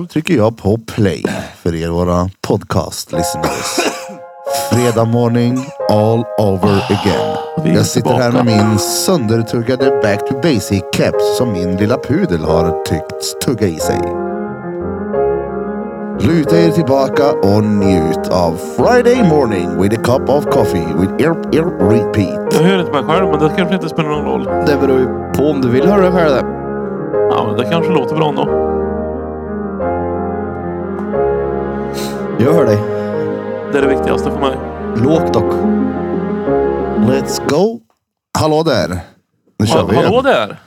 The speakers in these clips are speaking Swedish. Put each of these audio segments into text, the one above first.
Då trycker jag på play för er våra podcast listeners. Fredag morning all over again. Vi är Jag sitter här tillbaka. med min söndertuggade back to basic caps som min lilla pudel har tyckts tugga i sig. Luta er tillbaka och njut av Friday morning with a cup of coffee with erp erp repeat. Jag hör inte mig själv, men det kanske inte spelar någon roll. Det beror ju på om du vill höra det själv. det. Ja, men det kanske låter bra ändå. Jag hör dig. Det är det viktigaste för mig. Lågt dock. Let's go! Hallå där! Nu kör Ha, vi hallå igen. där!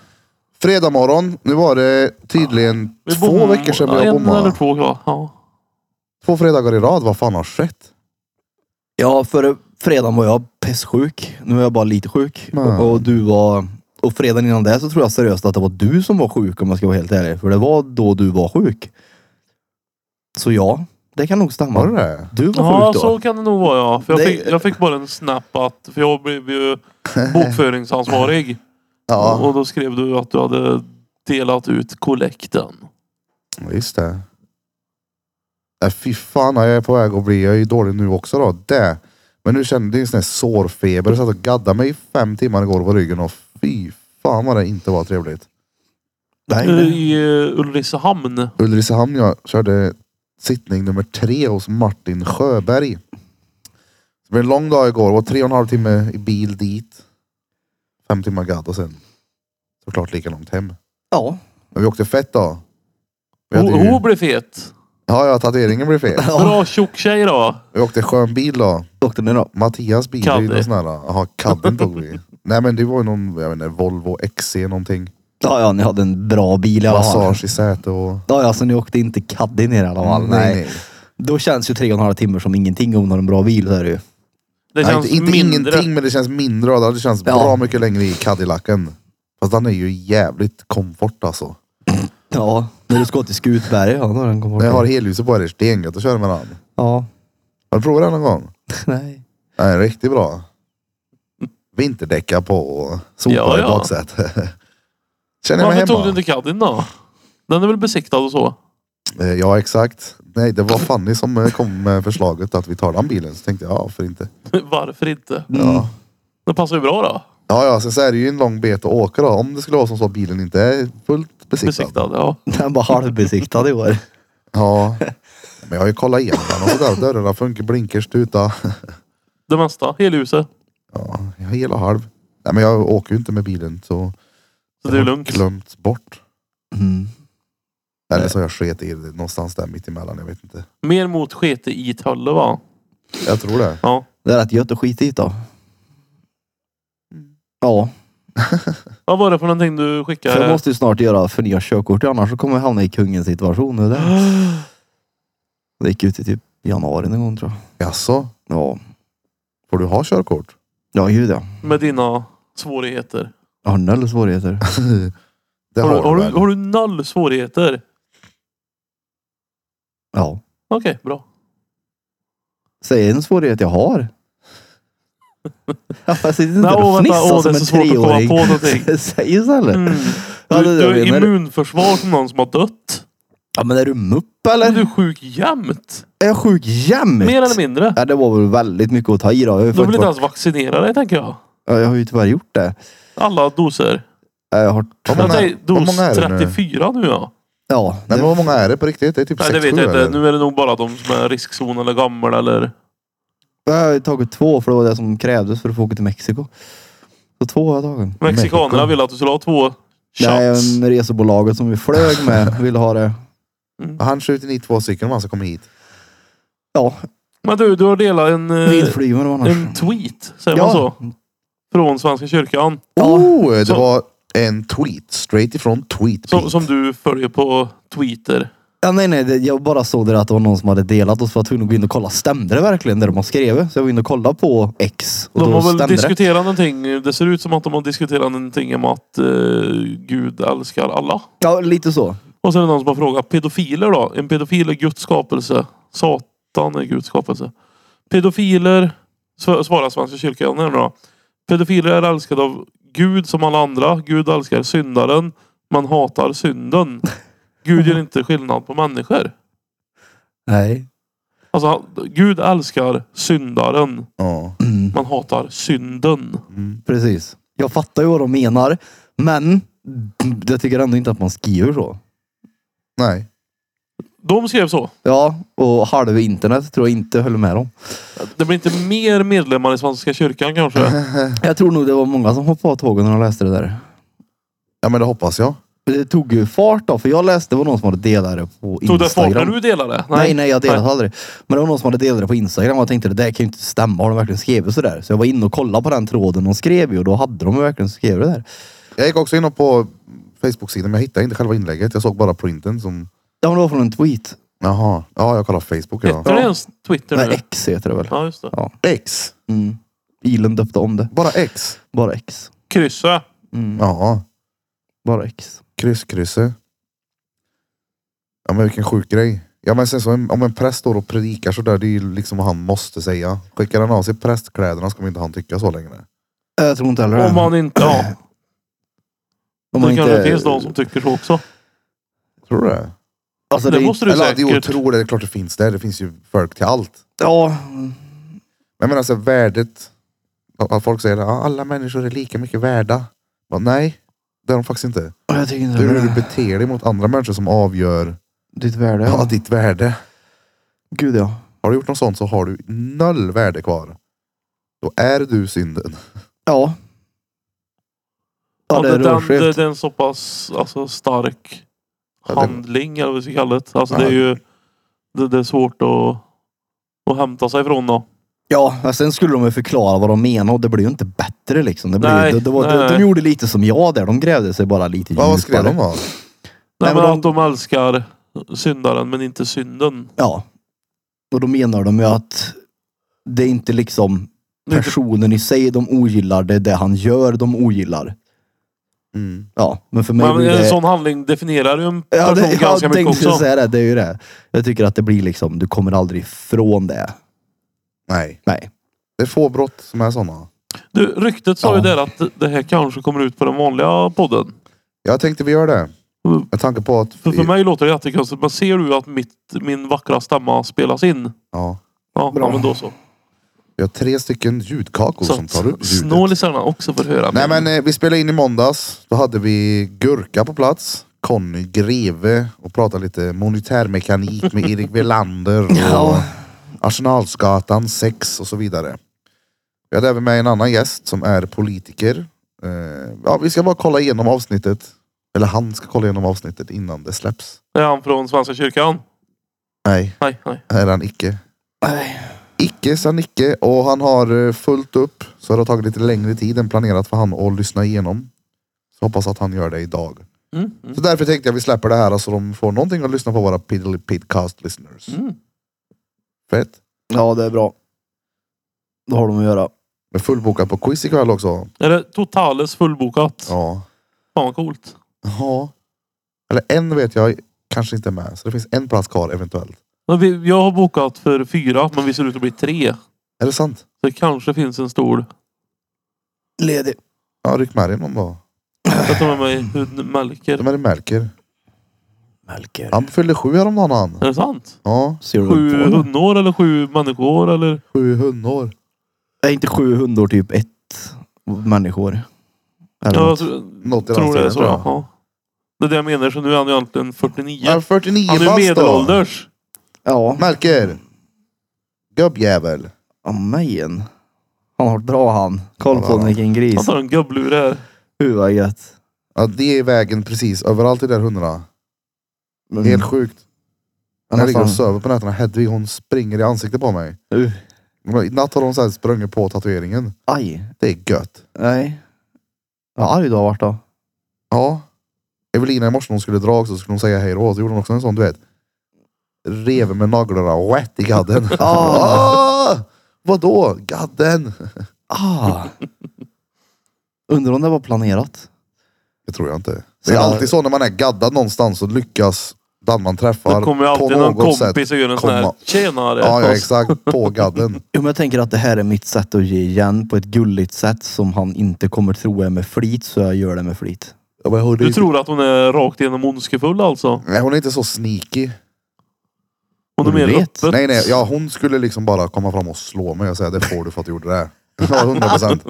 Fredag morgon. Nu var det tydligen Ah, Vi två bommar- veckor sedan vi ja, har En eller bommat. två kvar. Ja. Två fredagar i rad. Vad fan har skett? Ja, förra fredagen var jag pestsjuk. Nu är jag bara lite sjuk. Mm. Och, och du var... Och fredagen innan det så tror jag seriöst att det var du som var sjuk om jag ska vara helt ärlig. För det var då du var sjuk. Så ja, det kan nog stämma. Var det det? Du var Ja, sjuk då. så kan det nog vara ja. För jag, Det- fick, jag fick bara en snap att, för jag blev ju bokföringsansvarig. Ja, Och då skrev du att du hade delat ut kollekten. just det. Äh, fy fan, jag är på väg att bli. Jag är ju dålig nu också då. Det. Men nu kände jag en sån här sårfeber. Jag satt och gaddade mig i fem timmar igår på ryggen och fy fan vad det inte var trevligt. Nej, Eh, nej. I eh, Ulricehamn. Ulricehamn, jag körde sittning nummer tre hos Martin Sjöberg. Det blev en lång dag igår. Det var tre och en halv timme i bil dit. Fem timmar gadd och sen såklart lika långt hem. Ja. Men vi åkte fett då. Vi hade Hon ju... hon blev fet. Ja, ja, tatueringen blev fel. ja. Bra tjock tjej då. Vi åkte skön bil då. Åkte ni då? Mattias bil. Caddy. Caddy. Någon sån här, aha, kadden tog vi. Nej men det var ju någon, jag vet inte, Volvo XC någonting. Ja, ja, ni hade en bra bil i alla fall. Massage i säte och... Ja, ja, så ni åkte inte kaddy ner i alla fall. nej. Då känns ju tre och en halv timme som ingenting om man har en bra bil. Så är det ju. Det Nej, känns inte inte mindre. ingenting men det känns mindre. av det. Det känns Ja. bra mycket längre i Cadillacen. Fast den är ju jävligt komfort alltså. Ja, när du ska till Skutberget. Ja, då har den kommit bort. När jag har helljuset på är det stengött att köra med den. Ja, Har du provat den någon gång? nej. Nej, riktigt bra. Vinterdäckar på och sopa Ja, i ja. baksätet. Känner jag mig Varför hemma. tog du inte caddien då? Den är väl besiktad och så? Eh, Ja exakt. Nej det var Fanny som eh, kom med förslaget att vi tar den bilen. Så tänkte jag, ja varför inte? Varför inte? Mm. Ja. Det passar ju bra då. Ja ja, sen så är det ju en lång bet att åka då. Om det skulle vara som så att bilen inte är fullt besiktad. Besiktad, ja. Den var halvbesiktad i år. Ja. Men jag har ju kollat igenom den och sådär. Dörrarna funkar, blinkers, tuta. Det mesta. Helhuset. Ja, jag är hel och halv. Nej men jag åker ju inte med bilen så. Så det är har lugnt. Glömts bort. Mm. Eller så har jag sket i det någonstans där mitt emellan. Jag vet inte. Mer mot skete i Tölle va? Jag tror det. Ja. Det är rätt gött att skita i då. Ja, Vad var det för någonting du skickade? för jag måste ju snart göra förnya körkort annars så kommer jag hamna i kungens situation. Det, där. det gick ut i typ januari någon gång tror jag. Jaså? Ja, Får du ha körkort? ja gud ja. Med dina svårigheter. Jag har noll svårigheter. Det Har du, har, väl? du, har du noll svårigheter? Ja. Okej, bra. Säg en svårighet jag har. Jag sitter inte Nej, åh, och vänta, fnissar åh, det som är en så svårt att komma treåring. på någonting. Säg istället. Mm. Ja, det Du, är det jag du är menar. immunförsvar för någon som har dött. Ja men är du mupp Är eller? du sjuk jämt? Är jag sjuk jämt? Mer eller mindre. Ja, det var väl väldigt mycket att ta i då. Jag har, Du ju vill faktiskt inte varit... ens vaccinera dig tänker jag. ja, jag har ju tyvärr gjort det. Alla doser. Ja, Eh, Jag har... Vad Jag många- säger vad dos många är det nu? 34 nu ja. Ja, Nej, det... men hur många är det på riktigt? Det är typ Nej, det 6-7 vet jag inte. eller? Nu är det nog bara de som är riskzon eller gamla eller... jag har ju tagit två för det var det som krävdes för att få åka till Mexiko. Så två har jag tagit. Mexikanerna Mexiko. ville att du skulle ha två Nej, shots. men resebolaget som vi flög med ville ha det. Han skjuter ni två stycken om han ska komma hit. Ja, Men du, du har delat en, eh, vildflyvande annars. en tweet, säger ja. man så? Från Svenska kyrkan. Ja. Oh, det Så- var en tweet. Straight ifrån tweet. Som, Pete. som du följer på Twitter. Ja, nej, nej, det, jag bara såg det där att det var någon som hade delat och så var jag tvungen att gå in och kolla. Stämde det verkligen det de har skrivit? Så jag var inne och kollade på X och De då har väl stämde det. diskuterat någonting. Det ser ut som att de har diskuterat någonting om att eh, Gud älskar alla. Ja, lite så. Och sen är det någon som har frågat pedofiler då? En pedofil är Guds skapelse. Satan är Guds skapelse. Pedofiler, sv- svarar Svenska kyrkan här nu då. Pedofiler är älskade av Gud som alla andra. Gud älskar syndaren. Man hatar synden. Gud gör inte skillnad på människor. Nej. Alltså, han- Gud älskar syndaren. Ja. Mm. Man hatar synden. Mm. Precis. Jag fattar ju vad de menar, men jag tycker ändå inte att man skriver så. Nej. De skrev så. Ja, och halva internet tror jag inte höll med dem. Det blir inte mer medlemmar i Svenska kyrkan kanske. Jag tror nog det var många som hoppade av tågen när de läste det där. Ja men det hoppas jag. Det tog ju fart då, för jag läste det var någon som hade delat det Tog på det fart när Instagram. du delade? Nej, nej, jag delade aldrig. Men det var någon som hade delat det på Instagram och jag tänkte det där kan ju inte stämma. Har de verkligen skrivit sådär? Så jag var inne och kollade på den tråden de skrev ju och då hade de ju verkligen skrivit det där. Jag gick också in på Facebook-sidan men jag hittade inte själva inlägget. Jag såg bara printen som... Ja, men det var från en tweet. Jaha. Ja jag kollar Facebook Heter ja. det ens Twitter Nej, nu? X heter det väl? Ja, just det. X. Mm. Elon döpte om det. Bara X. Bara X. Kryssa. Mm. Ja. Bara X. Kryss krysse. Ja men vilken sjuk grej. Ja men sen så om om en präst står och predikar sådär det är ju liksom vad han måste säga. Skickar han av sig prästkläderna så kommer inte han tycka så längre. Jag tror inte heller det. Om man inte... Ja, Mm. Om det kanske finns de som tycker så också. Tror du det? Alltså, det det är- måste du Eller jo, säkert. tror det. Det är klart det finns där. Det finns ju folk till allt. Ja. Men jag menar så här, värdet. Att att folk säger att alla människor är lika mycket värda. Bara, nej, det är de faktiskt inte. Jag tycker inte Det är hur det. du beter dig mot andra människor som avgör Ditt värde. ja. Ja. ditt värde. Gud ja. Har du gjort något sånt så har du noll värde kvar. Då är du synden. Ja. Ja, Ja, det är det, den, det, rödskevt. det är en så pass alltså, stark Ja, det- handling eller vad vi ska kalla det. Alltså, det Ja. är ju det, det är svårt att, att hämta sig från då. Ja, men sen skulle de ju förklara vad de menar och det blev ju inte bättre liksom. Det blev, Nej, det, det var, nej. de, de gjorde lite som jag där. De grävde sig bara lite Ja, vad skrev de då? Nej, Nej, men men de- att de älskar syndaren men inte synden. Ja. Och då menar de ju att det är inte liksom Det är inte- personen i sig de ogillar, det är det han gör de ogillar. Mm. Ja, men för mig Men blir en det... sån handling definierar ju en person Ja, det, ganska jag mycket tänkte också. säga det, det är ju det. Jag tycker att det blir liksom, du kommer aldrig ifrån det. Nej. Nej. Det är få brott som är sådana. Du, ryktet sa ju Ja. där att det- det här kanske kommer ut på den vanliga podden. Jag tänkte vi gör det. Mm. Med tanke på att... För, för mig låter det jättekonstigt. Men ser du att mitt, min vackra stämma spelas in? Ja. Ja, Bra. ja men då så. Vi har tre stycken ljudkakor Så som tar upp att ljudet. snålisarna också får höra. Nej min- men eh, vi spelade in i måndags. Då hade vi Gurka på plats. Conny Greve och pratade lite monetärmekanik med Erik Velander och Ja. Arsenalsgatan 6 och så vidare. Vi hade även med en annan gäst som är politiker. Eh, Ja, vi ska bara kolla igenom avsnittet. Eller han ska kolla igenom avsnittet innan det släpps. Det är han från Svenska kyrkan. Nej, Nej, nej. här är han icke. Nej. Icke sa Nicke och han har eh, fullt upp. Så det har tagit lite längre tid än planerat för han att lyssna igenom. Så hoppas att han gör det idag. Mm, mm, Så därför tänkte jag vi släpper det här så alltså de får någonting att lyssna på våra Piddly Pidcast listeners. mm. Fett. Ja, det är bra. Då har de att göra. Men fullbokat på quiz ikväll också. Är det totales fullbokat? Ja. Fan vad coolt. Ja. Eller en vet jag kanske inte är med. Så det finns en plats kvar eventuellt. Men vi, jag har bokat för fyra men vi ser ut att bli tre. Är det sant? Så det kanske finns en stol. Ledig. Ja, ryck med dig någon Mm. dag. Jag tar med mig hundmälker. De är det Melker. Melker. Han fyllde sju häromdagen han. Är det sant? Ja, Ser du Sju på det? hundår eller sju människoår eller? sju hundår. Är inte sju hundår typ ett människor? Eller Ja, jag något. tror, Något i den tror det är stilen, så. tror jag. Ja. Det är det jag menar. Så nu är han ju egentligen 49. Han är 49 Han är ju bast då. medelålders. ja. Melker. Gubbjävel. Amen. Han har varit bra han. Koll på honom vilken Han gris. tar en gubblur här. Hur vad gött. Ja, det är vägen precis överallt i de där hundarna. Men- Mm. Helt sjukt. men När jag ligger och nästan- söver på nätterna. Hedvig hon springer i ansiktet på mig. Uh, Men I natt har hon så här sprungit på tatueringen. Aj. Det är gött. Nej. Vad arg du har varit då. Ja. Evelina i morse när hon skulle dra också skulle hon säga hej då. Så gjorde hon också en sån du vet. Rev med naglarna rätt i gadden. ah! Vadå? Gadden? Ah. Undrar om det var planerat. Det tror jag inte. Det är alltid så när man är gaddad någonstans och lyckas den man träffar Det kommer ju alltid på någon något sätt. kompis och gör en sån här komma- tjenare. Ja, ja, exakt. På gadden. Jo, men jag tänker att det här är mitt sätt att ge igen på ett gulligt sätt som han inte kommer tro är med flit så jag gör det med flit. Ja, men hon, är Du inte, tror att hon är rakt igenom ondskefull alltså? nej, hon är inte så sneaky. Hon är Hon mer vet. öppet? Nej, nej. Ja, hon skulle liksom bara komma fram och slå mig och säga det får du för att du gjorde det här. Ja, 100 procent.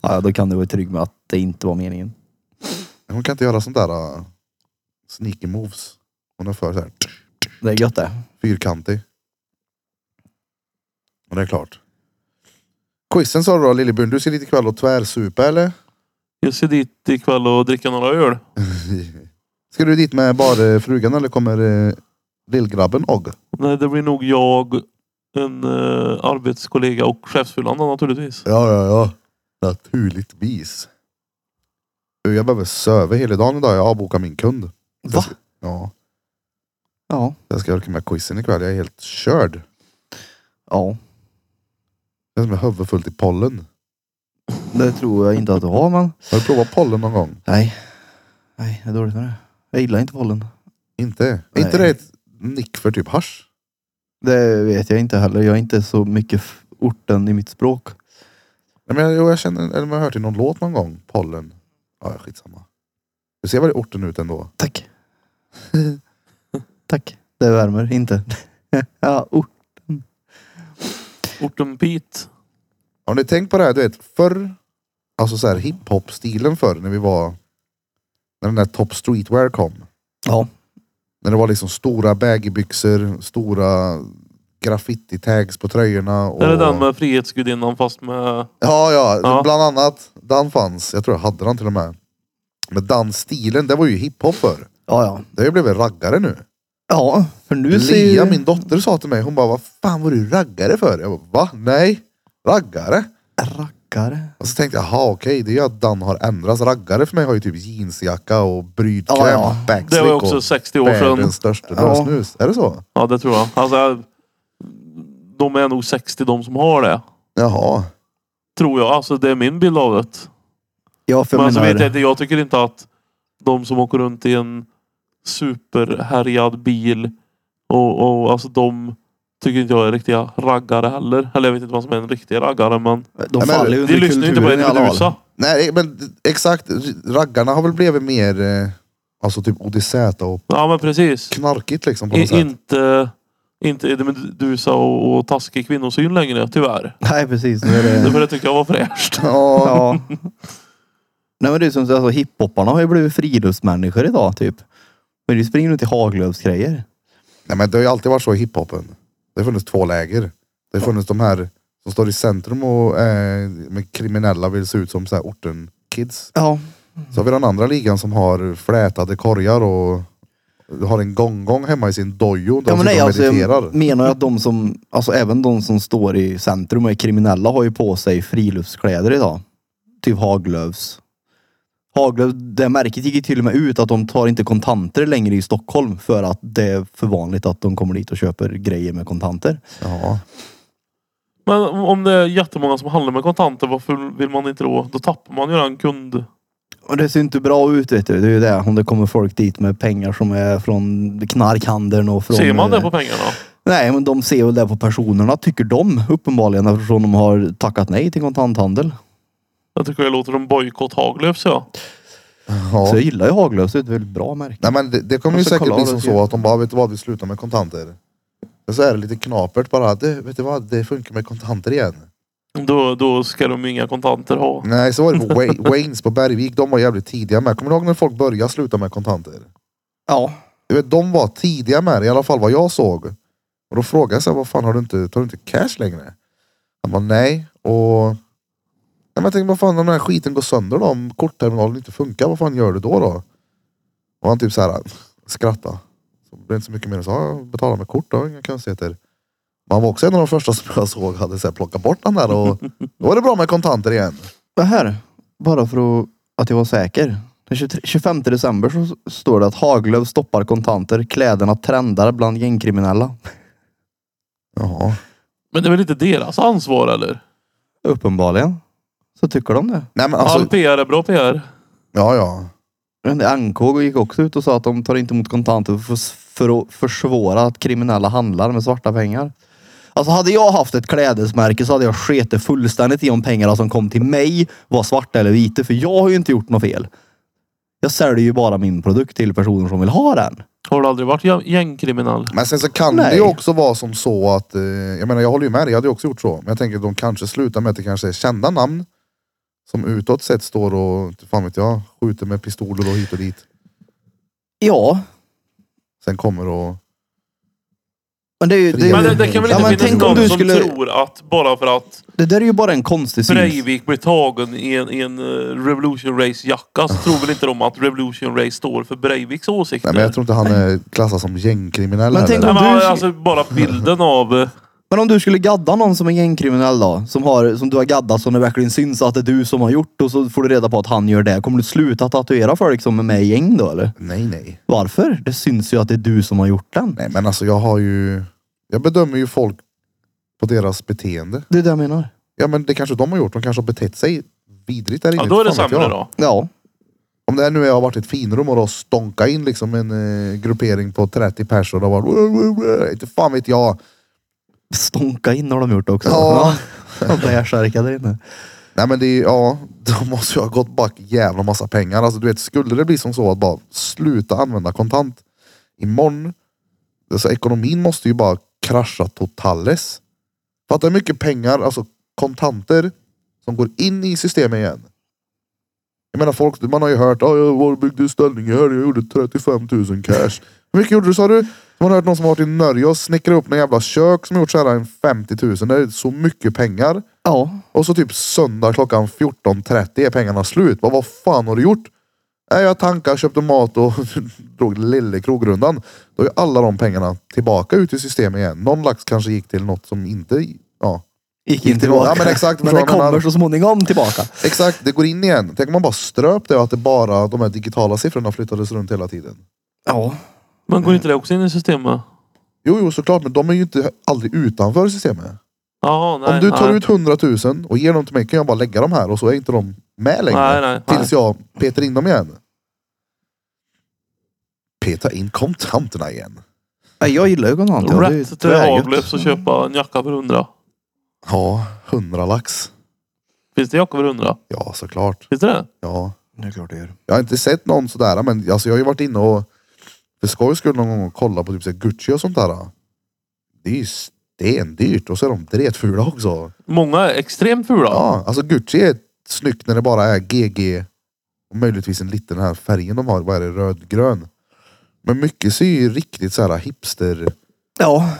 Ja, då kan du vara trygg med att det inte var meningen. Hon kan inte göra sånt där uh, sneaky moves. Hon är för så här Det är gött det. fyrkantig. Och det är klart. Quizen sa du då Lillebjörn, du ska dit ikväll och tvärsupa eller? Jag ska dit ikväll och dricka några öl. ska du dit med bara eh, frugan eller kommer uh, lillgrabben och? Nej, det blir nog jag, en eh, arbetskollega och chefsfyllan då, naturligtvis. Ja, ja, ja. Naturligtvis. Du, Jag behöver söva hela dagen idag. Jag avbokar min kund. Va? Ja, Ja. jag ska orka med quizen ikväll. Jag är helt körd. Ja. Jag är som med huvudet fullt i pollen. Det tror jag inte att du har men. Har du provat pollen någon gång? Nej. Nej, det är dåligt med det. Jag gillar inte pollen. Inte? Är Nej. inte det ett nick för typ hasch? Det vet jag inte heller. Jag är inte så mycket f- orten i mitt språk. Nej, men jag, jo, jag känner, eller men jag har hört i någon låt någon gång, pollen. Ja, ja, skitsamma. Du ser väl orten ut ändå? Tack. Tack. Det värmer inte. ja, oh. Orten Pete. Har ni tänkt på det här, du vet förr, alltså så här hiphop-stilen förr när vi var, när den där Top Streetwear kom. Ja. När det var liksom stora baggybyxor, stora graffiti-tags på tröjorna. Och... Det är den med Frihetsgudinnan fast med... Ja, ja, Ja. bland annat. Den fanns. Jag tror jag hade den till och med. Men den stilen, det var ju hiphop förr. Ja, ja. Det har ju blivit raggare nu. Ja, för nu ser Lia, ju... min dotter, sa till mig, hon bara, vad fan var du raggare för? Jag bara, va? Nej, raggare? Rackare. Och så tänkte jag, jaha okej, det är ju att Dan har ändrats. Raggare för mig har ju typ jeansjacka och brydkräm, Ja, ja. backslick Det var ju också och 60 år sedan. världens största Ja. lösnus. Är det så? Ja, det tror jag. Alltså, jag- de är nog 60 de som har det. Jaha. Tror jag. Alltså det är min bild av det. Ja, för Men jag alltså, menar... vet jag, inte, jag tycker inte att de som åker runt i en superhärjad bil och, och alltså de tycker inte jag är riktiga raggare heller. Eller jag vet inte vad som är en riktig raggare men De Nej, men faller ju de under lyssnar ju inte på kulturen en i alla fall. medusa. Nej, men exakt. Raggarna har väl blivit mer, eh, alltså typ ODZ och Ja men precis. knarkigt liksom på något I, sätt. inte inte är det medusa och, och taskig kvinnosyn längre tyvärr. Nej, precis. Nu är Det det... för det tycker jag var fräscht. Ja, ja. Nej, men det är som alltså, hiphopparna har ju blivit friluftsmänniskor idag typ. Men du springer runt i Haglöfsgrejer. Nej, men det har ju alltid varit så i hiphopen. Det har funnits två läger. Det har funnits de här som står i centrum och eh, med kriminella vill se ut som så här orten-kids. Ja. Så har vi den andra ligan som har flätade korgar och har en gånggång hemma i sin dojo. Där ja de men nej, sitter och alltså, mediterar. jag menar ju att de som, alltså även de som står i centrum och är kriminella har ju på sig friluftskläder idag. Typ Haglöfs. Haglöf, det märket gick ju till och med ut att de tar inte kontanter längre i Stockholm för att det är för vanligt att de kommer dit och köper grejer med kontanter. Ja. Men om- om det är jättemånga som handlar med kontanter, varför vill man inte då? Då tappar man ju den kund... Och det ser inte bra ut vet du. Det är ju det. Om det kommer folk dit med pengar som är från knarkhandeln och från... Ser man det eh, på pengarna? Nej men de ser väl det på personerna tycker de uppenbarligen eftersom de har tackat nej till kontanthandel. Jag tycker jag låter dem bojkott Haglöfs ja. ja. Så jag gillar ju Haglöfs. Det är ett väldigt bra märke. Nej, men det, det kommer ju Och så säkert kollar bli du som till- så att de bara, vet du vad, vi slutar med kontanter. Men så är det lite knapert bara, det, vet du vad, det funkar med kontanter igen. Då, då ska de ju inga kontanter ha. Nej, så var det på Wa- Waynes på Bergvik. De var jävligt tidiga med. Kommer du ihåg när folk började sluta med kontanter? Ja. Du vet, de var tidiga med det, i alla fall vad jag såg. Och då frågade jag så här, vad fan har du inte, tar du inte cash längre? Han bara nej. Och... Nej, men jag tänkte, vad fan om den här skiten går sönder då? Om kortterminalen inte funkar, vad fan gör du då? då? Och han typ så här skrattade. Så det blev inte så mycket mer. Så ja, jag betalar med kort då, inga konstigheter. Men han var också en av de första som jag såg hade så här, plockat bort den där och då är det bra med kontanter igen. Det här. Bara för att- att jag var säker. Den 23 25 december så s- står det att Haglöf stoppar kontanter. Kläderna trendar bland gängkriminella. Jaha. Men det är väl inte deras ansvar eller? Uppenbarligen. Så tycker de det. Nej, men alltså, All PR är bra PR. ja, ja. Men NK gick också ut och sa att de tar inte emot kontanter för, att s- för att försvåra att kriminella handlar med svarta pengar. Alltså hade jag haft ett klädesmärke så hade jag sketit fullständigt i om pengarna som kom till mig var svarta eller vita. För jag har ju inte gjort något fel. Jag säljer ju bara min produkt till personer som vill ha den. Har du aldrig varit gäng- gängkriminell? Men sen så kan Nej. det ju också vara som så att, eh, jag menar jag håller ju med dig, jag hade ju också gjort så. Men jag tänker att de kanske slutar med att det kanske är kända namn som utåt sett står och, inte fan vet jag, skjuter med pistoler och hit och dit. Ja, Sen kommer och... men det är ju... Det, är ju- Men det, det kan väl ja, inte men finnas tänk om någon du som skulle... tror att bara för att Det där är ju bara en konstig syn. Breivik blir tagen i en, i en eh, Revolution Race-jacka så tror väl inte de att Revolution Race står för Breiviks åsikter? Nej men jag tror inte han är klassad som gängkriminell Men tänk heller. Nej, men, Du- alltså bara bilden av... eh, Men om du skulle gadda någon som är gängkriminell då? Som, har, som du har gaddat som det verkligen syns att det är du som har gjort och så får du reda på att han gör det. Kommer du sluta tatuera folk som är med i gäng då eller? Nej nej. Varför? Det syns ju att det är du som har gjort den. Nej men alltså jag har ju... Jag bedömer ju folk på deras beteende. Det är det jag menar. Ja men det kanske de har gjort, de kanske har betett sig vidrigt där inne. Ja, då är det Fan vet sämre jag. då. Ja. Om det här nu har varit ett finrum och då stonka in liksom en eh, gruppering på 30 personer och varit... Inte fan vet jag. Stonka in har de gjort också. Ja. Ja. Bärsärka där inne. Nej men det är ja, de måste ju ha gått back jävla massa pengar. Alltså du vet, skulle det bli som så att bara sluta använda kontant imorgon. Alltså ekonomin måste ju bara krascha totales. För att det är mycket pengar, alltså kontanter som går in i systemet igen. Jag menar folk, man har ju hört, "Ja, jag var och byggde ställning här, jag gjorde 35 000 cash. Hur mycket gjorde du sa du? Man har hört någon som har varit i Norge och snickrat upp en jävla kök som gjort så här en 50 000. Det är så mycket pengar. Ja. Och så typ söndag klockan 14.30 är pengarna slut. Vad, vad fan har du gjort? Nej, jag tankade, köpte mat och drog lille krogrundan. Då är alla de pengarna tillbaka ut i systemet igen. Någon lax kanske gick till något som inte... Ja, Gick inte tillbaka. tillbaka. Ja, men exakt, Men förstår det jag vad jag kommer menar. så småningom tillbaka. exakt. Det går in igen. Tänk om man bara ströp det och att det bara de här digitala siffrorna flyttades runt hela tiden. Ja. Men går inte det också in i systemet? Jo, jo, såklart, men de är ju inte aldrig utanför systemet. Ja, nej, Om du tar nej. ut 100 000 och ger dem till mig kan jag bara lägga dem här och så är inte de med längre. Nej, nej, nej. Tills jag petar in dem igen. Peta in kontanterna igen. Nej, Jag gillar ju kontanter. Ja, det är ju- Rätt till det är gött. Haglöfs och köpa en jacka för hundra. Ja, 100 lax. Finns det jacka för hundra? Ja, såklart. Finns det det? Ja. Det är klart det gör. Jag har inte sett någon sådär, men alltså, jag har ju varit inne och för skojs skull någon gång och kollat på typ så här Gucci och sånt där. Det är ju stendyrt och så är de dretfula också. Många är extremt fula. Ja, alltså Gucci är snyggt när det bara är GG och möjligtvis en liten den här färgen de har. Vad är det? Rödgrön. Men mycket ser ju riktigt så här hipster... Ja.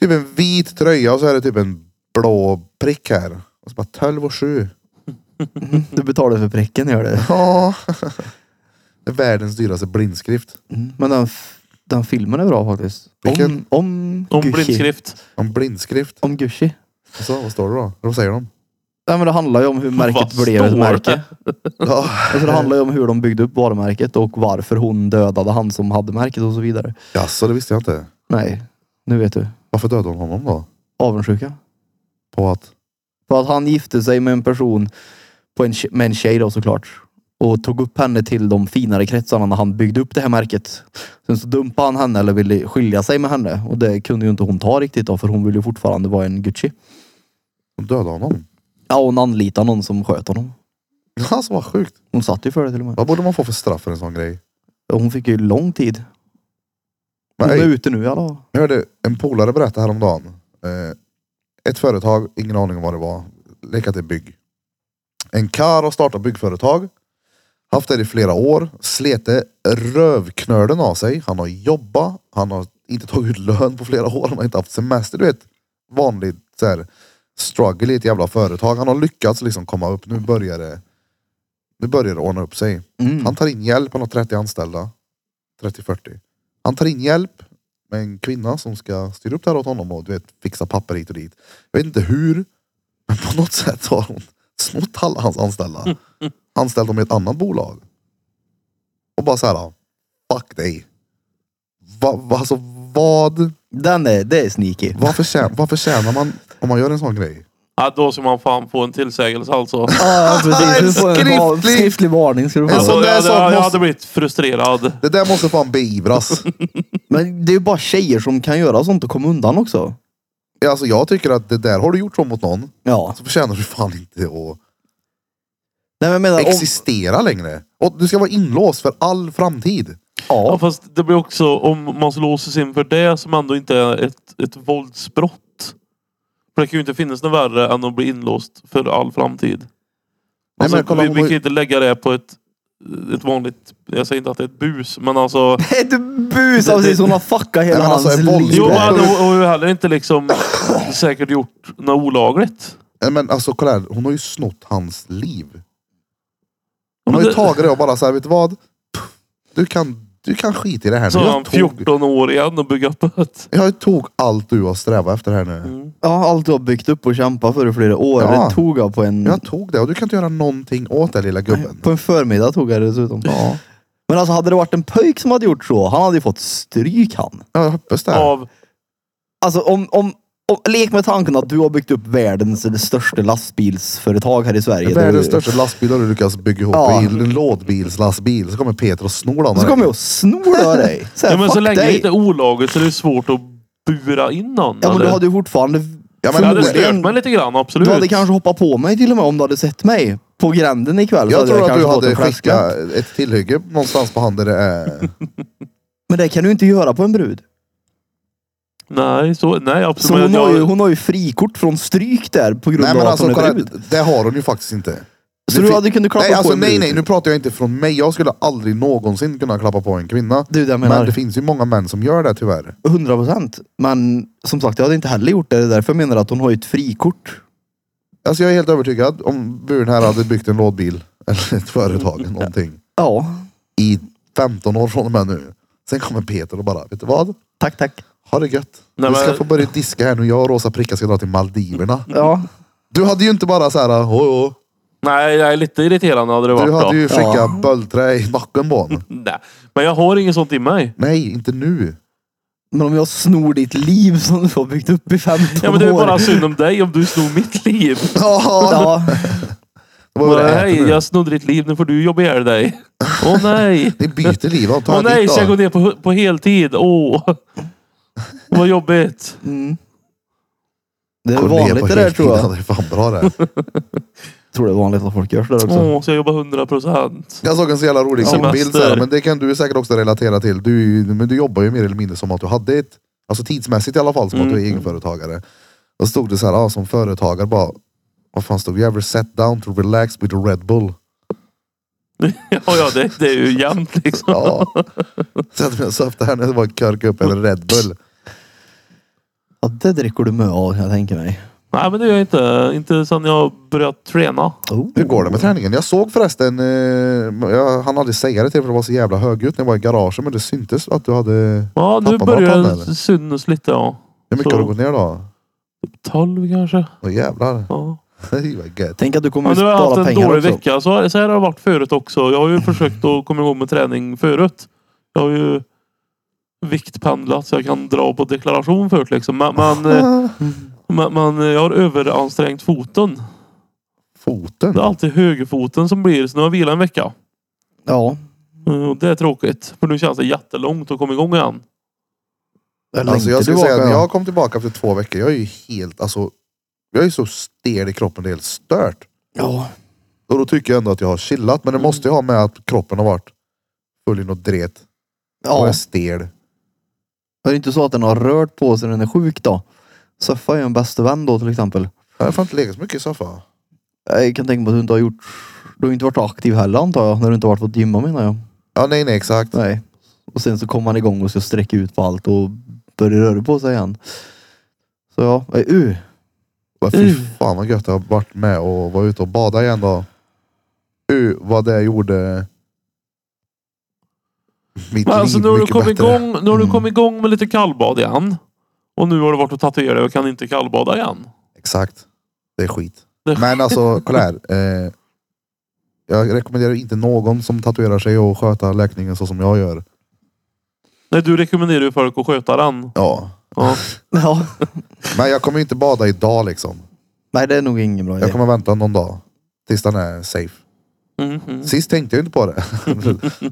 Typ en vit tröja och så är det typ en blå prick här. Och så bara 12 och 7. Mm, Du betalar för pricken gör det. Ja. Det är världens dyraste blindskrift. Mm, Men den, f- den filmen är bra faktiskt. Vilken? Om, om, Om Gucci. blindskrift. En blindskrift. Om Gucci. Och så, vad står det då? Vad säger de? Nej men det handlar ju om hur märket Vad blev ett står märke. det? Ja, Alltså, det handlar ju om hur de byggde upp varumärket och varför hon dödade han som hade märket och så vidare. Jaså, det visste jag inte. Nej, nu vet du. Varför dödade hon honom då? Avundsjuka. På att... För att han gifte sig med en person, på en, tje- med en tjej då såklart. Och tog upp henne till de finare kretsarna när han byggde upp det här märket. Sen så dumpade han henne eller ville skilja sig med henne. Och det kunde ju inte hon ta riktigt då för hon ville ju fortfarande vara en Gucci. Hon dödade honom? Ja hon anlitade någon som sköt honom. Alltså vad sjukt. Hon satt ju för det till och med. Vad borde man få för straff för en sån grej? Hon fick ju lång tid. Men, Hon är ey, ute nu i alla fall. Jag hörde en polare berätta häromdagen. Eh, ett företag, ingen aning om vad det var. Lek att det är bygg. En karl har startat byggföretag. Haft det i flera år. Slete rövknölen av sig. Han har jobbat. Han har inte tagit ut lön på flera år. Han har inte haft semester. Du vet, vanligt så här, struggle i ett jävla företag. Han har lyckats liksom komma upp. Nu börjar det, nu börjar det ordna upp sig. Mm. Han tar in hjälp, han har 30 anställda. 30-40. Han tar in hjälp med en kvinna som ska styra upp det här åt honom och du vet, fixa papper hit och dit. Jag vet inte hur, men på något sätt har hon snott alla hans anställda. Anställt dem i ett annat bolag. Och bara så här, fuck dig. Va, va, alltså vad, Den är, det är sneaky. vad, förtjänar, vad förtjänar man om man gör en sån grej? Ja, då ska man fan få en tillsägelse alltså. Ja En precis. Du får en va- skriftlig- Ah, skriftlig varning ska du En få. sån- alltså där jag, sak jag, jag måste- hade blivit frustrerad. Det där måste fan beivras. Men det är ju bara tjejer som kan göra sånt och komma undan också. Alltså jag tycker att det där har du gjort så mot någon, Ja. så förtjänar du fan inte att Nej men jag menar om... existera längre. Och du ska vara inlåst för all framtid. Ja, Ja, fast det blir också om man låses in för det som ändå inte är ett, ett våldsbrott. För det kan ju inte finnas något värre än att bli inlåst för all framtid. Alltså, men kolla, vi, hon vi var kan ju- inte lägga det på ett, ett vanligt... Jag säger inte att det är ett bus, men alltså... ett bus! Han precis hon har fuckat hela Nej, men alltså, hans en vålds- liv. Jo, det men är- hon hon har ju heller inte liksom säkert gjort något olagligt. Nej, Men alltså kolla här, hon har ju snott hans liv. Hon Men har ju det- tagit det och bara såhär, vet du vad? Pff, Du kan, du kan skita i det här nu. Så har han Jag tog, 14 Alltså, år igen och bygga upp ett. jag tog allt du har strävat efter här nu. Mm. Ja, allt du har byggt upp och kämpat för i flera år. Ja. Det tog jag på en... Jag tog det och du kan inte göra någonting åt det lilla gubben. På en förmiddag tog jag det dessutom. Ja, Men alltså hade det varit en pöjk som hade gjort så, han hade ju fått stryk han. jag hoppas det. Av, Alltså om, om, om, lek med tanken att du har byggt upp världens eller största lastbilsföretag här i Sverige. Världens Du- största lastbil har du lyckats bygga ihop Ja. i en lådbilslastbil. Så kommer Peter och snor den. Så kommer jag och snor av dig. Så här, ja, men så fuck länge det dig. inte är olagligt så är det svårt att bura in någon. Ja men du eller? hade ju fortfarande Ja, men Det hade förmodligen- stört mig lite grann, absolut. Du hade kanske hoppat på mig till och med om du hade sett mig på gränden ikväll. så Jag tror att kanske du fått en hade flashback. skickat ett tillhygge någonstans på handen. där eh, det är- Men det kan du inte göra på en brud. Nej, så, nej absolut. Så Men hon, jag, har ju, hon har ju frikort från stryk där på grund Nej men av alltså att hon är kolla, brud. det har hon ju faktiskt inte. Så det du fin- hade kunnat klappa Nej, alltså, på en nej brud. nej, nu pratar jag inte från mig. Jag skulle aldrig någonsin kunna klappa på en kvinna. Du, det jag Men det menar. finns ju många män som gör det tyvärr. 100 procent. Men som sagt, jag hade inte heller gjort det. Det är därför jag menar att hon har ju ett frikort. Alltså jag är helt övertygad om buren här hade byggt en lådbil eller ett företag eller någonting Ja. i 15 år från och med nu. Sen kommer Peter och bara, vet du vad? Tack, tack. Ha det gött. Nej, du ska men- få börja diska här nu. Jag och Rosa Pricka ska dra till Maldiverna. Mm. Ja. Du hade ju inte bara så här, "Hå, hå." nej, nej, lite irriterande hade det varit. Du hade då. ju skickat Ja. böldträ i backen på honom. Nej. Men jag har inget sånt i mig. Nej, inte nu. Men om jag snor ditt liv som du har byggt upp i 15 Ja, men det är år. bara synd om dig om du snor mitt liv. Ja, Ja. det var ju det nej, jag äter nu. jag snodde ditt liv. Nu får du jobba ihjäl dig. Åh nej. Ni byter liv. av. Ta Åh ett nej, ditt ska jag då. gå ner på, på heltid? Åh. Vad jobbigt. Mm. Det är Gå ner vanligt på det där heltid. tror jag. Ja, Det är fan bra det. tror det är vanligt att folk gör sådär också. Åh, så jag jobbar 100 procent. Jag såg en så jävla rolig Semester. bild så här, men det kan du säkert också relatera till. Du, är ju- men du jobbar ju mer eller mindre som att du hade ett, alltså tidsmässigt i alla fall, som att du är Mm. egenföretagare. Då stod det så här, ja, som företagare bara, vad fan stod det? You ever sat down to relax with a Red Bull? Ja, ja det, det är ju jämnt liksom. Ja. Satt mig och söpte här när det var körka upp en Red Bull. Ja, det dricker du med av kan jag tänker mig. Nej, men det gör jag inte. Inte sen jag började träna. Oh. Hur går det med träningen? Jag såg förresten, eh, jag hann aldrig säga det till för det var så jävla högljutt när jag var i garaget men det syntes att du hade, Ja, nu Tappar man börjar pannan, eller? det synas lite. Ja. hur mycket Så. har du gått ner då? 12 kanske. Åh jävlar, Ja. det var gött. Tänk att du kommer Men att nu har jag haft spara en pengar dålig också. vecka. Så, så här har det varit förut också. Jag har ju försökt att komma igång med träning förut. Jag har ju viktpendlat så jag kan dra på deklaration förut liksom. Men, men, eh, Ah, men, men eh, jag har överansträngt foten. Foten? Det är alltid högerfoten som blir. Så nu har jag vilat en vecka. Ja. Eh, Och det är tråkigt. För nu känns det jättelångt att komma igång igen. Eller Alltså inte jag skulle säga tillbaka. att när jag kom tillbaka efter två veckor, jag är ju helt, alltså. Jag är så stel i kroppen, det är helt stört. Ja. Och då tycker jag ändå att jag har chillat, Mm. men det måste ju ha med att kroppen har varit full i något dret. Och ja. är stel. Är det inte så att den har rört på sig när den är sjuk då? Soffa är ju en bästa vän då till exempel. Jag har fan inte legat så mycket i soffa. Jag kan tänka mig att du inte har gjort... Du har inte varit aktiv heller antar jag. När du inte har varit på gymma menar jag. Ja, nej, nej, exakt. Nej. Och sen så kommer man igång och ska sträcka ut på allt och börjar röra på sig igen. Så ja. Eh, Uh. Bara, Fy Uh. fan vad gött det har varit med och vara ute och bada igen då. Uh, vad det gjorde mitt Men alltså liv nu har, du mycket kommit bättre. igång, nu har du Mm. kommit igång med lite kallbad igen. Och nu har du varit och tatuerat dig och kan inte kallbada igen. Exakt. Det är skit. Det är Men alltså, kolla här. Eh, jag rekommenderar inte någon som tatuerar sig och sköta läkningen så som jag gör. Nej, du rekommenderar ju folk att sköta den. Ja. Ja. Ja. Men jag kommer ju inte bada idag liksom. Nej det är nog ingen bra Jag idé. kommer vänta någon dag. Tills den är safe. Mm, mm. Sist tänkte jag inte på det.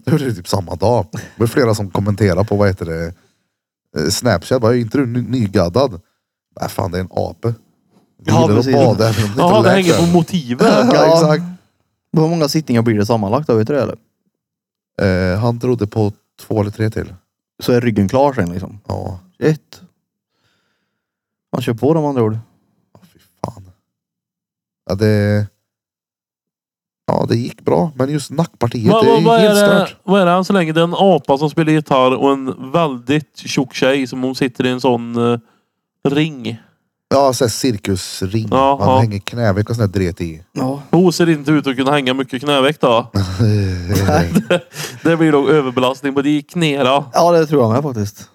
det var typ samma dag. Det var flera som kommenterade på, vad heter det, eh, Snapchat. Bara, är inte du ny- nygaddad? Nej fan, det är en ape. Ja, Jag gillar att precis. bada. även om det inte Jaha, det läker. hänger på motivet. Ja, Ja. exakt. Hur många sittningar blir det sammanlagt då? Vet du det eller? Eh, han trodde på två eller tre till. Så är ryggen klar sen liksom. Ja, Shit. Han kör på dem andra ord. oh, fy fan. Ja, det... Ja, det gick bra. Men just nackpartiet, Vad det är vad- ju vad är helt det- stört. vad är det än så länge? Det är en apa som spelar gitarr och en väldigt tjock tjej som hon sitter i en sån eh, ring. Ja, såhär cirkusring. Ja, man ja. hänger knäveck och sånt där dret i. Ja. Hon ser inte ut att kunna hänga mycket knäveck då. Det blir då överbelastning på de knäna. Ja det tror jag med faktiskt.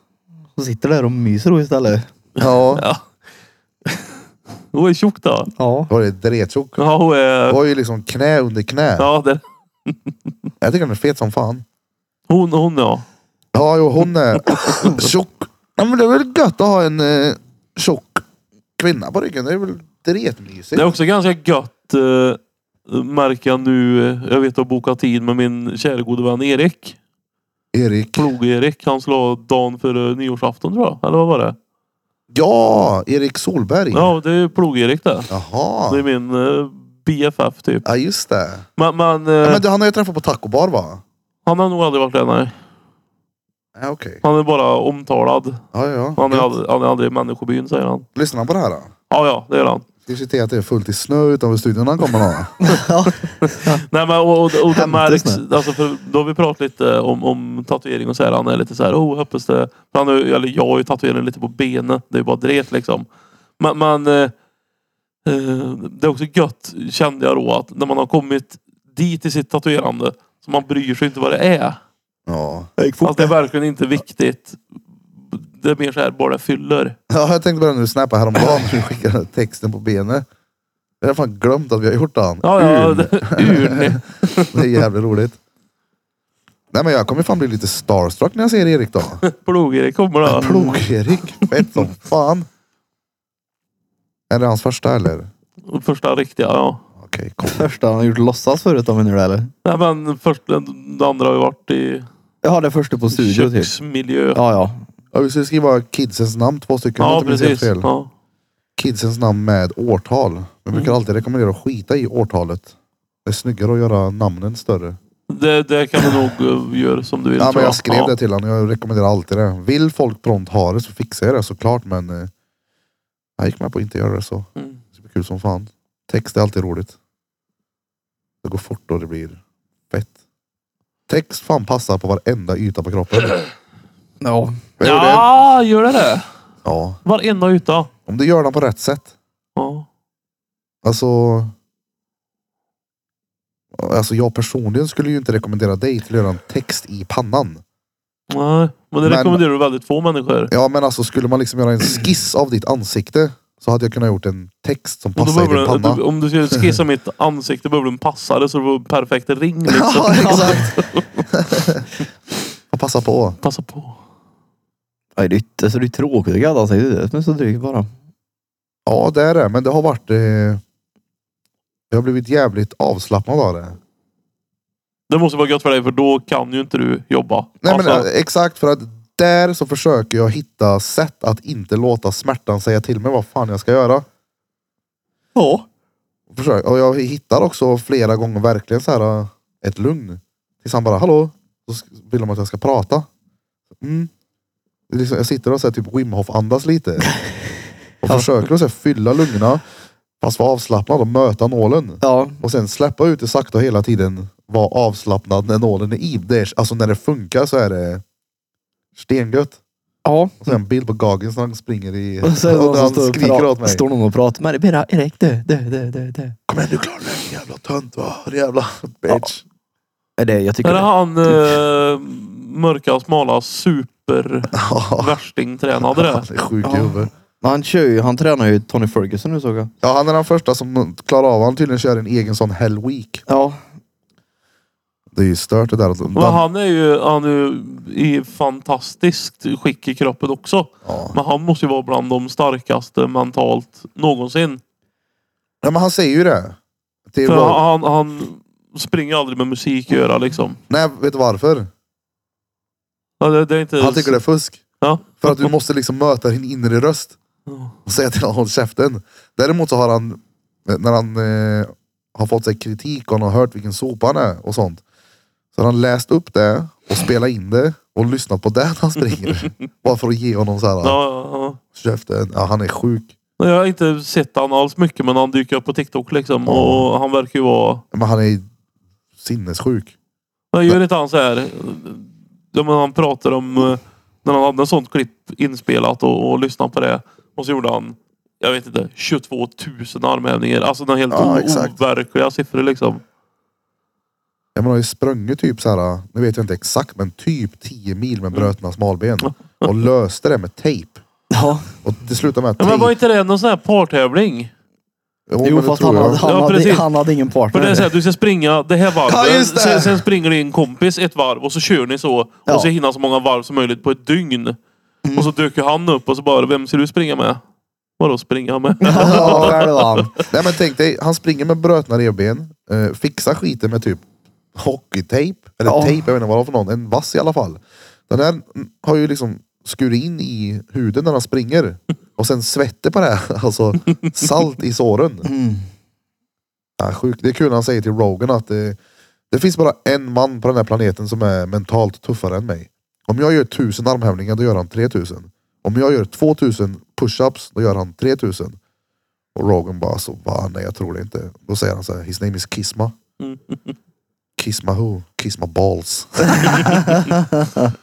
Så sitter där och myser då istället. ja, Hon är tjock då. Ja. var det dretsjok? Ja, hon Det är... var ju liksom knä under knä. Ja, det, Jag tycker han är fet som fan. hon, hon ja. Ja, jo, hon är tjock. Ja, men det är väl gött att ha en eh, tjock kvinna på ryggen. Det är väl Det dretmysigt. är också ganska gött eh, märker jag nu. eh, Jag vet att boka tid med min kära gode vän Erik. Erik. Plog-Erik. Han slår dagen före nyårsafton tror jag. Eller vad var det? Ja, Erik Solberg. Ja, det är Plog-Erik det. Det är Jaha. min eh, BFF typ. Ja, just det. Men, men, eh, Ja, men det, han har jag träffat på taco bar va? han har nog aldrig varit det nej. Ja, okej. Han är bara omtalad. Ja, ja. Han är, ja. aldrig, han är aldrig i människobyn säger han. Lyssnar han på det här då? Ja, ja, det är han. Ska vi se till att det är fullt i snö utanför studion när han kommer då? Nej men och, och, och det Hämtas märks, nu. alltså för då har vi pratat lite eh, om, om tatuering och så här. Han är lite så här, oh hoppas det. för Han är, eller jag har ju tatueringen lite på benen. Det är ju bara dret liksom. Men, men eh, eh, det är också gött kände jag då att när man har kommit dit i sitt tatuerande så man bryr sig inte vad det är. Ja. Jag gick fort. Alltså det är verkligen inte viktigt. Det är mer så här, bara det fyller. ja, jag tänkte bara nu snappa häromdagen när du skickade texten på benet. Jag har fan glömt att vi har gjort den. Ja, ja, Urn. det- urn. Det är jävligt roligt. Nej men jag kommer fan bli lite starstruck när jag ser Erik då. Plog-Erik kommer då. Plog-Erik. Fett som fan. Är det hans första eller? Första riktiga, ja. Okej, cool. Första han har gjort låtsas förut om menar du eller? Nej men först, den den andra har ju varit i Ja det första på studio typ. köksmiljö. Ja ja. Ja, vi ska skriva kidsens namn, två stycken. om jag Ja, inte minns helt precis. Fel. Ja. Kidsens namn med årtal. Jag Mm. brukar alltid rekommendera att skita i årtalet. Det är snyggare att göra namnen större. Det, det kan du nog eh, göra som du vill. Ja, tror men jag skrev ja. det till honom. Jag rekommenderar alltid det. Vill folk prompt ha det så fixar jag det såklart. Men eh, jag gick med på att inte göra det så. Mm. Det blir kul som fan. Text är alltid roligt. Det går fort och det blir fett. Text fan passar på varenda yta på kroppen. Ja. Jag gjorde det. Ja, gör det det? ja. Varenda yta. Om du gör den på rätt sätt. Ja. Alltså. Alltså jag personligen skulle ju inte rekommendera dig till att göra en text i pannan. Nej, men Men- det rekommenderar du väldigt få människor. Ja men alltså skulle man liksom göra en skiss av ditt ansikte så hade jag kunnat gjort en text som Och då passar i din behöver panna. du, om du skulle skissa mitt ansikte behöver du en passare så det får en perfekt ring. Liksom. Ja exakt. Får passa på. Passa på. Nej, det, är- alltså, det är tråkigt att gadda sig. Det är det som är så drygt bara. Ja det är det men det har varit. Eh, jag har blivit jävligt avslappnad av det. Det måste vara gött för dig för då kan ju inte du jobba. Nej alltså, men eh, exakt för att där så försöker jag hitta sätt att inte låta smärtan säga till mig vad fan jag ska göra. Ja. Försök. Och jag hittar också flera gånger verkligen så här eh, ett lugn. Tills han bara, hallå? Så sk- vill de att jag ska prata. Mm. Det är Liksom, jag sitter och så här, typ Wim Hof andas lite. Och Ja. försöker att så här, fylla lungorna. Fast vara avslappnad och möta nålen. Ja. Och sen släppa ut det sakta och hela tiden. Vara avslappnad när nålen är i. Det är, alltså när det funkar så är det stengött. Ja. Och sen en bild på Gagens när han springer i... Och så är det någon när som han står och skriker åt pratar, mig. står någon och pratar med dig. Bera, Erik du, du, du, du, du. Kom igen du klarar det din jävla tönt va. Din jävla bitch. Är det, jag tycker Är det det. han typ. eh, mörka, smala, super Ja. värstingtränade det? Han är sjuk Ja. i huvudet. Men Han kör ju, han tränar ju Tony Ferguson nu såg jag. Ja, han är den första som klarar av. Han tydligen kör en egen sån hell week. Ja. Det är ju stört det där. att- Men han är ju, han är ju i fantastiskt skick i kroppen också. ja. Men han måste ju vara bland de starkaste mentalt någonsin. Ja, men han säger ju det. Till För Rob. han, han springer aldrig med musik i öra liksom. Nej, vet du varför? Ja, Det, det är inte... Han tycker det är fusk. Ja. För att du måste liksom möta din inre röst. Ja. Och säga till honom håll käften. Däremot så har han, när han eh, har fått sig kritik och han har hört vilken sopa han är och sånt. Så har han läst upp det och spelat in det och lyssnat på det när han springer. Bara för att ge honom så här, Ja, ja. käften, ja, han är sjuk. Nej, Jag har inte sett han alls mycket men han dyker upp på TikTok liksom. Ja. Och han verkar ju vara... Men han är sinnessjuk. Jag gör inte han så här... Ja, men han pratar om eh, när han hade ett sånt klipp inspelat och, och lyssnade på det. Och så gjorde han, jag vet inte, 22 000 armhävningar. Alltså några helt Ja, o- exakt. overkliga siffror liksom. Ja, men han har ju sprungit typ så här, nu vet jag inte exakt, men typ 10 mil med brötna smalben. Och löste det med tejp. Ja, Och det slutade med att Ja, men var tejp... inte det någon sån här partävling? Jo, jo men det fast tror jag. han hade, han, Ja, hade, precis. han hade ingen För partner. det är såhär, du ska springa det här varvet. Ja, just det. Sen, sen springer din kompis ett varv och så kör ni så. Ja. Och så hinner så många varv som möjligt på ett dygn. Mm. Och så dök ju han upp och så bara, vem ska du springa med? Vadå springa med? ja, själv han. Nej men tänk dig, han springer med brötna revben, eh, fixar skiten med typ hockeytejp, eller Ja. tejp, jag vet inte vad det var för någon, en vass i alla fall. Den där mm, har ju liksom skurit in i huden när han springer. Och sen svetter på det, här, alltså salt i såren. Mm. Ja, sjuk. Det är kul när han säger till Rogan att det, det finns bara en man på den här planeten som är mentalt tuffare än mig. Om jag gör tusen armhävningar, då gör han 3000. Om jag gör 2000 push-ups, då gör han 3000. Och Rogan bara så, va nej jag tror det inte. Då säger han så här, his name is Kisma. Kisma who? Kisma balls.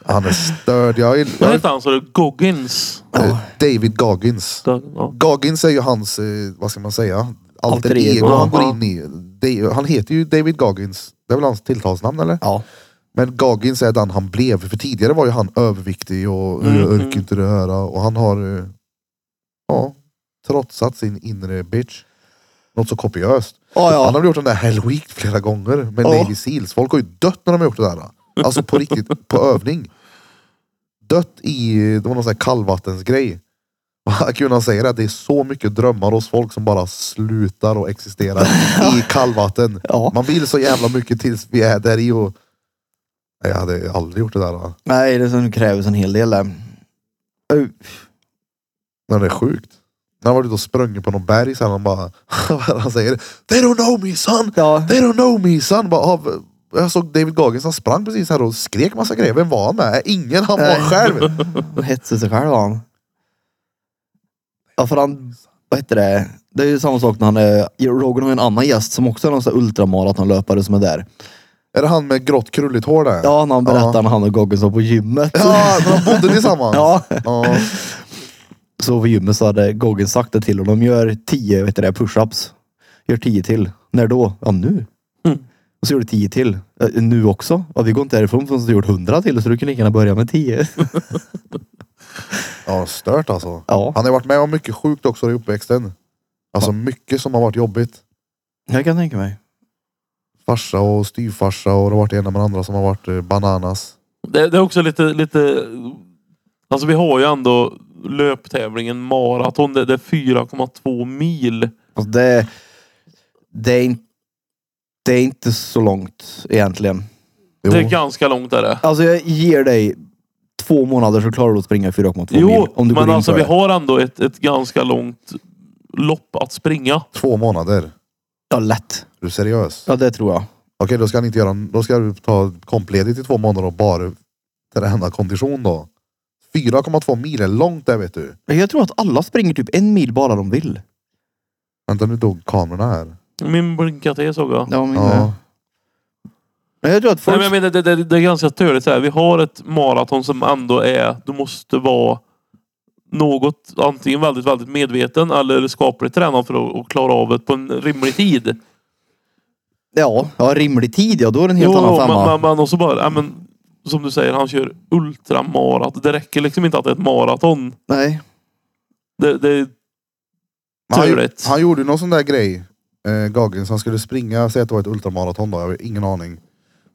han är störd. Jag, är- Vad jag, hette han sa du? Goggins? eh, David Goggins. Ja. Goggins är ju hans, eh, vad ska man säga, alter Alter ego. ego han går Ja. in i. Det- Han heter ju David Goggins. Det är väl hans tilltalsnamn eller? Ja. Men Goggins är den han blev. För tidigare var ju han överviktig och mm, Mm, jag mm. orkar inte det här. Och han har, eh, ja, trotsat sin inre bitch. Något så kopiöst. Ja, Han ja. har väl gjort den där Hell Week flera gånger med Ja. Navy Seals. Folk har ju dött när de har gjort det där. Alltså på riktigt, på övning. Dött i, det var någon sån här kallvattensgrej. Och Kul när han säger att det är så mycket drömmar hos folk som bara slutar och existerar i kallvatten. ja. Man vill så jävla mycket tills vi är där i och... Nej, Jag hade aldrig gjort det där. Nej, det som krävs en hel del där. Ö, Men det är sjukt. När han var ute och sprungit på någon berg sen han bara... han säger They don't know me son! Ja. They don't know me son. Bara, av, jag såg David Goggins, han sprang precis här och skrek massa grejer. Vem var han med? Ingen, han var Nej. själv. Och hetsade sig själv han. Ja för han, vad heter det? Det är ju samma sak när han är, Rogan har ju en annan gäst som också är någon sån här ultramaratonlöpare som är där. Är det han med grått krulligt hår där? Ja, när han berättar när han och Goggins var på gymmet. Ja, när de bodde tillsammans. Ja. Ja. Så på gymmet så hade Goggins sagt det till honom. Gör 10 vet du det, push-ups. Gör 10 till. När då? Ja nu. Mm. Och så gör du 10 till. "Ja, Nu också? Ja, vi går inte härifrån förrän du har gjort 100 till så du kan lika gärna börja med 10. ja, stört alltså. Ja, Han har varit med om mycket sjukt också i uppväxten. Alltså mycket som har varit jobbigt. jag kan tänka mig. Farsa och styvfarsa och det har varit det ena med det andra som har varit eh, bananas. Det, det är också lite, lite... Alltså vi har ju ändå löptävlingen maraton. Det, det är 4,2 mil. Alltså det, det, är in, det är inte så långt egentligen. Jo. Det är ganska långt är det. Alltså jag ger dig två månader så klarar du att springa 4,2 mil. Jo, Om du går men in alltså för vi det. har ändå ett, ett ganska långt lopp att springa. Två månader. Är Ja, lätt. du seriös? Ja, det tror jag. Okej, då ska han inte göra... Då ska du ta kompledigt i två månader och bara träna kondition då. 4,2 mil är långt där vet du. Men Jag tror att alla springer typ en mil bara de vill. Vänta nu dog kamerorna här. Min blinkar till såg jag. Ja, men, Ja. men jag tror att Nej, folk... men jag menar, det, det, det är ganska törligt. så här. Vi har ett maraton som ändå är... Du måste vara något, antingen väldigt, väldigt medveten eller skapligt tränad för att, att klara av det på en rimlig tid. ja, ja, rimlig tid ja. Då är det en helt Jo, annan men, femma. men, men också bara, ja, men, som du säger, han kör ultramarat. Det räcker liksom inte att det är ett maraton. Nej. Det, det är Men han, gjorde- Turligt. han gjorde ju någon sån där grej. Eh, Gagen, så han skulle springa, säg att det var ett ultramaraton då, jag har ingen aning.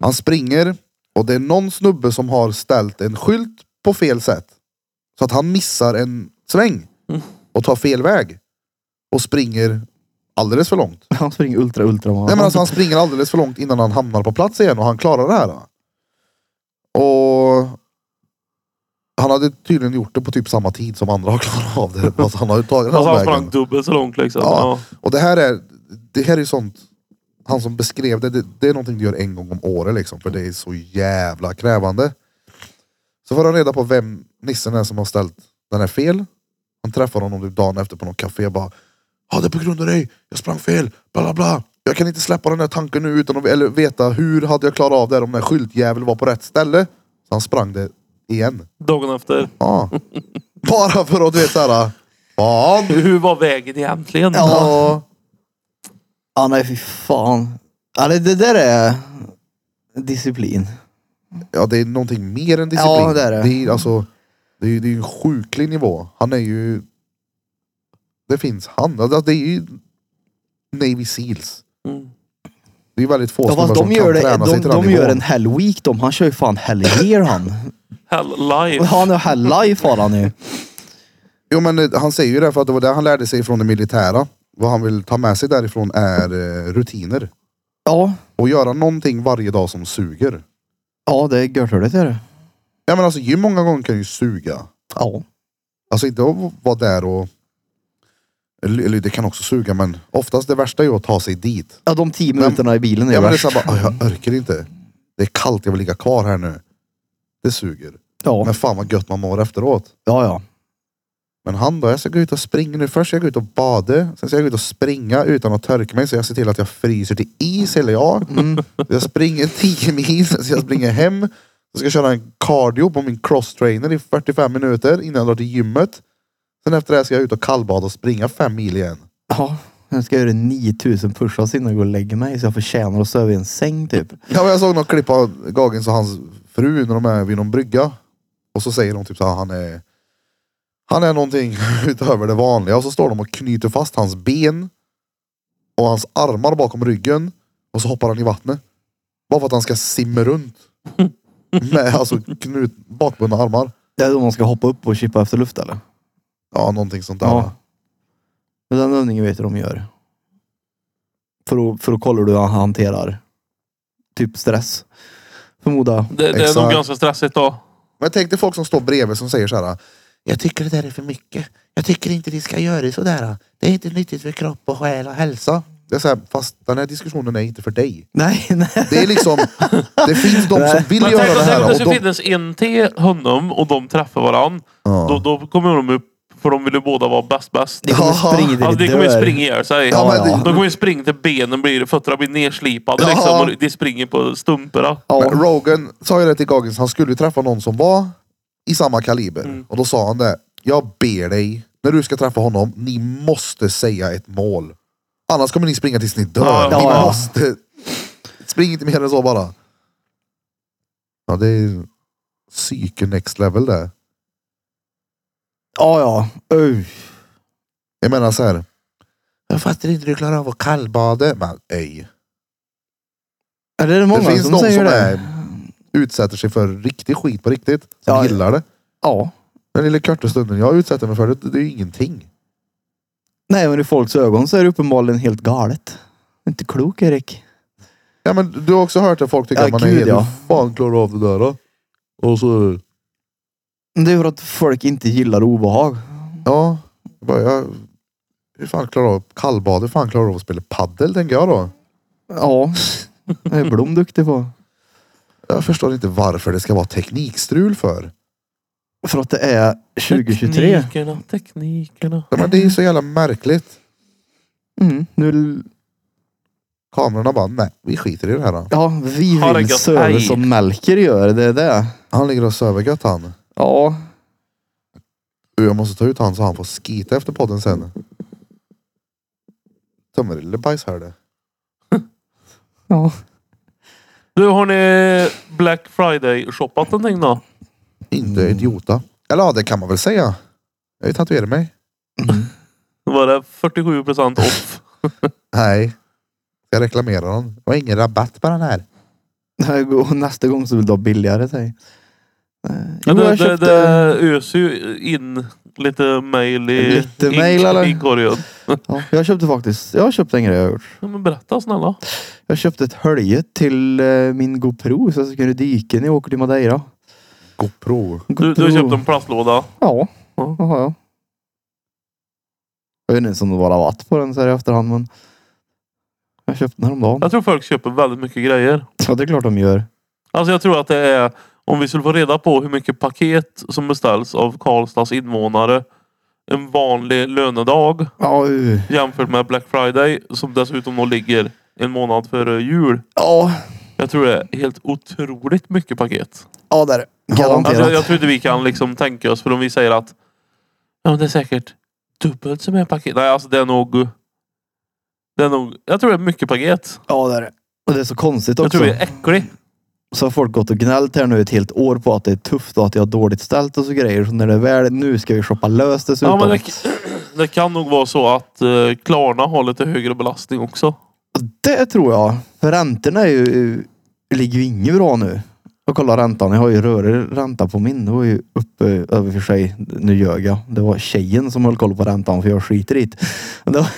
Han springer och det är någon snubbe som har ställt en skylt på fel sätt. Så att han missar en sväng. Mm. Och tar fel väg. Och springer alldeles för långt. Han springer ultra, ultra Nej men alltså han springer alldeles för långt innan han hamnar på plats igen och han klarar det här. då. Och han hade tydligen gjort det på typ samma tid som andra har klarat av det. Alltså han har ju tagit den alltså, här han sprang vägen. dubbelt så långt liksom. Ja. Och det här är, det här är ju sånt han som beskrev det, det, det är någonting du gör en gång om året liksom. För det är så jävla krävande. Så får han reda på vem nissen är som har ställt den här fel. Han träffar honom typ dagen efter på något café och bara Ja det är på grund av dig, jag sprang fel, bla bla bla. Jag kan inte släppa den här tanken nu utan att eller veta hur hade jag klarat av det här om den här skyltjäveln var på rätt ställe. Så han sprang det igen. Dagen efter. Ja. Bara för att du vet såhär, fan. Hur var vägen egentligen? Ja. Ja, nej fy fan. Ja, det, det där är disciplin. Ja, det är någonting mer än disciplin. Ja, det är det. Det är, alltså, det är, det är ju en sjuklig nivå. Han är ju... Det finns han. Alltså, det är ju Navy Seals. Mm. Det är ju väldigt få Ja, fast snubbar som de gör, kan det, träna sig de, till den de gör nivån. en hell week de. Han kör ju fan hell year han. Hell life. Han är hell life har han ju. Jo men eh, han säger ju det för att det var det han lärde sig från det militära. Vad han vill ta med sig därifrån är eh, rutiner. Ja, Och göra någonting varje dag som suger. ja det är görtröligt är det. Ja men alltså gym många gånger kan ju suga. Ja. Alltså inte att vara där och... Eller eller det kan också suga men oftast det värsta är ju att ta sig dit. ja, de tio minuterna i bilen är Ja, men det är värst. så här bara, "Aj, jag orkar inte. Det är kallt, jag vill ligga kvar här nu. Det suger. Ja, Men fan vad gött man mår efteråt. ja, ja. Men han då, jag ska gå ut och springa nu. Först ska jag gå ut och bada, sen ska jag gå ut och springa utan att törka mig. Så jag ser till att jag fryser till is, eller jag. Mm. Jag springer 10 mil, sen ska jag springa hem. Jag ska jag köra en cardio på min crosstrainer i 45 minuter innan jag drar till gymmet. Sen efter det här ska jag ut och kallbada och springa 5 mil igen. ja. Jag ska göra 9000 push-ups innan jag går och lägger mig så jag förtjänar att sova i en säng typ. Ja, men jag såg något klipp av Gagens och hans fru när de är vid någon brygga. Och så säger de typ så här, han är han är någonting utöver det vanliga. Och så står de och knyter fast hans ben och hans armar bakom ryggen. Och så hoppar han i vattnet. Bara för att han ska simma runt. Med alltså knut, bakbundna armar. Det är då man ska hoppa upp och kippa efter luft eller? Ja, någonting sånt där. Ja. Men Den övningen vet jag de gör. För att, för att kolla hur han hanterar typ stress. Förmoda. Det, det är nog Exakt. ganska stressigt då. Men tänk dig folk som står bredvid som säger så här. Jag tycker det där är för mycket. Jag tycker inte vi ska göra sådär. Det är inte nyttigt för kropp och själ och hälsa. Det är så här, fast den här diskussionen är inte för dig. Nej, nej. Det är liksom, det finns de som vill Men göra tänk det om- tänk om här. det Och skulle de, finnas en till honom och de träffar varann. Då, ja. då kommer de upp, för de vill ju båda vara bäst bäst. Det kommer Jaha. springa till Alltså, de det kommer ju dör. springa ihjäl sig. Ja, men De det- kommer ju springa till benen blir, fötterna blir nerslipade Ja. liksom. Och de springer på stumporna. Men Ja. Rogan sa ju det till Goggins, han skulle ju träffa någon som var i samma kaliber. Mm. Och då sa han det. Jag ber dig, när du ska träffa honom, ni måste säga ett mål. Annars kommer ni springa tills ni dör. Ja, ni ja, ja. måste. Spring inte mer än så bara. Ja, det är psyke next level det. Ja, ja. Uj. Jag menar så här. Jag fattar inte hur du klarar av att kallbada. Men öj. Är det många finns som de säger som det? är- Utsätter sig för riktig skit på riktigt. Som Ja, ja. gillar det. Ja. Den lilla korta stunden jag utsätter mig för, det, det är ju ingenting. Nej, men i folks ögon så är det uppenbarligen helt galet. Inte klok Erik. Ja men du har också hört att folk tycker Ja, att man gud, är helt ja. fan klarar av det där då? Och så, Men Det är för att folk inte gillar obehag. ja. jag Bara, jag, hur fan klarar av kallbad? Hur fan klarar du av att spela paddel tänker jag då? Ja. Det är Blom duktig på. Jag förstår inte varför det ska vara teknikstrul för. För att det är 2023. Teknikerna, teknikerna. Ja, men det är ju så jävla märkligt. Mm. Nu, Kamerorna bara, nej vi skiter i det här då. ja, vi Har det vill gått söva ej. som Melker gör. Det är det. Han ligger och söver gött han. Ja. Du, Jag måste ta ut han så han får skita efter podden sen. Tömmerille bajs här det. Ja. Du, har ni Black Friday-shoppat någonting då? Inte Mm. idiota. Eller ja, det kan man väl säga. Jag har ju tatuerat mig. Då var det 47 procent off. Nej. Jag reklamerar den. Det var ingen rabatt på den här. Och nästa gång så vill du ha billigare säg. Eh, Ja, Jo, det, jag det, köpte... det öser ju in lite mail i Lite i- mail, eller? inkorgen. Ja, jag köpte faktiskt, jag köpte en grej jag har gjort. Ja, men berätta snälla. Jag köpte ett hölje till eh, min GoPro så jag skulle kunna dyka när jag åker till Madeira. GoPro. Du, du har köpt en plastlåda. Ja, Ja. det har jag. Jag vet inte ens om det var rabatt på den så här i efterhand men Jag köpte den häromdagen. Jag tror folk köper väldigt mycket grejer. Ja, det är klart de gör. Alltså jag tror att det är, om vi skulle få reda på hur mycket paket som beställs av Karlstads invånare en vanlig lönedag Ja, uh. jämfört med Black Friday som dessutom då ligger en månad före jul. ja, Jag tror det är helt otroligt mycket paket. ja där. är det. Garanterat. Alltså jag, jag tror inte vi kan liksom tänka oss, för om vi säger att ja, men det är säkert dubbelt så mycket paket. Nej, alltså det är nog... Det är nog jag tror det är mycket paket. Ja, där. är det. Och det är så konstigt Jag också. tror vi är äcklig. Så har folk gått och gnällt här nu ett helt år på att det är tufft och att jag har dåligt ställt och så grejer. Så när det är väl, nu ska vi shoppa löst Typ dessutom. Ja, men det, det kan nog vara så att eh, Klarna har lite högre belastning också. Det tror jag. För räntorna är ju, ligger ju inget bra nu. Och kolla räntan. Jag har ju rörig ränta på min. Det var ju uppe över för sig. Nu ljög jag. Det var tjejen som höll koll på räntan för jag skiter i det. Men Det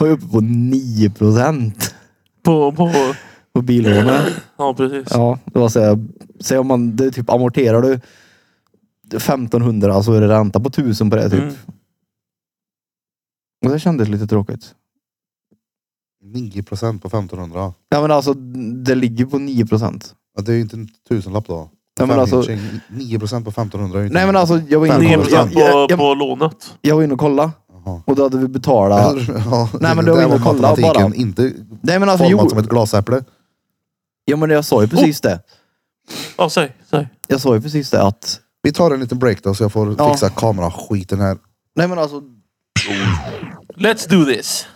var ju uppe på 9 procent På, på, på billånet. ja, precis. Ja, det var så här, Säg om man det är typ amorterar du 1500 så är det ränta på 1000 på det typ. Mm. Och det kändes lite tråkigt. 9 procent på 1500. Ja men alltså det ligger på 9 procent. Ja, det är ju inte en tusenlapp då. Ja, men alltså- 9 procent på 1500 är ju inte... Nej men alltså jag var inne 9 och kollade. procent Jag, jag, på, jag, på lånet. jag var inne och kollade Jaha. och då hade vi betalat. Ja, Nej, men det det var där ju var att kolla matematiken. bara. Inte Nej men alltså format jo. som ett glasäpple. Ja men jag sa Oh! ju precis det. Ja, säg. säg. Jag sa ju precis det att. Vi tar en liten break då så jag får Ja. fixa kameraskiten här. Nej men alltså. Let's do this.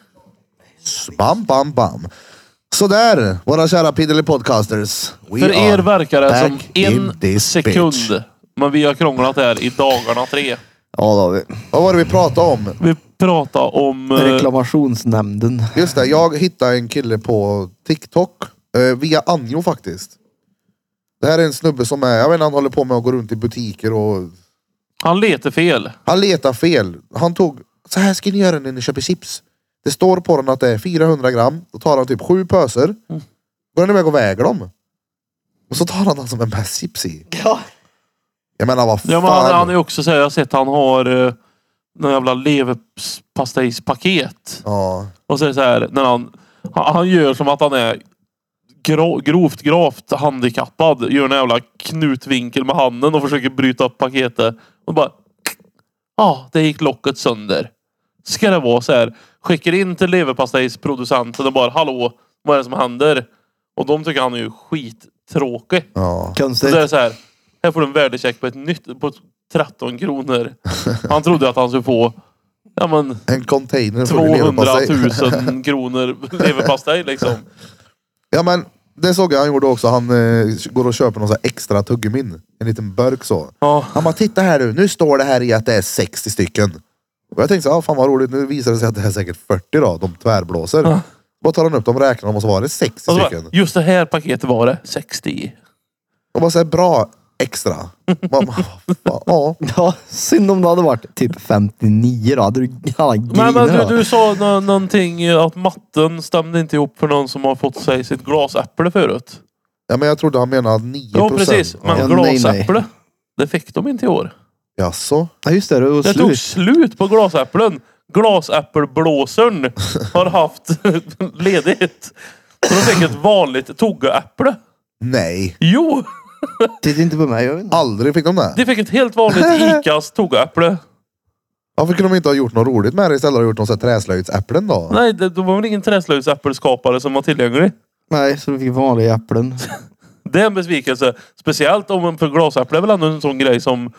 Bam, bam, bam. Sådär, våra kära Piddly Podcasters. We För er are verkar det som back in en this sekund. bitch. Men vi har krånglat det här i dagarna tre. Ja då har vi. Vad var det vi pratade om? Vi pratar om... eh, Reklamationsnämnden. Just det, jag hittade en kille på TikTok. Eh, via Anjo faktiskt. Det här är en snubbe som är, jag vet inte, han håller på med att gå runt i butiker och... Han letar fel. Han letar fel. Han tog, så här ska ni göra när ni köper chips. Det står på den att det är 400 gram. Då tar han typ sju pöser. Mm. Går han iväg och väger dem. Och så tar han den som en bäst chips i. Ja. Jag menar vad fan. Ja, men han, han är också så här, jag har sett han har eh, någon jävla leverpastejspaket. ja. Och så är det så här, när han, han, han gör som att han är gro, grovt, gravt handikappad. Gör en jävla knutvinkel med handen och försöker bryta upp paketet. Och bara... Ja, ah, det gick locket sönder. Ska det vara så här. Skickar in till leverpastejsproducenten och bara hallå, vad är det som händer? Och de tycker han är ju skittråkig. ja. Så Konstigt. det är så här. Här får du en värdecheck på ett nytt på 13 kronor. Han trodde att han skulle få ja, men, En container full 200 leverpastej. 000 kronor leverpastej liksom. Ja men det såg jag han gjorde också. Han eh, går och köper någon så här extra tuggummin. En liten burk så. Ja. Han bara, titta här nu. Nu står det här i att det är 60 stycken. Och jag tänkte så här, ah, fan vad roligt. Nu visar det sig att det är säkert 40 då. De tvärblåser. Ja. Bara tar han upp dem, räknar dem och så var det 60 Och så stycken. bara, Alltså, just det här paketet var det 60. Och bara säger bra extra. Man, bara, fan, ja. Ja, synd om det hade varit typ 59 då. Hade du ja, Men, men grinat du, då. du sa nå- någonting eh, att matten stämde inte ihop för någon som har fått sig sitt glasäpple förut. ja men jag trodde han menade 9 Jo precis, Ja. men Ja, nej, nej. glasäpple. Det fick de inte i år. Jaså? Ja just det, det var Det tog slut. slut på glasäpplen. Glasäppelblåsaren har haft ledigt. Så de fick ett vanligt tuggeäpple. Nej. Jo, Titta inte på mig. Jag vet inte. Aldrig fick de det. de fick ett helt vanligt Icas tuggeäpple. Varför kunde de inte ha gjort något roligt med det istället och gjort någon sån här träslöjdsäpplen då? Nej, det, det var väl ingen träslöjdsäppelskapare som var tillgänglig. Nej, så vi fick vanliga äpplen. Det är en besvikelse. Speciellt om för glasäpple är väl ändå en sån grej som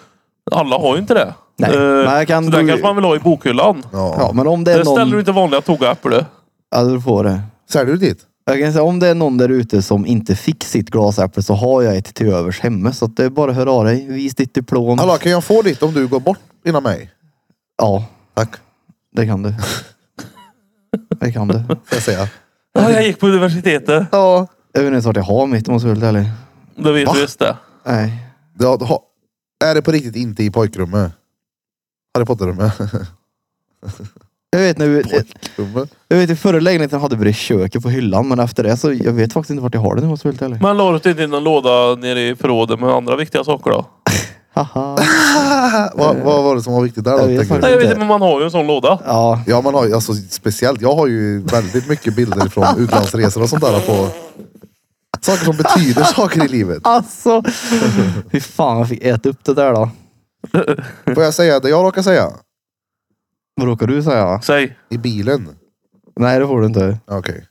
alla har ju inte det. Nej, Eh, men jag kan- så den kanske man vill ha i bokhyllan. Ja, men om det är Där ställer någon... du inte vanliga tuggeäpple. Ja, du får det. Säljer du dit? Jag kan säga om det är någon där ute som inte fick sitt glasäpple så har jag ett till övers hemma. Så att det är bara att höra av dig. Vis ditt diplom. Hallå, kan jag få ditt om du går bort innan mig? Ja, Tack, det kan du. det kan du. får jag säga. Ja, jag gick på universitetet. Ja. Jag vet inte ens vart jag har mitt om jag ska vara helt ärlig. Det vet Va? du visst det. Nej. Det har- ha, är det på riktigt inte i pojkrummet? Harry Potter-rummet? Jag vet när vi, Pojkrummet? jag vet i förra lägenheten hade vi det i köket på hyllan men efter det så jag vet faktiskt inte vart jag har det nu om jag ska vara helt ärlig. typ Men la du inte in någon låda nere i förrådet med andra viktiga saker då? Haha. Ah, vad, vad var det som var viktigt där då? Jag vet tänker du? Nej, jag vet inte, men man har ju en sån låda. Ja, Ja man har ju, alltså speciellt, jag har ju väldigt mycket bilder från utlandsresor och sånt där på saker som betyder saker i livet. alltså. Fy fan, jag fick äta upp det där då. Får jag säga det jag råkar säga? Vad råkar du säga? Säg. I bilen? Nej, det får du inte. Okej.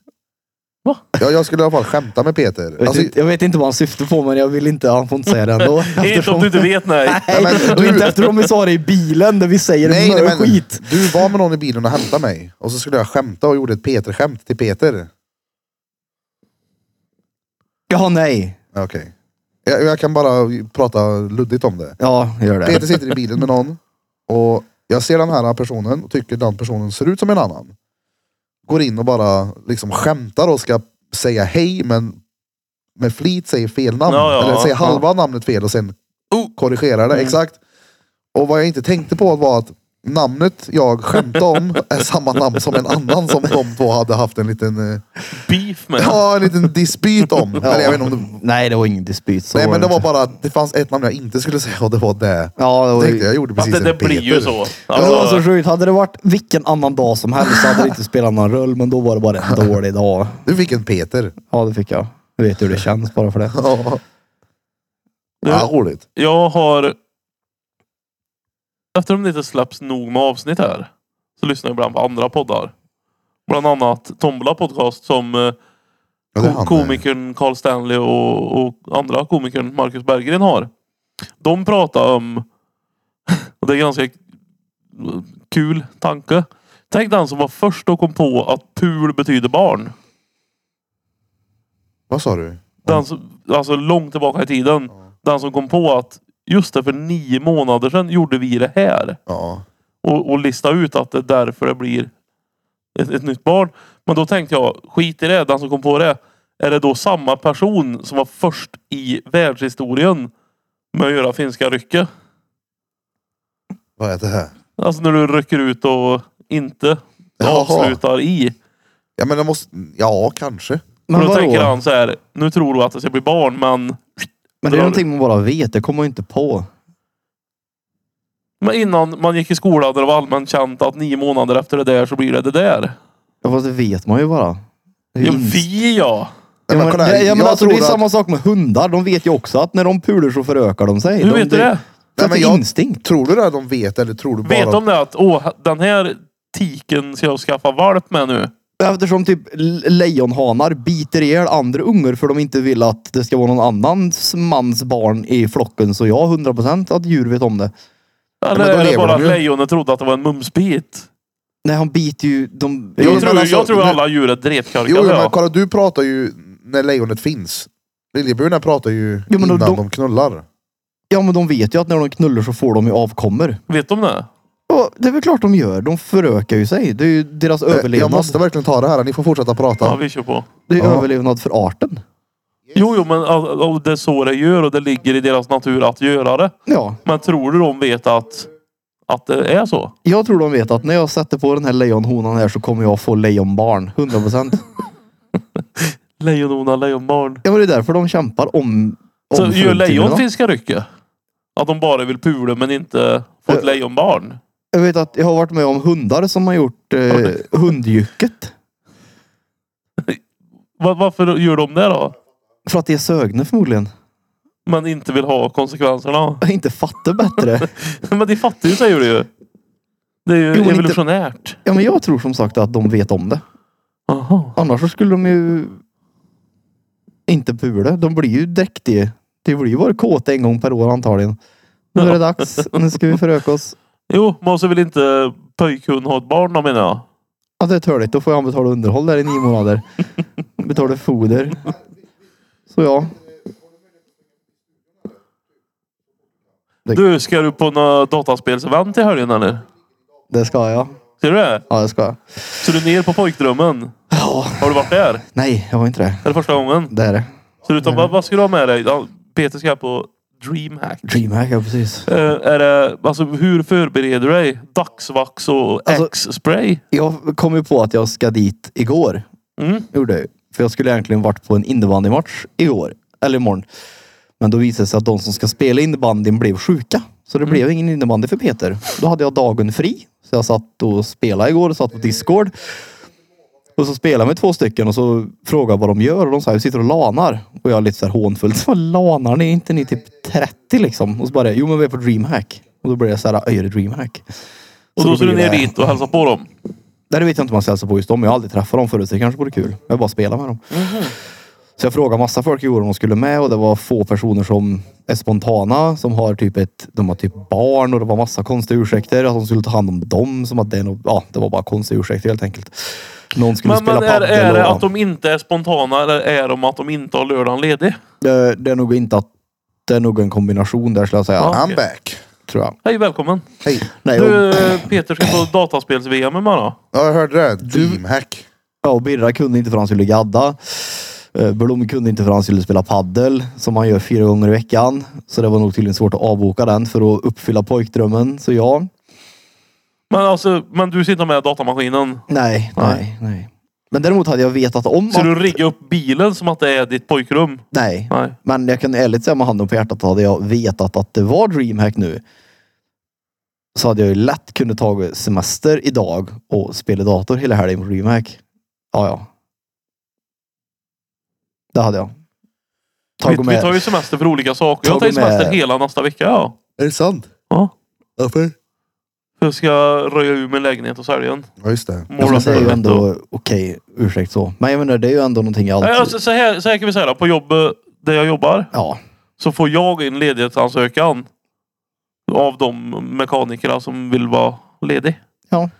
Va? Ja, jag skulle i alla fall skämta med Peter. Jag vet, Alltså, inte, jag vet inte vad han syftar på, men jag vill inte. Han får inte säga det ändå. Inte om Eftersom- du inte vet, nej. Nej, Nej, men och du- inte eftersom vi sa det i bilen där vi säger nej, nej, mörk men, skit. du var med någon i bilen och hämtade mig och så skulle jag skämta och gjorde ett Peter-skämt till Peter. Ja, nej. Okej. Jag, jag kan bara prata luddigt om det. Ja, gör det. Peter sitter i bilen med någon och jag ser den här personen och tycker den personen ser ut som en annan. Går in och bara liksom skämtar och ska säga hej men med flit säger fel namn. Ja, ja, eller säger ja. halva namnet fel och sen korrigerar det. Mm. Exakt. Och vad jag inte tänkte på var att namnet jag skämtade om är samma namn som en annan som de två hade haft en liten, eh, Beef med. ja, en liten dispyt om. Ja. Eller jag vet inte om det, Nej, det var ingen dispyt. Så nej men det var inte. bara att det fanns ett namn jag inte skulle säga och det var det. Ja, det var, Tänkte jag gjorde Fast precis det, en det blir ju Peter. så. Ja, det var Alltså, så sjukt. Hade det varit vilken annan dag som helst så hade det inte spelat någon roll, men då var det bara en dålig dag. Du fick en Peter. Ja, det fick jag. Jag vet hur det känns bara för det. Ja, ja roligt. Jag har... Eftersom det inte släpps nog med avsnitt här så lyssnar jag ibland på andra poddar. Bland annat Tombola podcast som eh, Ja, det är ko- han. eh. komikern Carl Stanley och, och andra komikern Marcus Berggren har. De pratar om... och det är ganska kul tanke. Tänk den som var först och kom på att pul betyder barn. Vad sa du? Den som, alltså långt tillbaka i tiden. Den som kom på att just det, för nio månader sedan gjorde vi det här. Ja. och, och lista ut att det är därför det blir ett, ett nytt barn. Men då tänkte jag, skit i det, den som kom på det. Är det då samma person som var först i världshistorien med att göra finska rycke? Vad är det här? Alltså när du rycker ut och inte Jaha. avslutar i. Ja men det måste... Ja, kanske. Men Men då tänker vadå? han så här, nu tror du att det ska bli barn men... Men det är någonting man bara vet. Det kommer man ju inte på. Men innan man gick i skolan där det var allmänt känt att nio månader efter det där så blir det det där. Ja, fast det vet man ju bara. Det är Ja, ins- vi ja! Ja, Ja, men men, kolla här, det, ja, men jag alltså, tror det är att- samma sak med hundar. De vet ju också att när de pular så förökar de sig. Hur de, typ- vet du det? Det Nej, är men för jag- instinkt. Tror du det här de vet eller tror du bara... Vet de det att åh, den här tiken ska jag skaffa valp med nu? Eftersom typ le- lejonhanar biter ihjäl andra ungar för de inte vill att det ska vara någon annans mans barn i flocken. Så jag 100% att djur vet om det. men Eller då är det lever bara de ju. att lejonet trodde att det var en mumsbit? Nej, han biter ju... De, Jo, Jag, men tror, alltså, jag tror nu- alla djur är drepkarkade. Jo, jo men ja. kolla du pratar ju när lejonet finns. Liljeburna pratar ju Jo, men då- innan de... de- knullar. Eh, Ja, men de vet ju att när de knullar så får de ju avkommor. Vet de det? Ja, det är väl klart de gör. De förökar ju sig. Det är ju deras Eh, Jag överlevnad. måste verkligen ta det här. Ni får fortsätta prata. Ja, vi kör på. Det är ju Ja. överlevnad för arten. Jo, jo, men all- all- det är så det gör och det ligger i deras natur att göra det. Ja, Men tror du de vet att, att det är så? jag tror de vet att när jag sätter på den här lejonhonan här så kommer jag få lejonbarn. 100%. Lejonhona, lejonbarn. ja, men det är därför de kämpar om... Så om gör lejon fruntimmerna. finska rycke? Att de bara vill pula men inte få ett Eh. lejonbarn? Jag vet att jag har varit med om hundar som har gjort eh, hundjycket. Va- Varför gör de det då? För att de är sögna förmodligen. Men inte vill ha konsekvenserna? Jag inte fattar bättre. Men de fattar ju säger du ju. Det är ju Jo, men inte- evolutionärt. Ja, men jag tror som sagt att de vet om det. Aha. Annars så skulle de ju inte pula. De blir ju dräktiga. Det blir ju bara kåta en gång per år antagligen. Nu är det dags. Nu ska vi föröka oss. Jo, men så vill inte pojkhund ha ett barn då menar jag. Ja, det är törligt. Då får han betala underhåll där i nio månader. Betala foder. Så ja. Du, ska du på något dataspelsevent i helgen eller? Det ska jag. Ser du det? Ja, det ska jag. Så du är ner på pojkdrömmen? Ja. Har du varit där? Nej, jag var inte det. Är det första gången? Det är det. Så du, tar- Mm. vad, vad ska du ha med dig? Ja, Peter ska på DreamHack. Dreamhack, ja precis. Eh, är det, alltså, hur förbereder du dig? Dagsvax och Alltså- X-spray? Jag kom ju på att jag ska dit igår. Mm. Gjorde jag ju. För jag skulle egentligen varit på en innebandymatch igår. Eller imorgon. Men då visade det sig att de som ska spela innebandyn blev sjuka. Så Mm. det blev ingen innebandy för Peter. Då hade jag dagen fri. Så jag satt och spelade igår och satt på Discord. Och så spelade jag med två stycken och så frågade jag vad de gör och de sa vi sitter och lanar. Och jag lite så här hånfullt. Vad lanar ni? Är inte ni typ 30 liksom? Och så bara, jo men vi är på DreamHack. Och då blev jag så här, "Öj, är det DreamHack? Och Så då ska du Alltså, blir ner det- dit och hälsa på dem. Nej, det vet jag inte om man ska hälsa på just dem. Jag har aldrig träffat dem förut. så Det kanske vore kul. Jag bara spelar med dem. Mhm. Så jag frågade massa folk igår om de skulle med och det var få personer som är spontana. Som har typ ett, de har typ barn och det var massa konstiga ursäkter. Att de skulle ta hand om dem. Som att det, är något- ja, det var bara konstiga ursäkter helt enkelt. Någon skulle Men, men spela är, padel. är det och, att de inte är spontana eller är de att de inte har lördagen ledig? det, det är nog inte att det är nog en kombination där skulle jag säga. Ja. I'm Okej. back. Tror jag. Hej, välkommen. Hej. Nej, och, Du, eh, Peter ska på dataspels-VM imorgon. Ja, jag hörde det. Dreamhack. ja, och Birra kunde inte för han skulle gadda. Eh, Blom kunde inte för han skulle spela paddel som han gör fyra gånger i veckan. Så det var nog tydligen svårt att avboka den för att uppfylla pojkdrömmen. Så ja, Men, alltså, men du sitter med datamaskinen. Nej, Nej. nej, nej. Men däremot hade jag vetat om Så att... du riggar upp bilen som att det är ditt pojkrum? Nej. Nej. Men jag kan ärligt säga med handen på hjärtat, hade jag vetat att det var DreamHack nu så hade jag ju lätt kunnat ta semester idag och spela dator hela helgen på DreamHack. Ja, ja. Det hade jag. Vi, Tagit vi med. tar ju semester för olika saker. Ta Jag tar ju gå med. semester hela nästa vecka. Ja. Är det sant? Ja. Varför? För jag ska röja ur min lägenhet och sälja den. Ja, just det. Ja, Måla men det är ju helvete. ändå okej, ursäkt så. Men jag menar, det är ju ändå någonting jag Nej, alltid... alltså, så, här, så här kan vi säga då. På jobbet där jag jobbar Ja, så får jag in ledighetsansökan av de mekanikerna som vill vara ledig. Ja.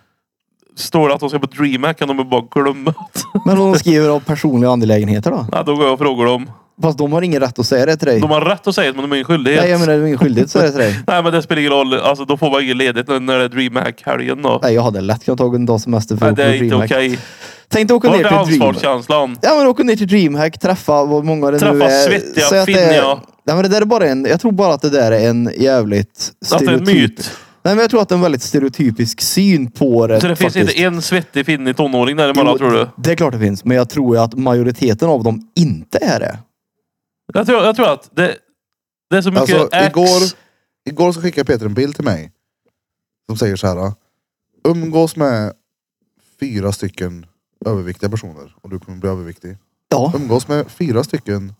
Står det att de ska på DreamHack kan de bara glömma. men vad de skriver av personliga angelägenheter då? Nej, då går jag och frågar dem. Fast de har ingen rätt att säga det till dig. De har rätt att säga det men de har ingen skyldighet. Nej, jag menar, det är ingen skyldighet att säga det till dig. Nej men det spelar ingen roll. Alltså då får man ingen ledigt när när det är DreamHack-helgen då. Nej, jag hade lätt kunnat ta en dag semester för Nej, att det är åka till inte DreamHack. okej. Tänk dig åka Vart ner är till DreamHack. ansvarskänslan? Ja men åka ner till DreamHack, träffa vad många det nu Träffa är. svettiga Säg att det är- finniga. Nej men det där är bara en, jag tror bara att det där är en jävligt Att det är en stereotyp. myt. Nej men jag tror att det är en väldigt stereotypisk syn på det Så det finns faktiskt. inte en svettig finnig tonåring däremellan Jo, tror du? Det är klart det finns, men jag tror ju att majoriteten av dem inte är det. Jag tror, jag tror att det, det är så mycket Alltså, ex. igår- Igår så skickade Peter en bild till mig. Som säger så här. då. Umgås med fyra stycken överviktiga personer och du kommer bli överviktig. Ja, Umgås med fyra stycken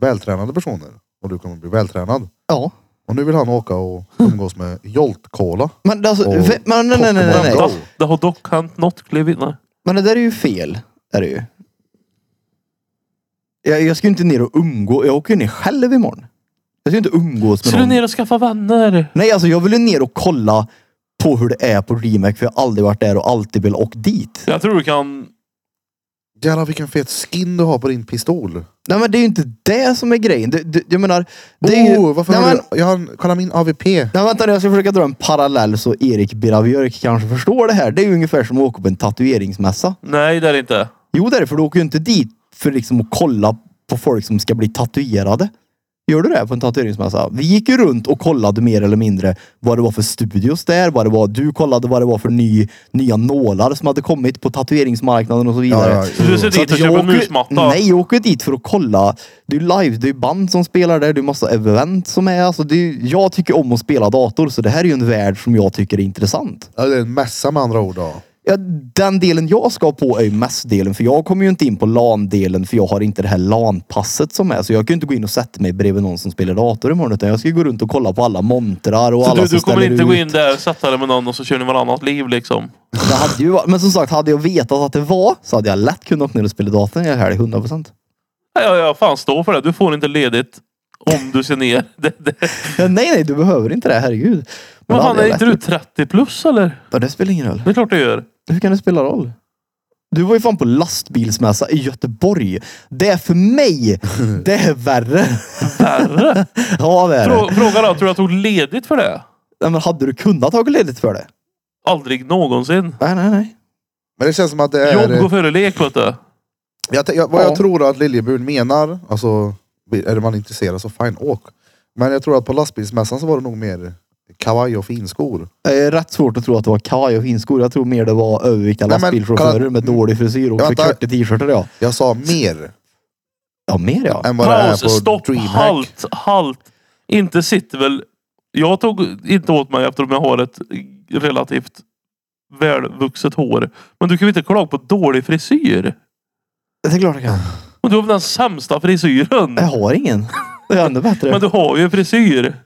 vältränade personer och du kommer bli vältränad. ja. Och Och nu vill han åka och umgås med Jolt Cola. Men det är alltså, Och ve- men, nej, nej, nej, nej, Pokémon Go. nej. Det har dock hänt något klev in. Men det där är ju fel. Är det ju. Jag, jag ska ju inte ner och umgås. Jag åker ju ner själv imorgon. Jag ska ju inte umgås med Ska du någon. ner och skaffa vänner? Nej, alltså jag vill ju ner och kolla på hur det är på DreamHack för jag har aldrig varit där och alltid vill åka dit. Jag tror du kan... Jävlar vilken fet skin du har på din pistol. Nej men det är ju inte det som är grejen. Det, det, jag menar, det är ju... oh, varför nej, har men, du... Jag har en... Kolla min AVP. nej vänta nu, jag ska försöka dra en parallell så Erik Biravjörk kanske förstår det här. Det är ju ungefär som att åka på en tatueringsmässa. Nej, det är det inte. Jo det är det, för du åker ju inte dit för liksom att kolla på folk som ska bli tatuerade. Gör du det på en tatueringsmässa? Vi gick ju runt och kollade mer eller mindre vad det var för studios där, vad det var. Du kollade vad det var för ny, nya nålar som hade kommit på tatueringsmarknaden och så vidare. Du ser Mm. Så dit och att jag köper en åker- musmatta. Nej, jag åker dit för att kolla. Det är live, det är band som spelar där, det är massa event som är. Alltså, det är jag tycker om att spela dator, så det här är ju en värld som jag tycker är intressant. Ja, det är en mässa med andra ord. Då. Ja, den delen jag ska på är ju mässdelen, för jag kommer ju inte in på LAN-delen för jag har inte det här LAN-passet som är. Så jag kan ju inte gå in och sätta mig bredvid någon som spelar dator imorgon, utan jag ska ju gå runt och kolla på alla montrar och Så alla du, som du kommer ställer inte ut. gå in där, sätta dig med någon och så kör ni varannat liv liksom. Det hade ju, varit- men som sagt, hade jag vetat att det var så hade jag lätt kunnat åka ner och spela datorn i helg, 100%. Nej, jag, jag fan står för det. Du får inte ledigt om du ser ner. Det, det. Ja, nej, nej, du behöver inte det. Herregud. Men Men det fan, hade är jag inte lätt du gjort. 30 plus eller? Ja, det spelar ingen roll. Det är klart du gör. Hur kan det spela roll? Du var ju fan på lastbilsmässa i Göteborg. Det är för mig, det är värre. Värre. Ja, det är Frå, det. fråga då, tror du jag tog ledigt för det? Nej, men hade du kunnat ta ledigt för det? Aldrig någonsin. Nej, nej, nej. Men det känns som att det är... Jobb går före lek vet du. Jag, tän- jag, vad jag Ja. tror att Liljeburen menar, alltså är det man intresserad så fine, åk. Men jag tror att på lastbilsmässan så var det nog mer kavaj och finskor. Det är rätt svårt att tro att det var kaj och finskor. Jag tror mer det var överviktiga Nej, men, lastbilschaufförer kolla- med dålig frisyr och Ja, för där- korta t-shirtar. Ja. Jag sa mer ja, mer ja. än vad det är Paus, på stopp, DreamHack. halt, halt. Inte sitter väl Jag tog inte åt mig eftersom jag har ett relativt välvuxet hår. Men du kan ju inte klaga på dålig frisyr. Det är klart jag kan. Och du har väl den sämsta frisyren. Jag har ingen. Det är ännu bättre. Men du har ju frisyr.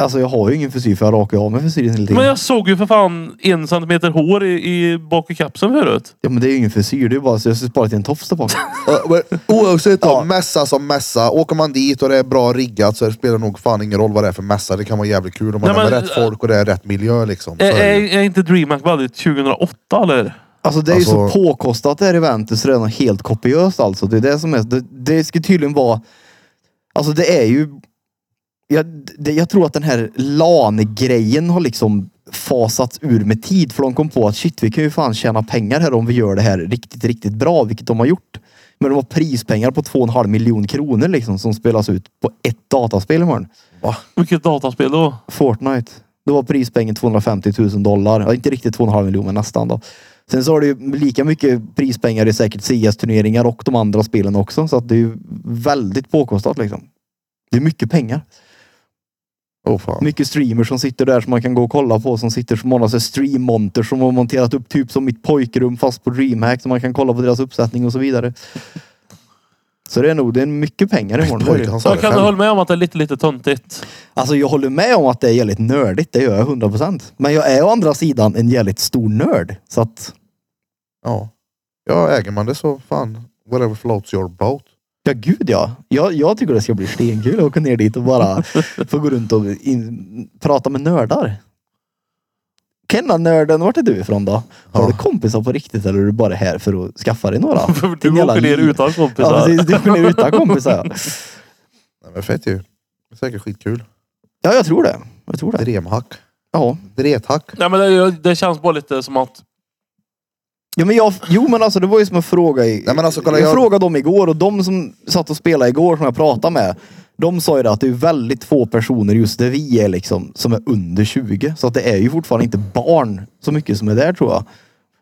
Alltså jag har ju ingen frisyr för jag rakar ju av mig frisyren hela tiden. Men jag såg ju för fan en centimeter hår i, i bak i kapseln förut. Ja men det är ju ingen frisyr. Det är ju bara så jag ska spara till en tofs där bak. Oavsett om mässa som mässa. Åker man dit och det är bra riggat så spelar det nog fan ingen roll vad det är för mässa. Det kan vara jävligt kul om man Nej, är med men- eh, rätt folk och det är rätt miljö liksom. Så Är, är det är, ju. är inte DreamHack Budget 2008 eller? Alltså det är ju så Alltså- påkostat det här eventet så det är något helt kopiöst alltså. Det är det som är... Det, det ska tydligen vara... Alltså det är ju... Jag, det, jag tror att den här LAN-grejen har liksom fasats ur med tid för de kom på att shit vi kan ju fan tjäna pengar här om vi gör det här riktigt, riktigt bra, vilket de har gjort. Men de har prispengar på 2,5 miljon kronor liksom som spelas ut på ett dataspel imorgon. Vilket dataspel då? Fortnite. Då var prispengen 250 000 dollar. Ja, inte riktigt 2,5 miljoner, men nästan då. Sen så har du ju lika mycket prispengar i säkert CS-turneringar och de andra spelen också. Så att det är ju väldigt påkostat liksom. Det är mycket pengar. Åh, Oh, fan. Mycket streamers som sitter där som man kan gå och kolla på. Som sitter som har några så här streammonter som har monterat upp typ som mitt pojkrum fast på DreamHack. Så man kan kolla på deras uppsättning och så vidare. Så det är nog det är mycket pengar imorgon. Pojkar, han sa Jag det kan du själv. hålla med om att det är lite, lite töntigt. Alltså jag håller med om att det är jävligt nördigt, det gör jag 100%. Men jag är å andra sidan en jävligt stor nörd. Så att Ja. ja, äger man det så fan. Whatever floats your boat. Ja, gud ja. Jag, jag tycker det ska bli stenkul att åka ner dit och bara få gå runt och in, prata med nördar. Kenna nörden, vart är du ifrån då? Har Ja. du kompisar på riktigt eller är du bara här för att skaffa dig några? För Din du jävla åker ner liv. utan Ja, kompisar. precis. Du åker ner utan kompisar. ja. Nej, men fett ju. Det är säkert skitkul. Ja, jag tror det. Jag tror det. Dremhack. Ja. Drethack. Nej, men det, det känns bara lite som att... Ja, men jag, jo men alltså det var ju som en fråga. I, Nej, men alltså, kolla, jag, jag- frågade dem igår och de som satt och spelade igår som jag pratade med. De sa ju det att det är väldigt få personer just där vi är liksom som är under 20. Så att det är ju fortfarande inte barn så mycket som är där tror jag.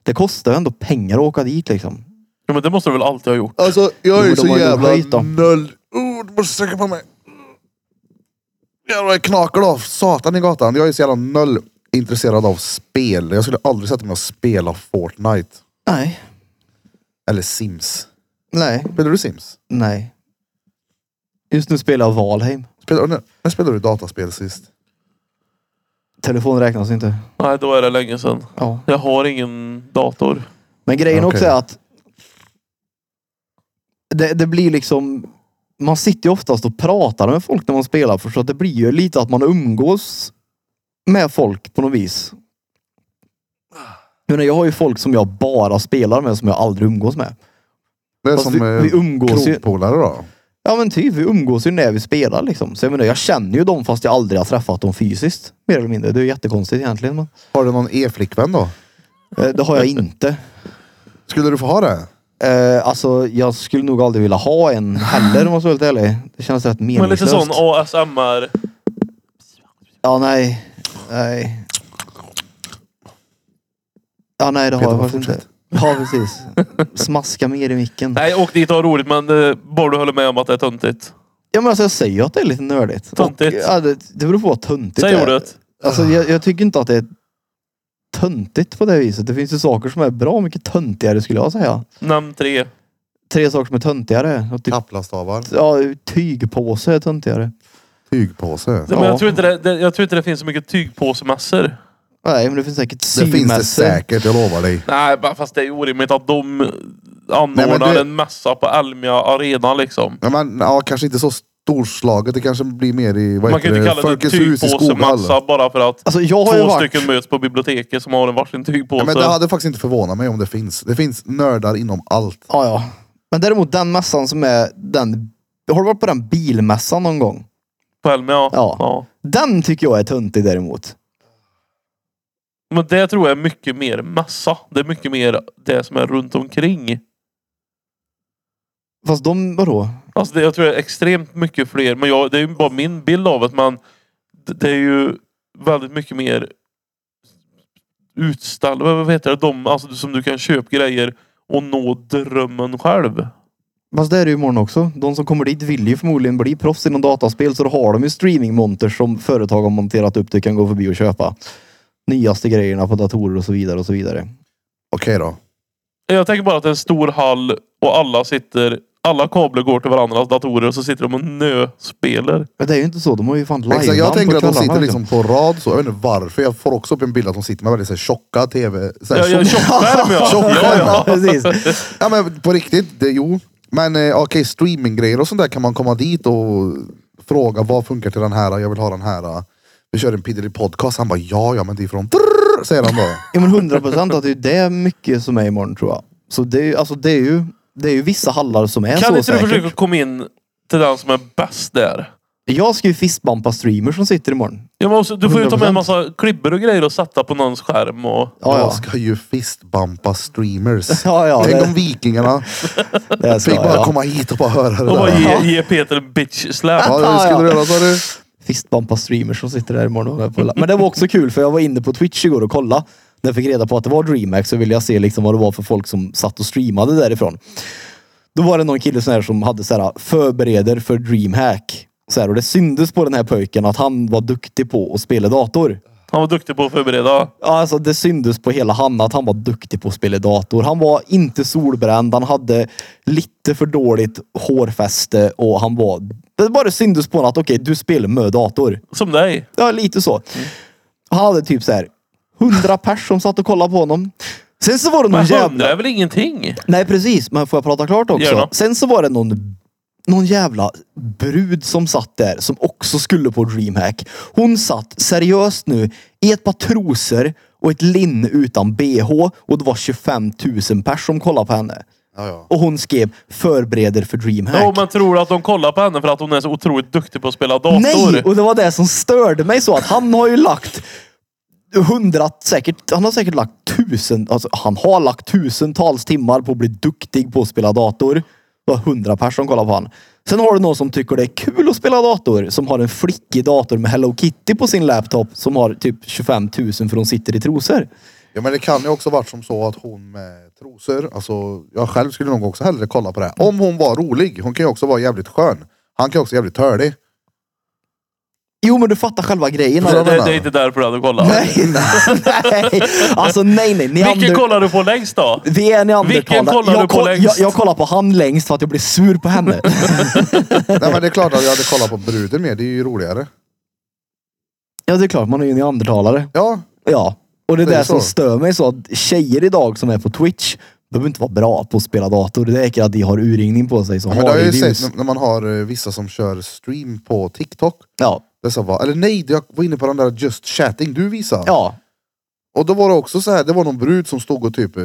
Det kostar ju ändå pengar att åka dit liksom. Ja, men det måste du väl alltid ha gjort? Alltså jag är Jo, ju de så har ju jävla höjt dem. nöll. Oh, du måste sträcka på mig. Jävlar jag knakar då. Satan i gatan. Jag är så jävla nöll intresserad av spel. Jag skulle aldrig sätta mig och spela Fortnite. Nej. Eller Sims. Nej. Spelar du Sims? Nej. Just nu spelar jag Valheim. Spelar, när, när spelade du dataspel sist? Telefon räknas inte. Nej, då är det länge sedan. Ja. Jag har ingen dator. Men grejen Okej. också är att det, det blir liksom man sitter ju oftast och pratar med folk när man spelar för så att det blir ju lite att man umgås med folk på något vis. Jag menar, Jag har ju folk som jag bara spelar med som jag aldrig umgås med. Det är Fast som vi, vi vi, umgås ju. krogpolare då. Ja men typ, vi umgås ju när vi spelar liksom. Så jag menar, jag känner ju dem fast jag aldrig har träffat dem fysiskt. Mer eller mindre. Det är ju jättekonstigt egentligen. Men, Har du någon e-flickvän då? eh, det har jag inte. Skulle du få ha det? Eh, alltså jag skulle nog aldrig vilja ha en heller om jag ska vara helt ärlig. Det känns rätt Men lite meningslöst. sån ASMR. Ja nej. Nej. Ja nej det har Peter, jag bara faktiskt inte. Ja precis. Smaska mer i micken. Nej, åk dit och ha roligt men eh, bara du håller med om att det är töntigt. Ja men alltså jag säger ju att det är lite nördigt. Töntigt. Och, ja, det, det beror på vad töntigt det Säg är. ordet. Alltså jag, jag tycker inte att det är töntigt på det viset. Det finns ju saker som är bra mycket töntigare skulle jag säga. Namn tre. Tre saker som är töntigare. Och Typ, Kaplastavar. ja, tygpåse är töntigare. Tygpåse. Men Ja. jag, tror inte det, det, jag tror inte det finns så mycket tygpåsemässor. Nej men det finns säkert Det finns det symässor. säkert, jag lovar dig. Nej, ba- fast det är ju orimligt att de anordnar Nej, men du- en mässa på Elmia Arena liksom. Ja, men, ja, kanske inte så storslaget. Det kanske blir mer i... Vad Man heter kan ju inte det? kalla det Folkets hus i Skoghall. tygpåsemässa bara för att Alltså jag har ju två varit... stycken möts på biblioteket som har en varsin Ja, tygpåse. men det hade faktiskt inte förvånat mig om det finns. Det finns nördar inom allt. Ja, ja. Men däremot den mässan som är den... Har du varit på den bilmässan någon gång? På Elmia. Ja. Ja. Den tycker jag är töntig däremot. Men det tror jag är mycket mer mässa. Det är mycket mer det som är runt omkring. Fast de, vadå? Alltså det, jag tror det är extremt mycket fler. Men jag, det är ju bara min bild av det. Men det, det är ju väldigt mycket mer utställ... Vad vad heter det? De, alltså, som du kan köpa grejer och nå drömmen själv. Fast det är det ju imorgon också. De som kommer dit vill ju förmodligen bli proffs inom dataspel så då har de ju streamingmonters som företag har monterat upp. Du kan gå förbi och köpa nyaste grejerna på datorer och så vidare och så vidare. Okej då. Jag tänker bara att det är en stor hall och alla sitter... Alla kablar går till varandras datorer och så sitter de och nöspelar. Men det är ju inte så. De har ju fan live Exakt, jag tänker att de sitter liksom på rad så. Jag vet inte varför. Jag får också upp en bild att de sitter med väldigt så här, tjocka tv... Så här, Jag gör tjockskärm ja. Tjockskärm, ja, ja. Precis. Ja men på riktigt, det, jo. Men eh, okej, streaminggrejer och sånt där kan man komma dit och fråga vad funkar till den här, jag vill ha den här. Vi kör en piddelig podcast. Han bara ja, ja men det är från brrrr, säger han bara. Ja men 100 procent att det är det mycket som är imorgon tror jag. Så det är ju, alltså det är ju, det är ju vissa hallar som är Kan så inte du säkert. försöka komma in till den som är bäst där? Jag ska ju fistbampa streamers som sitter imorgon. Jag måste, du får ju ta med en massa klibbor och grejer och sätta på någons skärm. Och, Ja, Jag ja. ska ju fistbumpa streamers. Ja, ja. Tänk Det, om vikingarna det ska fick bara jag. komma hit och bara höra det och bara där. ge, ge Peter en bitch slap. Ja, hur skulle du göra sa du? Fistbampa streamers som sitter där imorgon. och är på- Men det var också kul för jag var inne på Twitch igår och kollade. När jag fick reda på att det var DreamHack så ville jag se liksom vad det var för folk som satt och streamade därifrån. Då var det någon kille sån här som hade så här, förbereder för DreamHack. Så här, och det syndes på den här pojken att han var duktig på att spela dator. Han var duktig på att förbereda. Ja, alltså det syndes på hela han att han var duktig på att spela dator. Han var inte solbränd, han hade lite för dåligt hårfäste och han var... Det bara syndes på honom att okej, du spelar med dator. Som dig. Ja, lite så. Han hade typ så här 100 pers som satt och kollade på honom. Sen så var det någon Men jävla... hundra är väl ingenting? Nej precis, men får jag prata klart också? Gärna. Sen så var det någon, någon jävla brud som satt där som också skulle på DreamHack. Hon satt seriöst nu i ett par trosor och ett linne utan bh och det var 25 000 pers som kollade på henne. Ja, ja. Och hon skrev förbereder för DreamHack. Jo, men tror du att de kollar på henne för att hon är så otroligt duktig på att spela dator? Nej! Och det var det som störde mig så att han har ju lagt hundra, säkert, han har säkert lagt tusen, alltså han har lagt tusentals timmar på att bli duktig på att spela dator. Det var hundra personer som kollade på han. Sen har du någon som tycker det är kul att spela dator, som har en flickig dator med Hello Kitty på sin laptop som har typ 25 000 för hon sitter i trosor. ja men det kan ju också varit som så att hon med trosor, alltså jag själv skulle nog också hellre kolla på det. här. Om hon var rolig, hon kan ju också vara jävligt skön. Han kan ju också vara jävligt törlig. Jo men du fattar själva grejen. Det, Vad det, menar det du? är inte därför du hade kollat. Nej, nej, nej. Alltså nej, nej. Ni Vilken andra- kollar du på längst då? Vi är neandertalare. Vilken kollar jag, du på längst? jag, jag kollar på han längst för att jag blir sur på henne. Nej men det är klart att jag hade kollat på bruden mer, det är ju roligare. ja, det är klart. Man är ju neandertalare. Ja, Ja. Och det är Det det, är ju som så. stör mig så att tjejer idag som är på Twitch behöver inte vara bra på att spela dator. Det räcker att de har urringning på sig så Ja, men det har har jag de ju views. sett när- när man har eh, vissa som kör stream på TikTok. Ja. Det sa va, eller nej, jag var inne på den där just chatting du visade. ja. Och då var det också så här, det var någon brud som stod och typ, eh,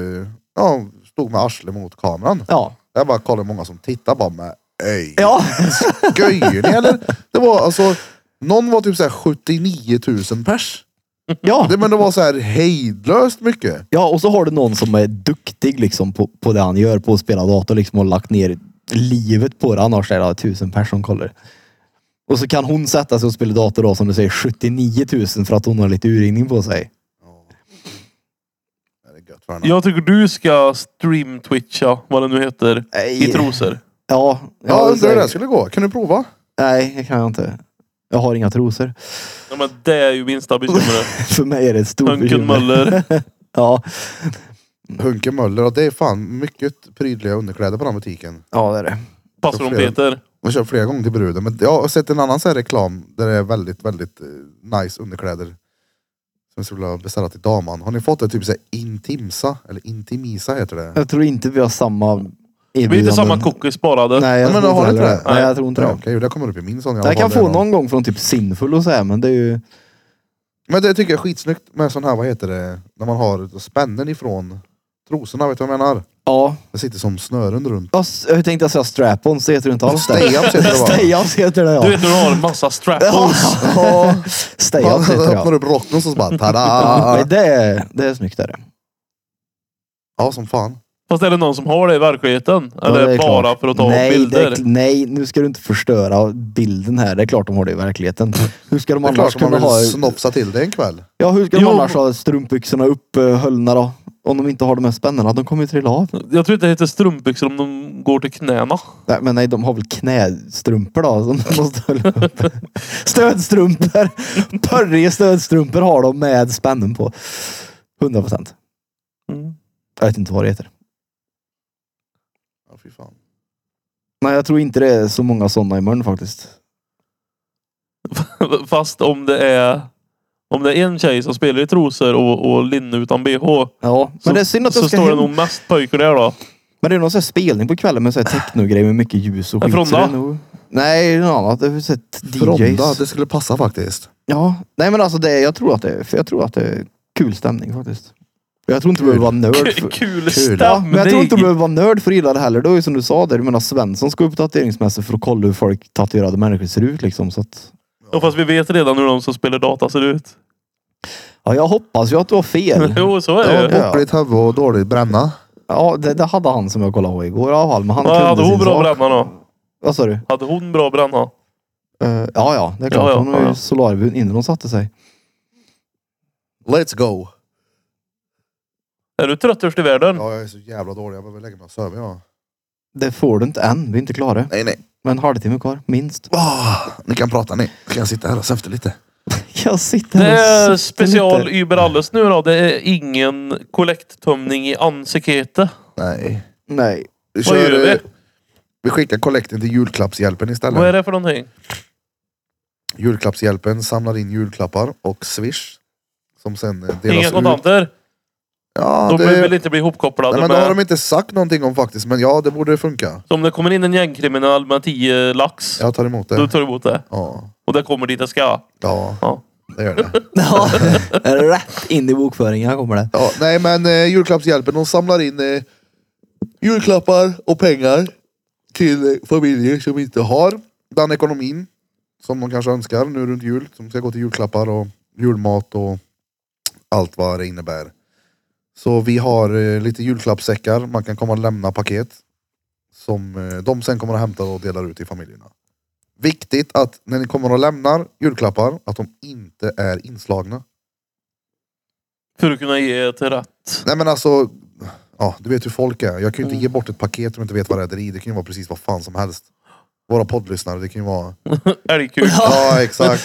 ja, stod med arslet mot kameran. Ja. Jag bara kollade hur många som tittade bara med, öj, Ja. göjer ni eller? Det var alltså, någon var typ så här 79 000 pers. Ja. Det, men det var så här hejdlöst mycket. ja. Och så har du någon som är duktig liksom på, på det han gör, på att spela dator liksom och lagt ner livet på det. Annars är det tusen personer kollar. Och så kan hon sätta sig och spela dator då som du säger 79 000 för att hon har lite urringning på sig. Ja, Det är gött för henne. Jag tycker du ska stream-twitcha, vad det nu heter, Nej. i trosor. Ja, Ja, undrar hur det säkert. här skulle gå. Kan du prova? Nej, det kan jag inte. Jag har inga trosor. Ja, men det är ju minsta bekymret. För mig är det ett stort Hunken bekymmer. Möller. Ja. Hunke Möller, och det är fan mycket prydliga underkläder på den här butiken. ja, det är det. Passar om flera. Peter. Jag kör flera gånger till bruden. Men jag har sett en annan så här reklam där det är väldigt, väldigt eh, nice underkläder. Som jag skulle vilja beställa till daman. Har ni fått det? Typ så här Intimsa, eller Intimisa heter det. Jag tror inte vi har samma erbjudanden. Vi är inte samma cookies sparade. Nej, jag Ja, men tror har inte du inte heller det? Nej, jag tror inte Ja, det. Okej, det kommer upp i min sån. Jag kan har få varit där någon gång från typ Sinful och så här, men det är ju... Men det tycker jag är skitsnyggt med sån här, vad heter det, när man har spännen ifrån trosorna, vet du vad jag menar? Ja, Det sitter som snören runt. jag s- jag tänkte säga strap-ons, det heter det inte alls. det. Stay-ups heter det va? Stay-ups heter det Du ja. vet när du har en massa Ja, strap-ons. ja. typ, Stay-ups Man heter det öppnar ja. upp rocken och så bara Nej, tada! det är, det är snyggt. Är det. Ja, som fan. Fast är det någon som har det i verkligheten? Ja, Eller det är bara klart. för att ta nej, bilder? Det är, nej, nu ska du inte förstöra bilden här. Det är klart de har det i verkligheten. Hur ska de Det är klart annars att man kunna vill ha... snopsa till det en kväll. Ja, hur ska de Jo. annars ha strumpbyxorna upphöllna eh, då? om de inte har de här spännena, de kommer ju trilla av. Jag tror inte det heter strumpbyxor om de går till knäna. Nej, men nej, de har väl knästrumpor då som de måste hålla upp. Stödstrumpor! Pörriga stödstrumpor har de med spännen på. 100 procent. Mm. Jag vet inte vad det heter. Ja, fy fan. Nej, jag tror inte det är så många sådana i Möln faktiskt. Fast om det är om det är en tjej som spelar i trosor och, och linne utan bh Ja, men Så- det är synd att så de ska står det hem. nog mest pojkar där då. Men det är någon sån här spelning på kvällen med sån här technogrej med mycket ljus och En skit. så fronda? det är nog- Nej, något annat. Det är så här Fronda, DJs. det skulle passa faktiskt. Ja, nej men alltså det, jag tror att det, för jag tror att det är kul stämning faktiskt. Jag tror inte du Kul. behöver vara nörd Kul, för... kul Ja, stämning. men jag tror inte du behöver vara nörd för att gilla det heller. Det var ju som du sa där, jag menar Svensson ska upp tatueringsmässor för att kolla hur folk tatuerade människor ser ut liksom. Så att, Ja, fast vi vet redan hur de som spelar data ser ut. ja, jag hoppas ju att du har fel. Jo, så är Ja, det ju. Ja. Bockligt huvud och dålig bränna. Ja, det, det hade han som jag kollade på igår i alla fall. Men han Ja, hade kunde hon sin bra sak. bränna då? Vad sa du? Hade hon bra bränna? Eh, ja, ja, det är klart. Ja, ja, hon ja, var ju ja. solarbun innan hon satte sig. Let's go! Är du tröttörst i världen? Ja, jag är så jävla dålig. Jag behöver lägga mig och sova. Ja. Det får du inte än. Vi är inte klara. Nej, nej. Men en halvtimme kvar, minst. Ah, ni kan prata ni. Kan jag sitta här och söfta lite? Jag sitter Det här är och sitter special lite. Uber Alles nu då. Det är ingen kollekttömning i ansikete. Nej. Nej. Vi, Vad gör eh, vi? vi skickar kollekten till julklappshjälpen istället. Vad är det för någonting? Julklappshjälpen samlar in julklappar och swish. Som sen eh, delas Inga ut. kontanter? Ja, De det... vill inte bli Nej, ihopkopplade men det har med... de inte sagt någonting om faktiskt. Men ja, det borde funka. Så om det kommer in en gängkriminell med 10 lax, Jag tar emot då det. tar du emot det. Ja, Och det kommer dit det ska. ja, Ja. det gör det. Ja, rätt in i bokföringen kommer det. Ja, nej men eh, julklappshjälpen, de samlar in eh, julklappar och pengar till eh, familjer som inte har den ekonomin som de kanske önskar nu runt jul. Som ska gå till julklappar och julmat och allt vad det innebär. Så vi har eh, lite julklappssäckar, man kan komma och lämna paket. Som eh, de sen kommer att hämta och delar ut till familjerna. Viktigt att när ni kommer och lämnar julklappar, att de inte är inslagna. För att kunna ge till rätt. Nej men alltså, ja, du vet hur folk är. Jag kan ju inte Mm. ge bort ett paket om jag inte vet vad det är där i. Det kan ju vara precis vad fan som helst. Våra poddlyssnare, det kan ju vara... Älgkul. Ja, exakt.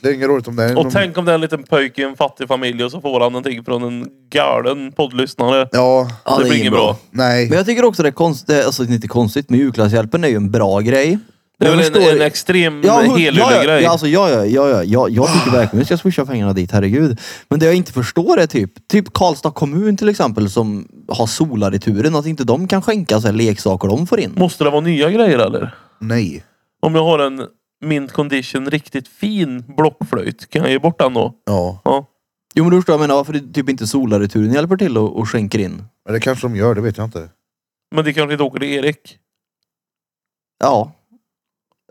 Det är inget roligt om det är Och någon- tänk om det är en liten pojke i en fattig familj och så får han någonting från en galen poddlyssnare. Ja, det, Ja, är blir inget inget bra. nej. Men jag tycker också det är konstigt, alltså det är inte konstigt, men julklappshjälpen är ju en bra grej. Det är Jag väl förstår- en, Ah. en extrem Ja, hund- helylle ja, ja, grej. ja, alltså, ja, ja, ja, ja, ja, jag tycker verkligen vi ska swisha pengarna dit, herregud. Men det jag inte förstår är typ, typ Karlstad kommun till exempel som har solar i turen, att inte de kan skänka så här leksaker de får in. Måste det vara nya grejer eller? Nej. Om jag har en mint condition riktigt fin blockflöjt, kan jag ge bort den då? Ja, Ja. Jo men du förstår, jag menar varför det typ inte solar i turen hjälper till och, och skänker in? men det kanske de gör, det vet jag inte. Men det kanske inte åker till Erik. Ja.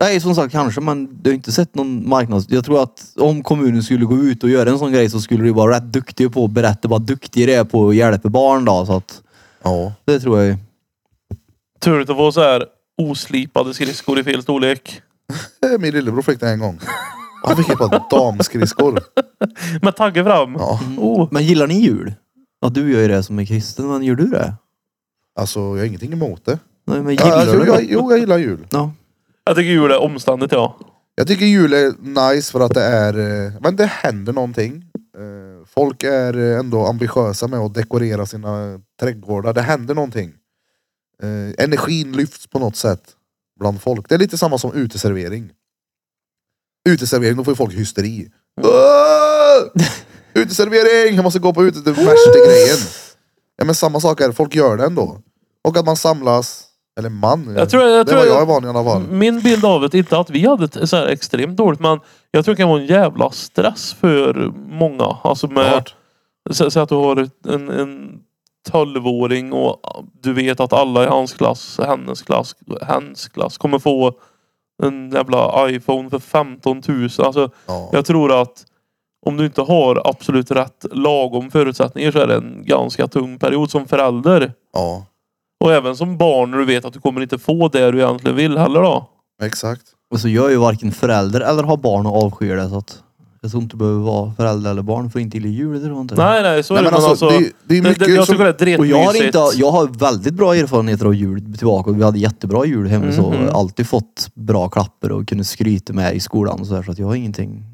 Nej, som sagt kanske, men du har inte sett någon marknads... Jag tror att om kommunen skulle gå ut och göra en sån grej så skulle du vara rätt duktig på att berätta vad duktig det är på att hjälpa barn då. Så att Ja. det tror jag ju. Turligt att få så här oslipade skridskor i fel storlek. Eh, Min lillebror fick det en gång. Han fick ett par damskridskor. Med tagge fram. Ja. Oh. Men gillar ni jul? Ja, du gör ju det som är kristen, men gör du det? Alltså, jag har ingenting emot det. Nej, men Ja, gillar alltså, du jag, det? jo, jag gillar jul. Ja. Jag tycker jul är omständigt ja. Jag tycker jul är nice för att det är, eh, men det händer någonting. Eh, Folk är eh, ändå ambitiösa med att dekorera sina trädgårdar. Det händer någonting. Eh, Energin lyfts på något sätt bland folk. Det är lite samma som uteservering. Uteservering, då får ju folk hysteri. Mm. Åh! Uteservering! Jag måste gå på ute, det är värsta grejen. Ja, men samma sak är, folk gör det ändå. Och att man samlas, eller man, Jag tror- jag det tror Mm. var jag- jag är van i alla fall. Min bild av det, inte att vi hade ett så här extremt dåligt, men jag tror det kan vara en jävla stress för många. Alltså med, Klart. sä, säg att du har ett- en, en 12-åring och du vet att alla i hans klass, hennes klass, hens klass kommer få en jävla iPhone för 15 000. Alltså, Ja. jag tror att om du inte har absolut rätt lagom förutsättningar så är det en ganska tung period som förälder. ja, Och även som barn när du vet att du kommer inte få det du egentligen vill heller då. exakt. Och så gör ju varken förälder eller har barn och avskyr det. Så att Jag tror inte du behöver vara förälder eller barn för att inte gilla djur. Det tror jag inte. Nej, nej, så är Nej, det. men Men alltså, det, är- det är det, mycket det, jag som... tycker det är Och jag har, dretmysigt. inte, jag har väldigt bra erfarenheter av jul tillbaka. Vi hade jättebra jul hemma så. Mhm. Alltid fått bra klapper och kunde skryta med i skolan och så, där, så att jag har ingenting,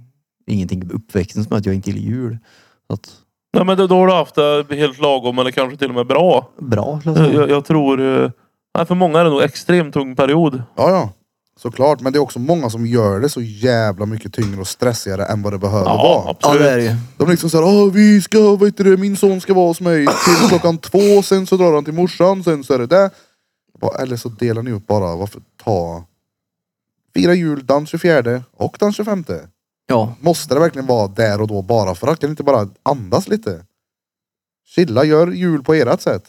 ingenting i uppväxten som att jag inte gillar jul. Så att, Nej, men då, då har du haft det helt lagom eller kanske till och med bra. bra. skulle jag Alltså. Jag, säga. jag, jag tror... eh, Nej, för många är det nog extremt tung period. Ja, ja. Såklart, men det är också många som gör det så jävla mycket tyngre och stressigare än vad det behöver Ja, vara. Ja absolut. det är det ju. De liksom såhär, Åh, vi ska, vad heter det, min son ska vara hos mig till klockan två, sen så drar han till morsan, sen så är det där. Jag bara, Eller så delar ni upp bara, varför ta... Fira jul den 24 och den 25. Ja. Måste det verkligen vara där och då bara för att? Kan ni inte bara andas lite? Chilla, gör jul på ert sätt.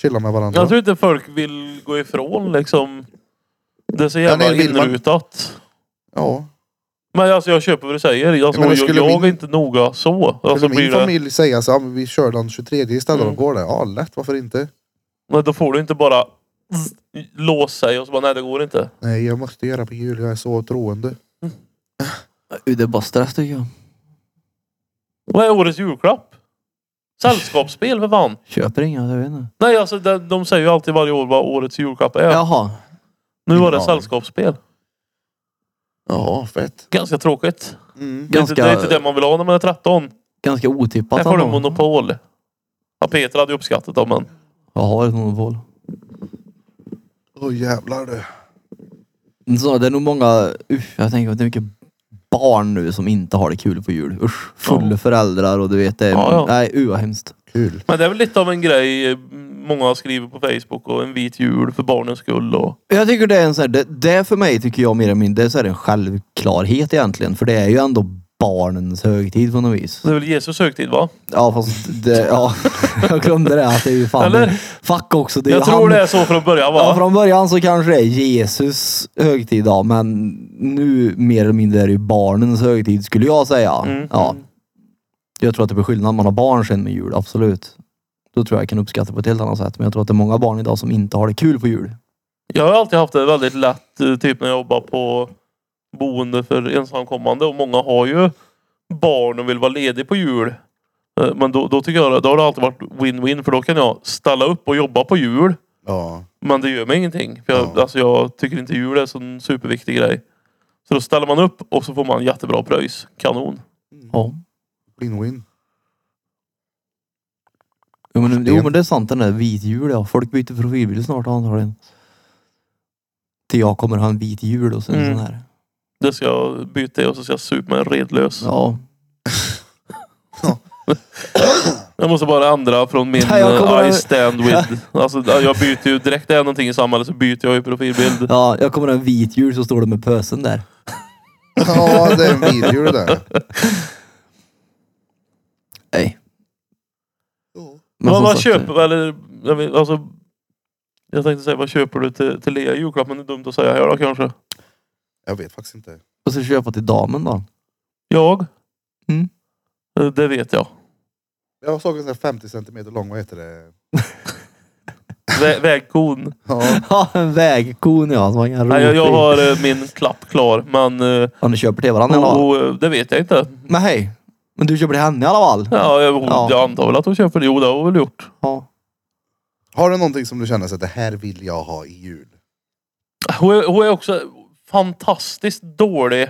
Chilla med varandra. Jag tror inte folk vill gå ifrån liksom. Det är så Ja, jävla nej, vill man- inrutat. Ja. Men alltså jag köper vad du säger. Alltså, men det jag skulle jag min- är inte noga så. Alltså, Skulle min blir det... familj säga så, här, "Ja, men vi kör den 23 istället Mm. och går det? Ja, lätt, varför inte? Nej, då får du inte bara låsa sig och så bara nej det går inte. Nej, jag måste göra på jul, jag är så troende. Det är bara stress tycker jag. Vad är årets julklapp? Sällskapsspel för fan. Köper inga, jag vet inte. Nej alltså de, de säger ju alltid varje år vad årets julklapp är. Jaha. nu var det Ja. sällskapsspel. Ja, fett. Ganska tråkigt. Mm. Det är, inte, Ganska- det är inte det man vill ha när man är 13. Ganska otippat. Här får du ändå. monopol. Ja, Peter hade ju uppskattat dem men. Jag har ett monopol. Åh jävlar du. Men Mm, Så, det är nog många, usch, jag tänker att det är mycket barn nu som inte har det kul på jul. Usch, fulla Ja. föräldrar och du vet det. Ja, ja. Nej, uh vad hemskt. Kul. Men det är väl lite av en grej eh, många skriver på Facebook och en vit jul för barnens skull och... Jag tycker det är en sån här, det, det för mig tycker jag mer eller mindre så är det en självklarhet egentligen. För det är ju ändå barnens högtid på något vis. Det är väl Jesus högtid va? Ja fast det, ja. Jag glömde det. Att det är ju fan, Eller? fuck också. Det är Jag ju tror han, det är så från början Ja, va? från början så kanske det är Jesus högtid då, men nu mer eller mindre är det ju barnens högtid skulle jag säga. Mm. Ja. Jag tror att det blir skillnad om man har barn sen med jul, absolut. Då tror jag jag kan uppskatta på ett helt annat sätt. Men jag tror att det är många barn idag som inte har det kul på jul. Jag har alltid haft det väldigt lätt, eh, typ när jag jobbar på boende för ensamkommande och många har ju barn och vill vara ledig på jul. Eh, Men då, då tycker jag då har det alltid varit win-win för då kan jag ställa upp och jobba på jul. Ja. Men det gör mig ingenting. För jag, Ja. alltså, jag tycker inte jul är en sån superviktig grej. Så då ställer man upp och så får man jättebra pröjs. Kanon. Ja. Win-win. Jo men, jo, men det är sant den där vit jul ja. Folk byter profilbild snart antagligen. Till jag kommer ha en vit jul och sen Mm. sån här. Det ska jag byta i och så ska jag supa mig redlös. Ja. Jag måste bara ändra från min Nej, jag kommer eh, I att- stand with. Alltså, jag byter ju direkt det är någonting i samhället så byter jag ju profilbild. ja, jag kommer ha en vit jul så står det med pösen där. Ja, det är en video det där. Nej. Men eh, som vad sagt, köper, eller, jag vet, alltså, jag tänkte säga vad köper du till, till Lea i julklapp? Men det är dumt att säga här då kanske. Jag vet faktiskt inte. Vad ska du köpa till damen då? Jag? Mm. Eh, Det vet jag. Jag såg en sån här 50 centimeter lång, vad heter det? Vä vägkon. Ja. Ja, en vägkon ja. Som man kan Nej, jag, jag ropa i. har eh, min klapp klar. Men eh, Ja, ni köper till varandra i alla fall. och, eh, det vet jag inte. Men hej. Men du köper till henne i alla fall? Ja, jag, Ja. jag antar väl att hon köper det. Jo, det har hon väl gjort. Ja. Har du någonting som du känner så att det här vill jag ha i jul? Hon är, hon är också fantastiskt dålig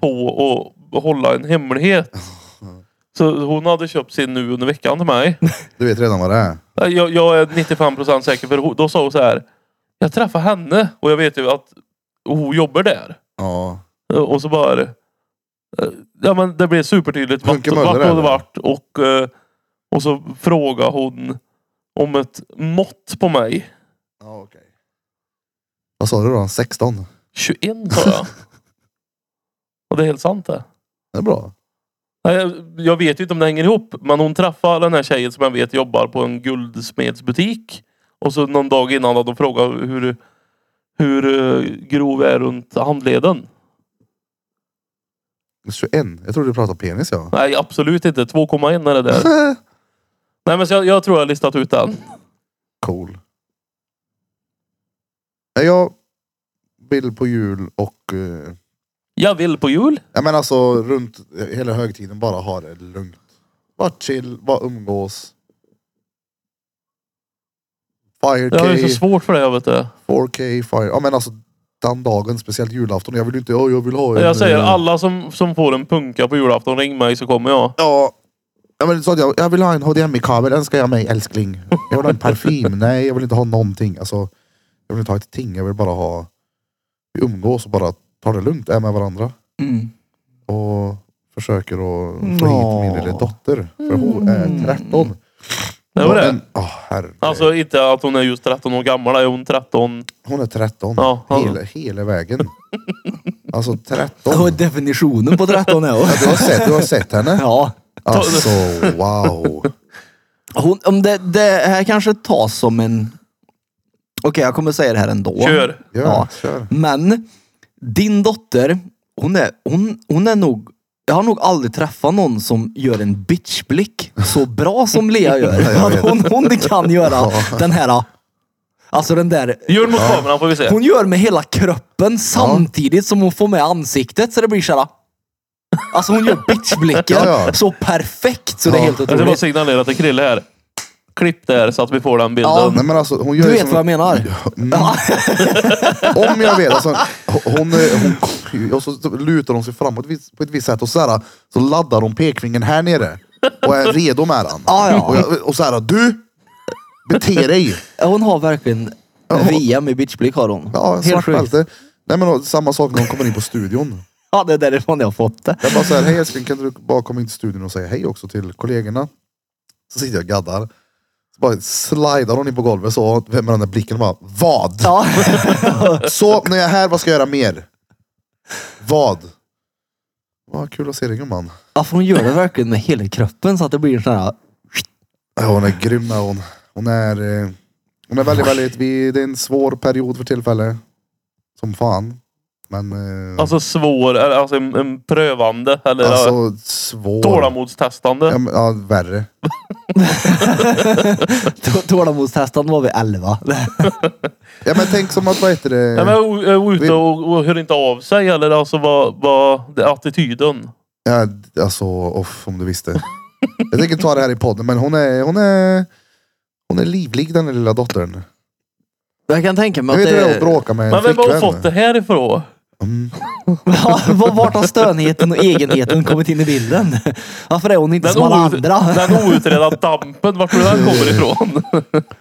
på att hålla en hemlighet. Så hon hade köpt sin nu under veckan till mig. Du vet redan vad det är. Jag, jag är 95% säker för hon- då sa hon så här. Jag träffade henne och jag vet ju att hon jobbar där. Ja. Och så bara... eh, Ja men det blev supertydligt vart, Funke Möller, vart eller? hon vart. Och, eh, och så frågade hon om ett mått på mig. Ja, okej. Vad sa du då? 16? 21 sa jag. och det är helt sant det. Det är bra. Nej, jag- Jag vet ju inte om det hänger ihop. Men hon träffade den här tjejen som jag vet jobbar på en guldsmedsbutik. Och så någon dag innan hade hon frågat hur, hur eh, grov är runt handleden. 21? Jag trodde du pratade penis ja. Nej absolut inte. 2,1 är det där. Nej men så jag, jag tror jag har listat ut den. cool. Nej, Jag vill på jul och eh, Jag vill på jul. Ja, men alltså runt hela högtiden bara ha det lugnt. Var chill, bara umgås. Jag har ju så 4K, svårt för det jag vet det. 4K, fire. Ja men alltså den dagen, speciellt julafton. Jag vill ju inte, "Åh, jag vill ha en, Jag säger eh, alla som, som får en punka på julafton, ring mig så kommer jag. Ja. Ja, men så att jag, jag vill ha en HDMI-kabel, önskar jag mig älskling. Jag vill ha en parfym. Nej, jag vill inte ha någonting. Alltså, jag vill inte ha ett ting. Jag vill bara ha... Vi umgås och bara tar det lugnt, är med varandra. Mm. Och försöker att få Ja. hit min lilla dotter. För hon är 13. Mm. Det var det. Men, åh, herre. Alltså inte att hon är just 13 år gammal. Är hon 13? Hon är 13. Ja, ja. hela, hela vägen. Alltså 13. Och definitionen på 13 är Du har sett, du har sett henne? Ja. Alltså wow. Hon, om det, det här kanske tas som en... Okej, jag kommer säga det här ändå. Kör! Gör, Ja. kör. Men din dotter, hon är, hon, hon är nog... Jag har nog aldrig träffat någon som gör en bitchblick så bra som Lea jag vet. gör. Hon, hon kan göra den här... Alltså den där... Gör den mot kameran får vi se. Hon gör med hela kroppen samtidigt som hon får med ansiktet så det blir såhär... Alltså hon gör bitchblicken Ja, ja. så perfekt så det är Ja. helt Jag ska bara otroligt. signalera till Krille här. Klipp där så att vi får den bilden. Ja, Nej, men alltså, hon gör Du ju vet som- vad jag menar? Mm. Om jag vet. Alltså, hon, hon, hon, och så lutar hon sig framåt vis- på ett visst sätt och så, här, så laddar hon pekfingern här nere. Och är redo med den. Ah, Ja, ja. Och, jag, och så här, du! Bete dig! Ja, Hon har verkligen VM i bitchblick har hon. Ja, Helt svart sjukt. bälte. Nej men och, samma sak när hon kommer in på studion. Ja, det är därifrån jag har fått det. Jag bara så här, hej älskling kan du bara komma in till studion och säga hej också till kollegorna? Så sitter jag och gaddar. Så bara slidar hon in på golvet så, med den där blicken och bara, vad? Ja. Så när jag är här, vad ska jag göra mer? Vad? Vad kul att se dig gumman. ja, för hon gör det verkligen med hela kroppen så att det blir en sån här... Ja, hon är grym när hon. Hon är, eh, hon är väldigt, väldigt, vi, det är en svår period för tillfället. Som fan. Men eh, alltså, Alltså svår, eller alltså en, en prövande eller ja, svår. tålamodstestande. Ja, men, ja, värre. T- Tålamodstestande var vi 11. Ja men tänk som att, vad heter det? Nej, men o- o- Vi- ute och, och hör inte av sig eller alltså vad, vad det, är attityden. Ja, alltså, off, om du visste. Jag tänker ta det här i podden, men hon är, hon är, hon är livlig den lilla dottern. Jag kan tänka mig Jag att vet hur det är det... att bråka med en Men vem har hon flickvän. fått det här ifrån? Mm. Ja, var- Vart har stönheten och egenheten kommit in i bilden? Varför är hon inte Den, som alla out, andra? den outredda dampen, vart tror du den kommer ifrån?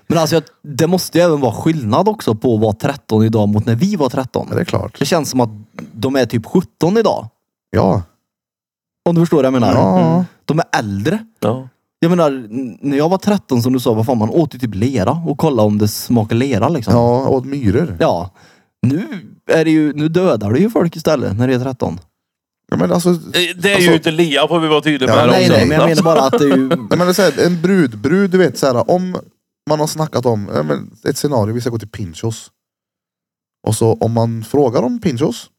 Men alltså, jag, det måste ju även vara skillnad också på att vara 13 idag mot när vi var 13. Ja, det är klart. Det känns som att de är typ 17 idag. Ja. Om du förstår vad jag menar. ja. De är äldre. Ja. Jag menar, n- när jag var 13 som du sa, vad fan, man åt ju typ lera och kollade om det smakar lera liksom. Ja, åt myror. Ja. Nu, är det ju, nu dödar du ju folk istället när det är 13. Ja, men alltså, Eh, Det är Alltså- ju inte Lea får vi vara tydliga Ja, med här nej, också. nej, men jag menar bara att det är ju... nej, men det är så här, en brudbrud, du vet så här, om man har snackat om ja, men ett scenario, vi ska gå till Pinchos. Och så om man frågar om Pinchos,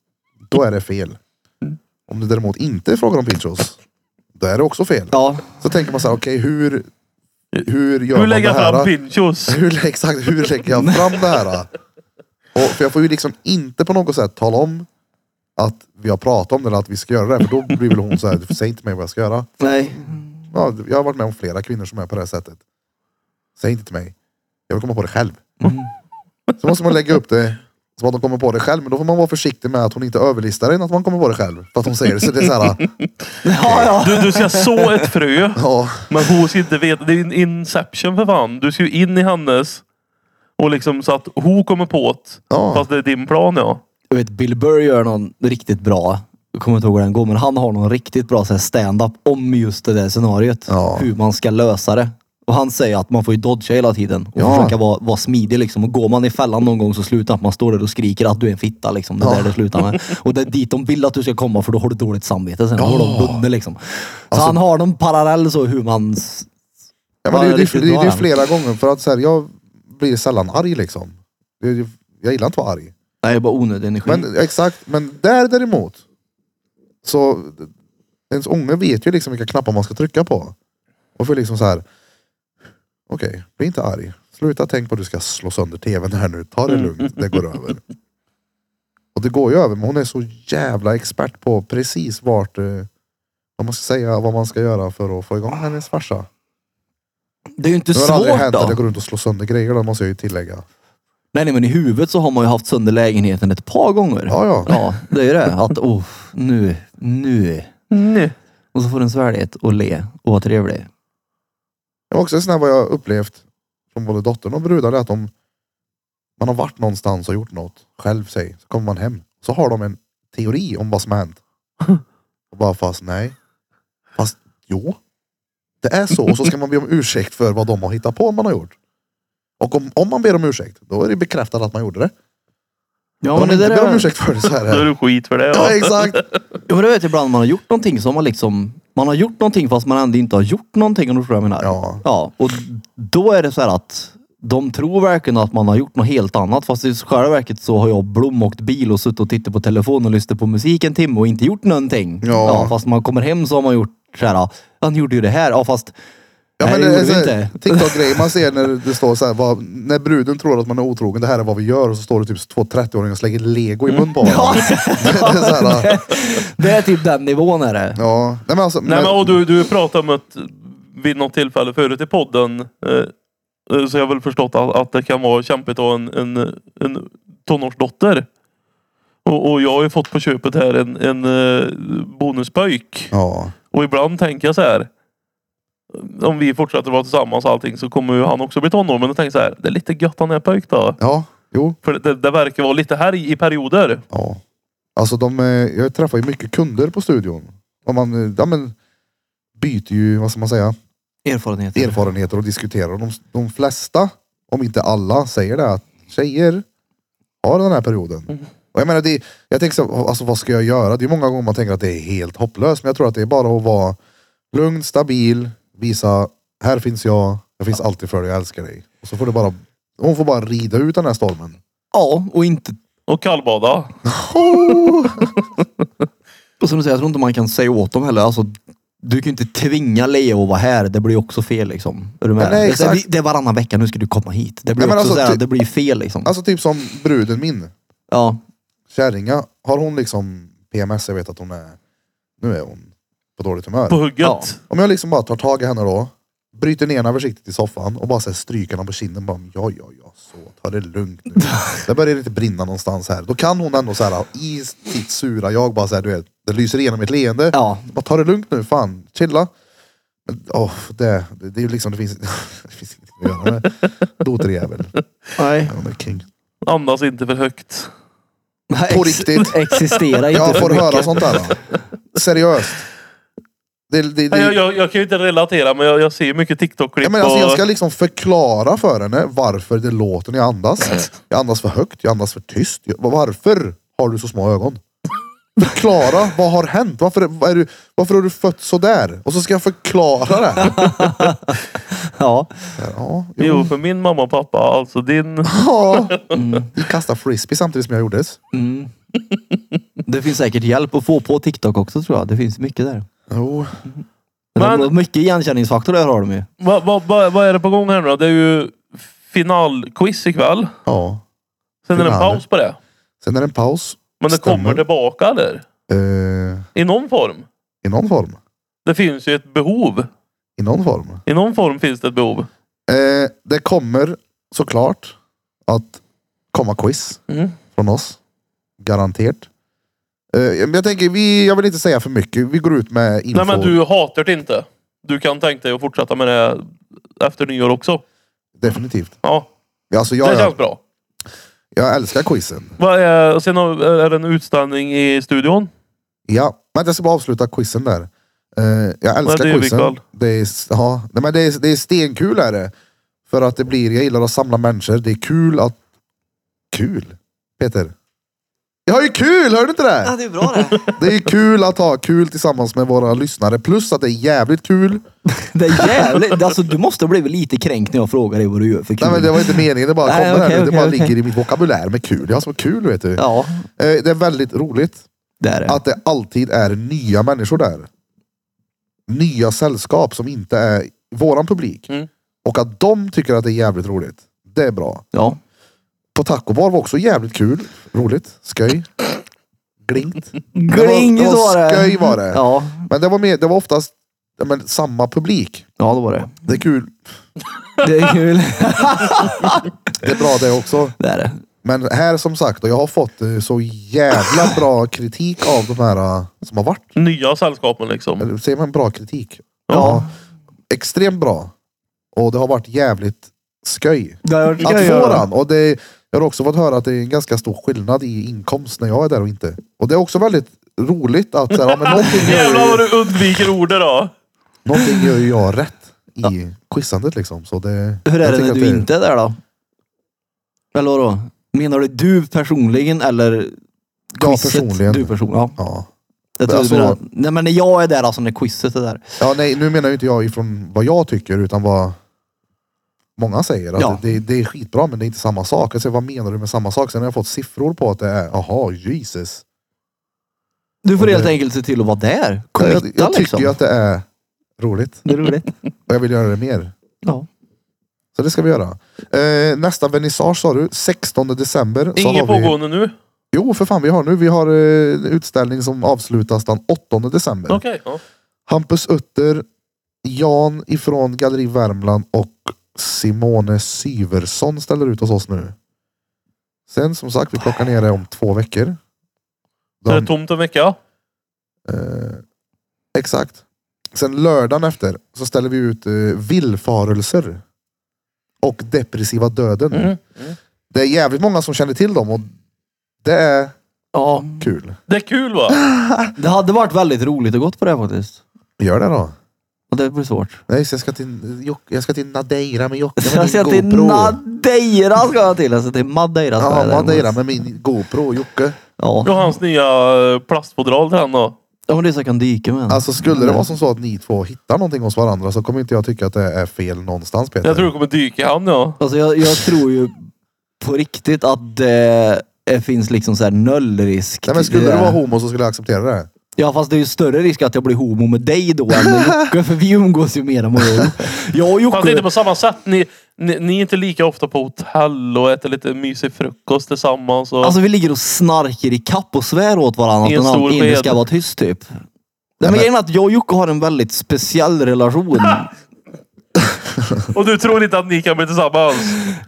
då är det fel. Om du däremot inte frågar om Pinchos, då är det också fel. Ja, Så tänker man så här, okej hur, hur gör Hur man lägger det jag här? fram pinchos? hur, exakt, hur lägger jag fram det här? Och, för jag får ju liksom inte på något sätt tala om att vi har pratat om det eller att vi ska göra det. För då blir väl hon så här, du säger inte till mig vad jag ska göra. nej. Ja, jag har varit med om flera kvinnor som är på det här sättet. Säg inte till mig. Jag vill komma på det själv. Så måste man lägga upp det som att de kommer på det själv. Men då får man vara försiktig med att hon inte överlistar en att man kommer på det själv. För att hon säger det. Så det är så här, Ja, ja. Du, du ska så ett frö. ja, Men hon ska inte veta. Det är en inception för fan. Du ska ju in i hennes. Och liksom så att hon kommer på det. Ja. Fast det är din plan ja. Jag vet, Bill Burr gör någon riktigt bra, jag kommer inte ihåg hur den går, men han har någon riktigt bra så här, stand-up om just det där scenariot. Ja. Hur man ska lösa det. Och han säger att man får ju dodga hela tiden och Ja. försöka vara, vara smidig liksom. Och går man i fällan någon gång så slutar att man står där och skriker att du är en fitta liksom. Det är Ja. där det slutar med. Och det är dit de vill att du ska komma för då har du dåligt samvete sen. Då har de bundet liksom. Så Alltså- han har någon parallell så hur man... s- Ja, men det, är ju- det, är riktigt ju- det, är bra ju den. flera gånger för att så här, jag blir sällan arg liksom. Det är ju- Jag gillar inte att vara arg. Nej, det är bara onödig energi. Men exakt, men där däremot. Så ens unge vet ju liksom vilka knappar man ska trycka på. Och för liksom så här. Okej, bli inte Mm. arg. Sluta tänk på att du ska slå sönder tvn här nu. Ta det lugnt, det går över. Och det går ju över. Men hon är så jävla expert på precis vart eh, vad man ska säga, vad man ska göra för att få igång hennes farsa. Det är ju inte Det har aldrig svårt hänt att då. jag går runt och slår sönder grejer, det måste jag ju tillägga. Nej, nej, men i huvudet så har man ju haft sönder lägenheten ett par gånger. Ja, ja. Ja, det är ju det. Att oh, nu, nu. Nej. Och så får den svälja ett och le och vara trevlig. Det var också en sån här vad jag upplevt från både dottern och brudar, det är att om man har varit någonstans och gjort något själv, sig, så kommer man hem. Så har de en teori om vad som har hänt. Och bara fast nej. Fast jo. Det är så. Och så ska man be om ursäkt för vad de har hittat på man har gjort. Och om, om man ber om ursäkt, då är det bekräftat att man gjorde det. Ja, om men man det inte där ber om är... ursäkt för det så är Då är det. det skit för det. Ja, exakt. Ja, men du vet ibland man har gjort någonting som man liksom... Man har gjort någonting fast man ändå inte har gjort någonting om du förstår vad jag menar. Ja. ja. Och då är det så här att de tror verkligen att man har gjort något helt annat. Fast i själva verket så har jag blomåkt bil och suttit och tittat på telefon och lyssnat på musik en timme och inte gjort någonting. Ja. fast man kommer hem så har man gjort så här. Han gjorde ju det här. Ja fast... Ja, nej, men det, det gjorde är du så inte. här TikTok-grejer man ser när det står så här, vad, när bruden tror att man är otrogen, det här är vad vi gör och så står det typ två 30-åringar och slänger lego i mun på Mm. Ja. varandra. det är så här, Det är typ den nivån är det. ja. Nej men alltså, Nej, men- men, och du, du pratade om att vid något tillfälle förut i podden. eh, Eh, så jag har väl förstått att, att det kan vara kämpigt att ha en, en, en tonårsdotter. Och, och jag har ju fått på köpet här en, en eh, bonuspöjk. Ja, Och ibland tänker jag så här. Om vi fortsätter vara tillsammans och allting så kommer ju han också bli tonår. Men då tänker jag så här. Det är lite gött han är pöjk då. ja, jo, För det, det verkar vara lite här i perioder. ja. Alltså de, eh, jag träffar ju mycket kunder på studion. Och man, eh, ja, men, byter ju, vad ska man säga, Erfarenhet. erfarenheter och diskuterar. Och de, de flesta, om inte alla, säger det att tjejer har den här perioden. Och jag menar, det, jag tänker så, alltså, vad ska jag göra? Det är många gånger man tänker att det är helt hopplöst. Men jag tror att det är bara att vara lugn, stabil, visa här finns jag, jag finns alltid för dig, jag älskar dig. Och så får det bara, hon får bara rida ut den här stormen. Ja, och inte... Och kallbada. Och som du säger, jag tror inte man kan säga åt dem heller. Alltså, du kan ju inte tvinga Leo att vara här. Det blir ju också fel liksom. Är du Nej, med? nej, det, är- exakt. det är varannan vecka, nu ska du komma hit. Det blir Nej, men också alltså, såhär, ty- det blir ju fel liksom. Alltså typ som bruden min, ja. kärringa, har hon liksom PMS, jag vet att hon är, nu är hon på dåligt humör. På hugget. Ja. Om jag liksom bara tar tag i henne då, bryter ner henne försiktigt i soffan och bara så här stryker henne på kinden. Bara, ja, ja, ja, så. Ta det lugnt nu. Det börjar inte brinna någonstans här. Då kan hon ändå så här i sitt sura jag bara så här, du vet, det lyser igenom ett leende. Ja. Bara ta det lugnt nu, fan, chilla. Men, åh, det, det, det är ju liksom, det finns, det finns ingenting att göra med. Doterjävel. Nej. Han är king. Andas inte för högt. På riktigt. Existera inte Jag för får mycket. höra sånt här. Då. Seriöst. Det, det, det, Nej, Jag, jag, jag kan ju inte relatera men jag, jag ser mycket TikTok-klipp. Ja, men alltså, och- jag ska liksom förklara för henne varför det låter när jag andas. Jag andas för högt, jag andas för tyst. Jag, varför har du så små ögon? Förklara, vad har hänt? Varför, vad är du, varför har du fötts sådär? Och så ska jag förklara det. Ja. Ja, Jo, för min mamma och pappa, alltså din... ja. Vi kastar frisbee samtidigt som jag gjordes. Mm. Det finns säkert hjälp att få på TikTok också tror jag. Det finns mycket där. Jo. Men... Men- de- Mycket igenkänningsfaktor där har de ju. Vad va, va, vad är det på gång här nu då? Det är ju finalquiz ikväll. Ja. Sen är det en Final. paus på det. Sen är det en paus. Men det Stämmer. kommer tillbaka eller? Eh, I någon form. I någon form. Det finns ju ett behov. I någon form. I någon form finns det ett behov. Eh, det kommer såklart att komma quiz. Mm. från oss. Garanterat. Eh, men jag tänker, vi, jag vill inte säga för mycket. Vi går ut med info. Nej men du hatar det inte. Du kan tänka dig att fortsätta med det efter nyår också. Definitivt. Ja, Alltså, det jag, känns jag, bra. jag älskar quizen. Vad är, och sen har- är det en utställning i studion. Ja, men jag ska bara avsluta quizen där. Eh, jag Nej, älskar det är vi quizen. kvar. Det är, ja, nej, men det är, det är stenkul är det. För att det blir, jag gillar att samla människor. Det är kul att... Kul? Peter? Jag har ju kul, hör du inte det? det är bra det. Det är ju kul att ha kul tillsammans med våra lyssnare. Plus att det är jävligt kul. Det är jävligt. Alltså du måste bli lite kränkt när jag frågar dig vad du gör för kul. Nej men det var inte meningen, det bara Nej, kommer här okej, nu. Det okej, bara okej. ligger i mitt vokabulär med kul. Jag har så kul vet du. Ja, Eh, Det är väldigt roligt det är det. att det alltid är nya människor där. Nya sällskap som inte är våran publik. Mm. Och att de tycker att det är jävligt roligt. Det är bra. Ja. på tacobar var också jävligt kul. Roligt. Sköj. Glingt. Glinget det var var det! sköj var det. Ja. Men det var, mer, det var oftast ja, men, samma publik. ja, det var det. Det är kul. Det är kul. Det är bra det också. det är det. Men här som sagt, och jag har fått eh, så jävla bra kritik av de här eh, som har varit. Nya sällskapen liksom. Eller säger man bra kritik? Ja. Extremt bra. Och det har varit jävligt sköj. Det har varit Att kul. få den. Och det, jag har också fått höra att det är en ganska stor skillnad i inkomst när jag är där och inte. Och det är också väldigt roligt att så här, ja, men någonting, Jävlar gör vad ju, du undviker ordet då. någonting gör ju jag rätt i quizandet liksom. Så det, Hur jag är det tycker när att du inte är där då? Eller vadå? Menar du du personligen eller Jag quizet? personligen. Du personligen, ja. Ja. Jag tror Alltså- du menar, nej men när jag är där alltså när quizet är där. ja, nej nu menar ju inte jag ifrån vad jag tycker utan vad många säger. Att Ja. det, det är skitbra men det är inte samma sak. Alltså, vad menar du med samma sak? Sen har jag fått siffror på att det är, jaha, Jesus. Du får Och helt det- enkelt se till att vara där. Committa Jag, jag tycker liksom. ju att det är roligt Det är roligt. och jag vill göra det mer. Ja. Så det ska vi göra. Eh, nästa vernissage sa du, 16 december. Så Inget har vi... pågående nu. Jo, för fan vi har nu. Vi har eh, en utställning som avslutas den 8 december. Okej. ja. Hampus Utter, Jan ifrån Galleri Värmland och Simone Syversson ställer ut hos oss nu. Sen som sagt, vi plockar ner det om två veckor. Så är De- det tomt en vecka. Eh, exakt. Sen lördagen efter så ställer vi ut eh, villfarelser. Och depressiva döden. Mm. Det är jävligt många som känner till dem och det är ja. kul. Det är kul va? Det hade varit väldigt roligt att gått på det här faktiskt. Gör det då. Och det blir svårt. Nej, så jag ska till, eh, Jock- jag ska till Nadeira med Jocke jag med ska min till GoPro. Madeira ska jag till. Alltså till Madeira ska Ja, jag däremot. Madeira med min GoPro, Jocke. Och Ja. hans nya eh, plastfodral till henne då. ja, men det är så jag kan dyka med. Alltså skulle det vara som så att ni två hittar någonting hos varandra så kommer inte jag tycka att det är fel någonstans Peter. Jag tror det kommer dyka i hamn ja. Alltså jag, jag tror ju på riktigt att det eh, finns liksom så här noll risk. Nej, men skulle till det du där. vara homo så skulle jag acceptera det. Ja fast det är ju större risk att jag blir homo med dig då än med Jocke. För vi umgås ju mer än vad jag gör. Jag och Fast inte Jocke. på samma sätt. Ni, ni, ni är inte lika ofta på hotell och äter lite mysig frukost tillsammans. Och... Alltså vi ligger och snarkar i kapp och svär åt varandra att I en den stor andra inte sked. ska vara tyst typ. Nej, men men- grejen är att jag och Jocke har en väldigt speciell relation. Och du tror inte att ni kan bli tillsammans?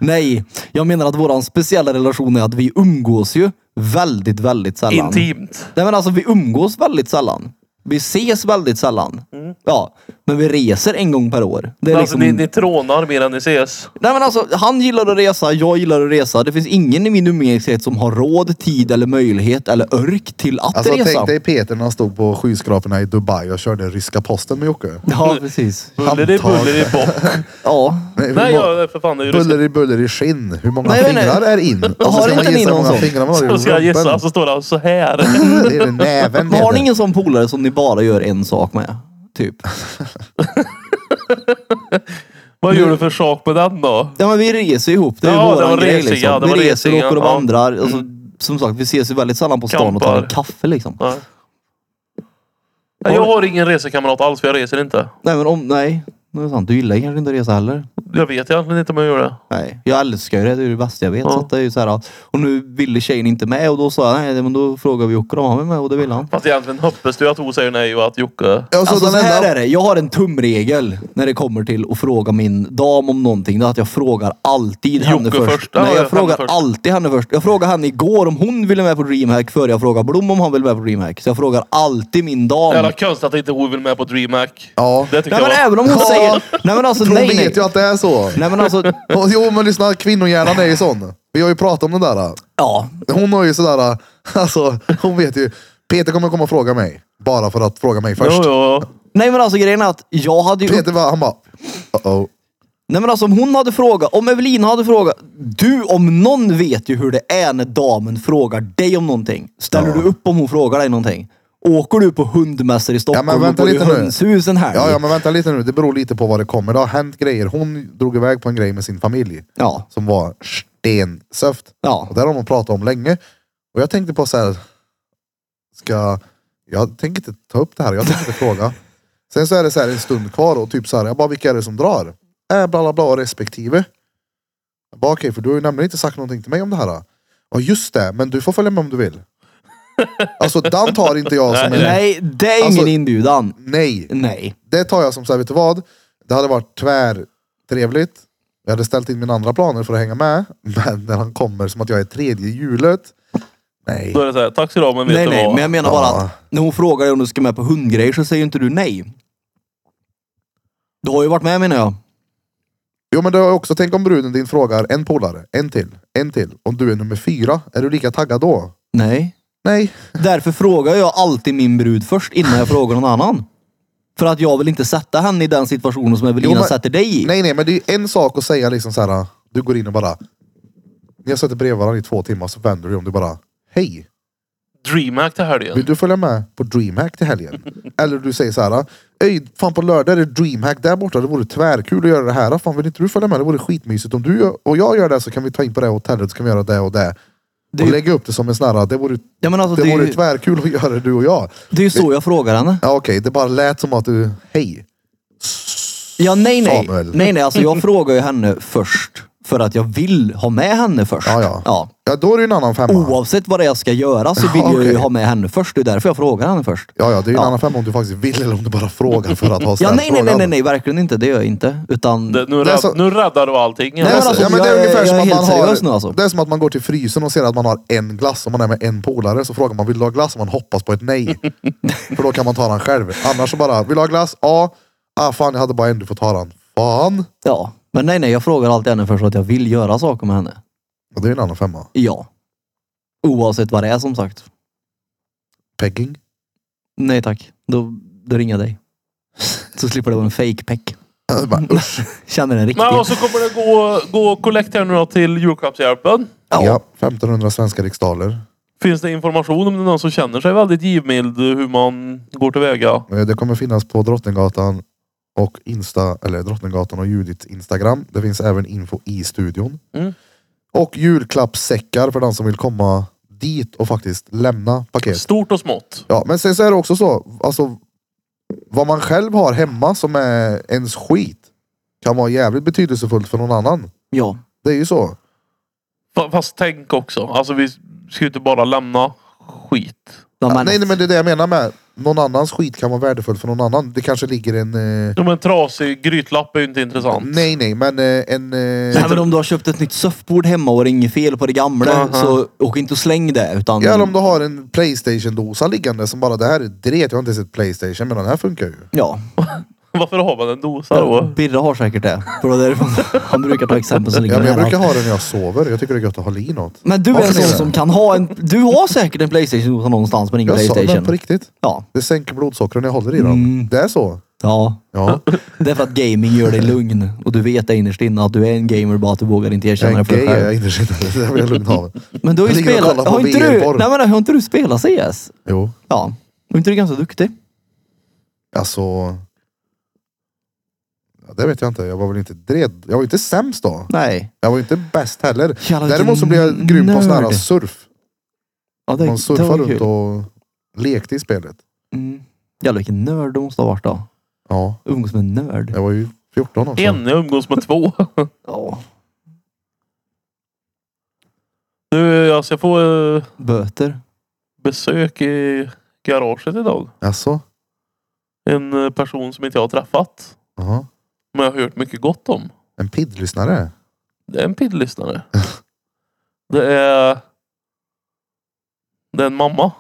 Nej, jag menar att våran speciella relation är att vi umgås ju väldigt, väldigt sällan. Intimt. Nej men alltså vi umgås väldigt sällan. Vi ses väldigt sällan. Ja, men vi reser en gång per år. Det är Alltså, ni, liksom... ni trånar mer än ni ses. Nej men alltså, han gillar att resa, jag gillar att resa. Det finns ingen i min umgängeskrets som har råd, tid eller möjlighet eller örk till att Alltså resa. tänk dig Peter när han stod på skyskraporna i Dubai och körde ryska posten med Jocke. Ja, precis. Buller i Handtag. buller i bock. Ja. Nej, Nej, hur må- jag, för fan det är ju rysk. Buller i buller i skinn. Hur många Nej, men nej. fingrar är in? Och så Har ska inte man ni gissa hur någon många sån? fingrar man har i Så ska jag rumpen. gissa så står det alltså så här. Det är näven Men har Peter. ni ingen sån polare som ni bara gör en sak med? Typ. Vad gör du för sak med den då? Ja men vi reser ihop, det är Ja, ja, det var våran grej resing, liksom. ja, det var vi reser, resing, åker och ja. vandrar. Alltså, Som sagt, vi ses ju väldigt sällan på stan och tar en Kampar. kaffe liksom. Nej. Nej, Jag har ingen resekamrat alls för jag reser inte. Nej men om, nej. Det är sant. Du gillar kanske inte att resa heller. Jag vet egentligen inte om jag gör det. Nej, jag älskar ju det. Det är det bästa jag vet. Ja. Så att det är ju så här, att- och nu ville tjejen inte med och då sa jag nej, men då frågade vi Jocke om han vill med och det ville han. Fast egentligen hoppas du att hon säger nej och att Jocke... Ja, så Alltså så den här enda- är det. Jag har en tumregel när det kommer till att fråga min dam om någonting. Det är att jag frågar alltid henne Jocke först. först. Ja, Nej, henne jag frågar först. alltid henne först. Jag frågade henne igår om hon ville med på DreamHack före jag frågar Blom om han vill med på DreamHack. Så jag frågar alltid min dam. Jävla konstigt att inte hon vill med på DreamHack. Ja. Det tycker Nej men jag. även om hon Ja. säger... Nej men alltså Hon nej nej. vet ju att det är så. Nej men alltså... Och, jo men lyssna, kvinnohjärnan är ju sån. Vi har ju pratat om det där. Ja. Hon har ju sådär, alltså hon vet ju. Peter kommer komma och fråga mig. Bara för att fråga mig först. Jo, jo. Nej men alltså grejen är att jag hade ju... Peter bara, han bara, uh-oh. Nej men alltså om hon hade frågat, om Evelina hade frågat. Du om någon vet ju hur det är när damen frågar dig om någonting. Ställer Ja. du upp om hon frågar dig någonting? Åker du på hundmässor i Stockholm Ja, men vänta och går lite i nu. hönshusen här? Ja, ja men vänta lite nu. Det beror lite på vad det kommer. Det har hänt grejer. Hon drog iväg på en grej med sin familj. ja. som var stensöft. Ja. Och där har man pratat om länge. Och jag tänkte på så här. Ska, jag tänker inte ta upp det här, jag tänker inte fråga. Sen så är det så här en stund kvar och typ så här, jag bara vilka är det som drar? Äh, bla bla bla och respektive. Jag bara, Okej, för du har ju nämligen inte sagt någonting till mig om det här. då." Ja just det, men du får följa med om du vill. alltså den tar inte jag som en... Nej, det är ingen Alltså- inbjudan. Nej. Nej. Det tar jag som så här, vet du vad? Det hade varit tvär trevligt. Jag hade ställt in mina andra planer för att hänga med. Men när han kommer som att jag är tredje hjulet. Nej. Då är det så här, tack så du ha, men vet Nej, du nej, vad? men jag menar bara Ja. att när hon frågar dig om du ska med på hundgrejer så säger ju inte du nej. Du har ju varit med menar jag. Jo men det har jag också, tänk om bruden din frågar en polare, en till, en till. Om du är nummer fyra, är du lika taggad då? Nej. Nej. Därför frågar jag alltid min brud först innan jag frågar någon annan. För att jag vill inte sätta henne i den situationen som Evelina Jo, men- sätter dig i. Nej nej, men det är ju en sak att säga liksom så här. Du går in och bara. Ni har suttit bredvid varandra i två timmar så vänder du om du bara. Hej, Dreamhack till helgen. vill du följa med på DreamHack till helgen? Eller du säger så här. Ej, fan på lördag är det DreamHack där borta. Det vore tvärkul att göra det här. Fan vill inte du följa med? Det vore skitmysigt. Om du gör- och jag gör det så kan vi ta in på det hotellet så kan vi göra det och det. Det är och ju- lägga upp det som en sån här. Det vore, Ja, men alltså, det det, är vore ju, tvärkul att göra det du och jag. det är ju så jag frågar henne. Ja, okej, det bara lät som att du, hej. Ja, nej, nej. Samuel. Nej, nej. Alltså, jag frågar ju henne först. För att jag vill ha med henne först. Ja, ja. Ja, då är det ju en annan femma. Oavsett vad det är jag ska göra så vill Ja, jag ju okej. ha med henne först. Det är därför jag frågar henne först. Ja, ja, det är ju en Ja. annan femma om du faktiskt vill eller om du bara frågar för att ha Ja, ställt nej, nej, nej, frågan. nej, nej, verkligen inte. Det gör jag inte. Utan... Det, nu, Det är rädd, så- nu räddar du allting. Det är men så- alltså, ja, men det är jag är- ungefär jag som är att man helt seriös nu, har... alltså. Det är som att man går till frysen och ser att man har en glass och man är med en polare. Så frågar man, vill du ha glass? Och man hoppas på ett nej. för då kan man ta den själv. Annars så bara, vill du ha glass? Ja. Ah, fan, jag hade bara en, du får ta den. Fan. Ja, men nej, nej. Jag frågar alltid henne först för att jag vill göra saker med henne. Ja, det är ju en annan femma. Ja. Oavsett vad det är som sagt. Pegging. Nej tack. Då, då ringer jag dig. Så slipper det vara en fake peck. Äh, bara, usch. Känner den riktigt. Men alltså- och så kommer det gå, gå collect här nu då till julklappshjälpen. ja. Ja. 1500 svenska riksdaler. Finns det information om det är någon som känner sig väldigt givmild hur man går tillväga? Eh, Det kommer finnas på Drottninggatan och Insta, eller Drottninggatan och Judits Instagram. Det finns även info i studion. Mm. Och julklappssäckar för den som vill komma dit och faktiskt lämna paket. Stort och smått. Ja, men sen så är det också så, alltså vad man själv har hemma som är ens skit kan vara jävligt betydelsefullt för någon annan. ja. Det är ju så. Fa- Fast tänk också. Alltså vi ska ju inte bara lämna skit. ja men, Nej, nej, men det är det jag menar med. Någon annans skit kan vara värdefull för någon annan. Det kanske ligger en... Eh, Ja, men trasig grytlapp är ju inte intressant. nej, nej, men eh, en... Eh, Nej, men om du har köpt ett nytt surfboard hemma och det är inget fel på det gamla Aha. så åk inte och släng det. Utan, Ja, eller om du har en Playstation-dosa liggande som bara, det här är dret, jag har inte sett Playstation, men den här funkar ju. ja. Varför har man en dosa då? Birra har säkert det. För det var därifrån han brukar ta exempel som ligger Ja, men jag nära. brukar ha den när jag sover, jag tycker det är gött att hålla i något. Men du Varför är en sån inte? som kan ha en... Du har säkert en Playstation någonstans men ingen Jag sa den på Playstation. riktigt. Ja. Det sänker blodsockret när jag håller i den. Mm. Det är så. Ja. Ja. Det är för att gaming gör dig lugn. Och du vet det innerst inne att du är en gamer bara att du vågar inte Jag erkänna är det för dig gay, jag är själv. inte skitnödig. Det blir jag lugn av. Men du har ju Jag ligger och spelat... kollar på Har inte, du, VR-porr. nej, men, har inte du spelat CS? Jo, Ja. Var inte du ganska duktig? alltså. Ja, det vet jag inte. Jag var väl inte dred. Jag var inte sämst då. Nej. Jag var inte bäst heller. Jävlar, vilken Däremot så blev jag grym på sån här nörd. surf. Ja, Man det, det var surfar kul. runt och lekte i spelet. Mm. Jävlar vilken nörd du måste ha varit då. Ja, Umgås med en nörd. jag var ju 14 också. En, jag umgås med två. Ja. Du, alltså jag får eh, Böter. besök i garaget idag. Alltså? En eh, person som inte jag har träffat. Jaha. Men jag har hört mycket gott om. En PID-lyssnare? Det är en piddlyssnare. Det är... Det är en mamma.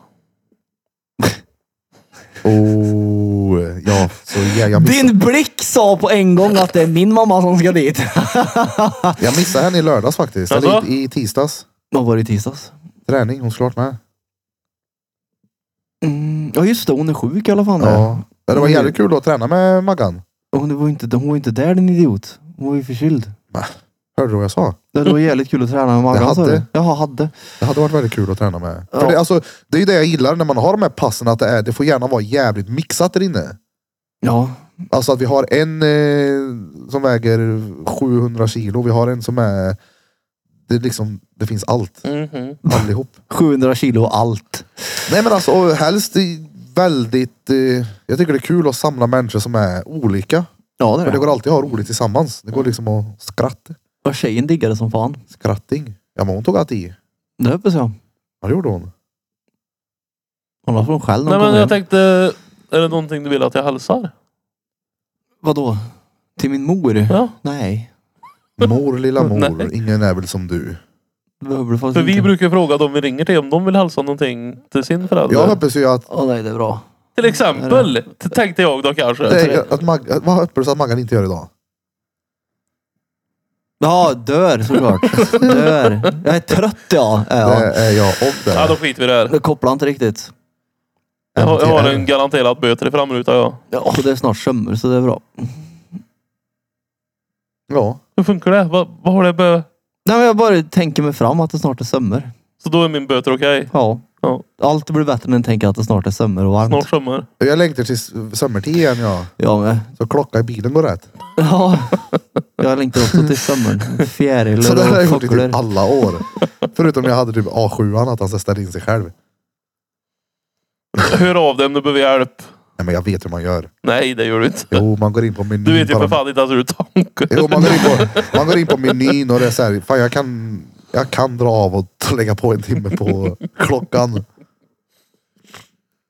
Oh, ja. Så jag, jag, missade, Din blick sa på en gång att det är min mamma som ska dit. jag missade henne i lördags faktiskt. Eller Alltså? i, i tisdags. Vad var det i tisdags? Träning, hon skulle varit med. Mm. Ja just det, hon är sjuk i alla fall. Ja. Det var jävligt kul att träna med Maggan. Hon var ju inte, hon var ju inte där din idiot. Hon var ju förkyld. Hörde du vad jag sa? Ja, Det var jävligt kul att träna med Maggan Jag sa hade. du. Jaha, hade. Det hade varit väldigt kul att träna med. Ja. För det, alltså, det är ju det jag gillar när man har de här passen, att det, är, det får gärna vara jävligt mixat där inne. Ja. Alltså att vi har en eh, som väger 700 kilo, vi har en som är... Det, är liksom, det finns allt, Mhm. allihop. 700 kilo och allt. Nej men alltså och helst i väldigt... Eh, jag tycker det är kul att samla människor som är olika. Ja det För är det det. går alltid att ha roligt tillsammans. Det går liksom att skratta. Och tjejen diggade som fan. Skratting. Ja men hon tog allt i. Det hoppas jag. Ja det gjorde hon. Hon har från själv när Nej hon men kom jag hem. tänkte, är det någonting du vill att jag hälsar? Vadå? Till min mor? Ja. Nej. Mor lilla Nej. mor, ingen är väl som du. Det behöver du faktiskt För vi inte. brukar fråga dem vi ringer till om de vill hälsa någonting till sin förälder. Jag hoppas ju att, Åh nej, det är bra. Till exempel, t- tänkte jag då kanske. tänk att, Mag, att- vad hoppas du att Maggan inte gör idag? Ja, dör såklart. dör. Jag är trött ja. Är jag. Det är jag och det. Ja, då skiter vi i det här. Jag kopplar inte riktigt. Jag har, jag har MTR. en garanterad böter i framrutan ja. Ja, det är snart sömmar så det är bra. Ja. Hur funkar det? Vad, vad har det bö... Nej, men jag bara tänker mig fram att det snart är sömmar. Så då är min böter okej? Ja. Ja. Allt blir bättre när jag tänker att det snart är sömmar och varmt. Snart sommar. Jag längtar till s- sommartid igen ja. Jag med. Så klockan i bilen går rätt. Ja. Jag längtar också till sömmaren. Så det har Fjärilar jag och gjort i fåglar. typ alla år. Förutom jag hade typ A7 att han så ställde in sig själv. Hör av dig om du behöver hjälp. Nej men jag vet hur man gör. Nej, det gör du inte. Jo man går in på menyn. Du vet ju bara- för fan inte ens hur du tankar. Jo, man, går in på, man går in på menyn och det är så här, fan jag kan, jag kan dra av och t- lägga på en timme på klockan.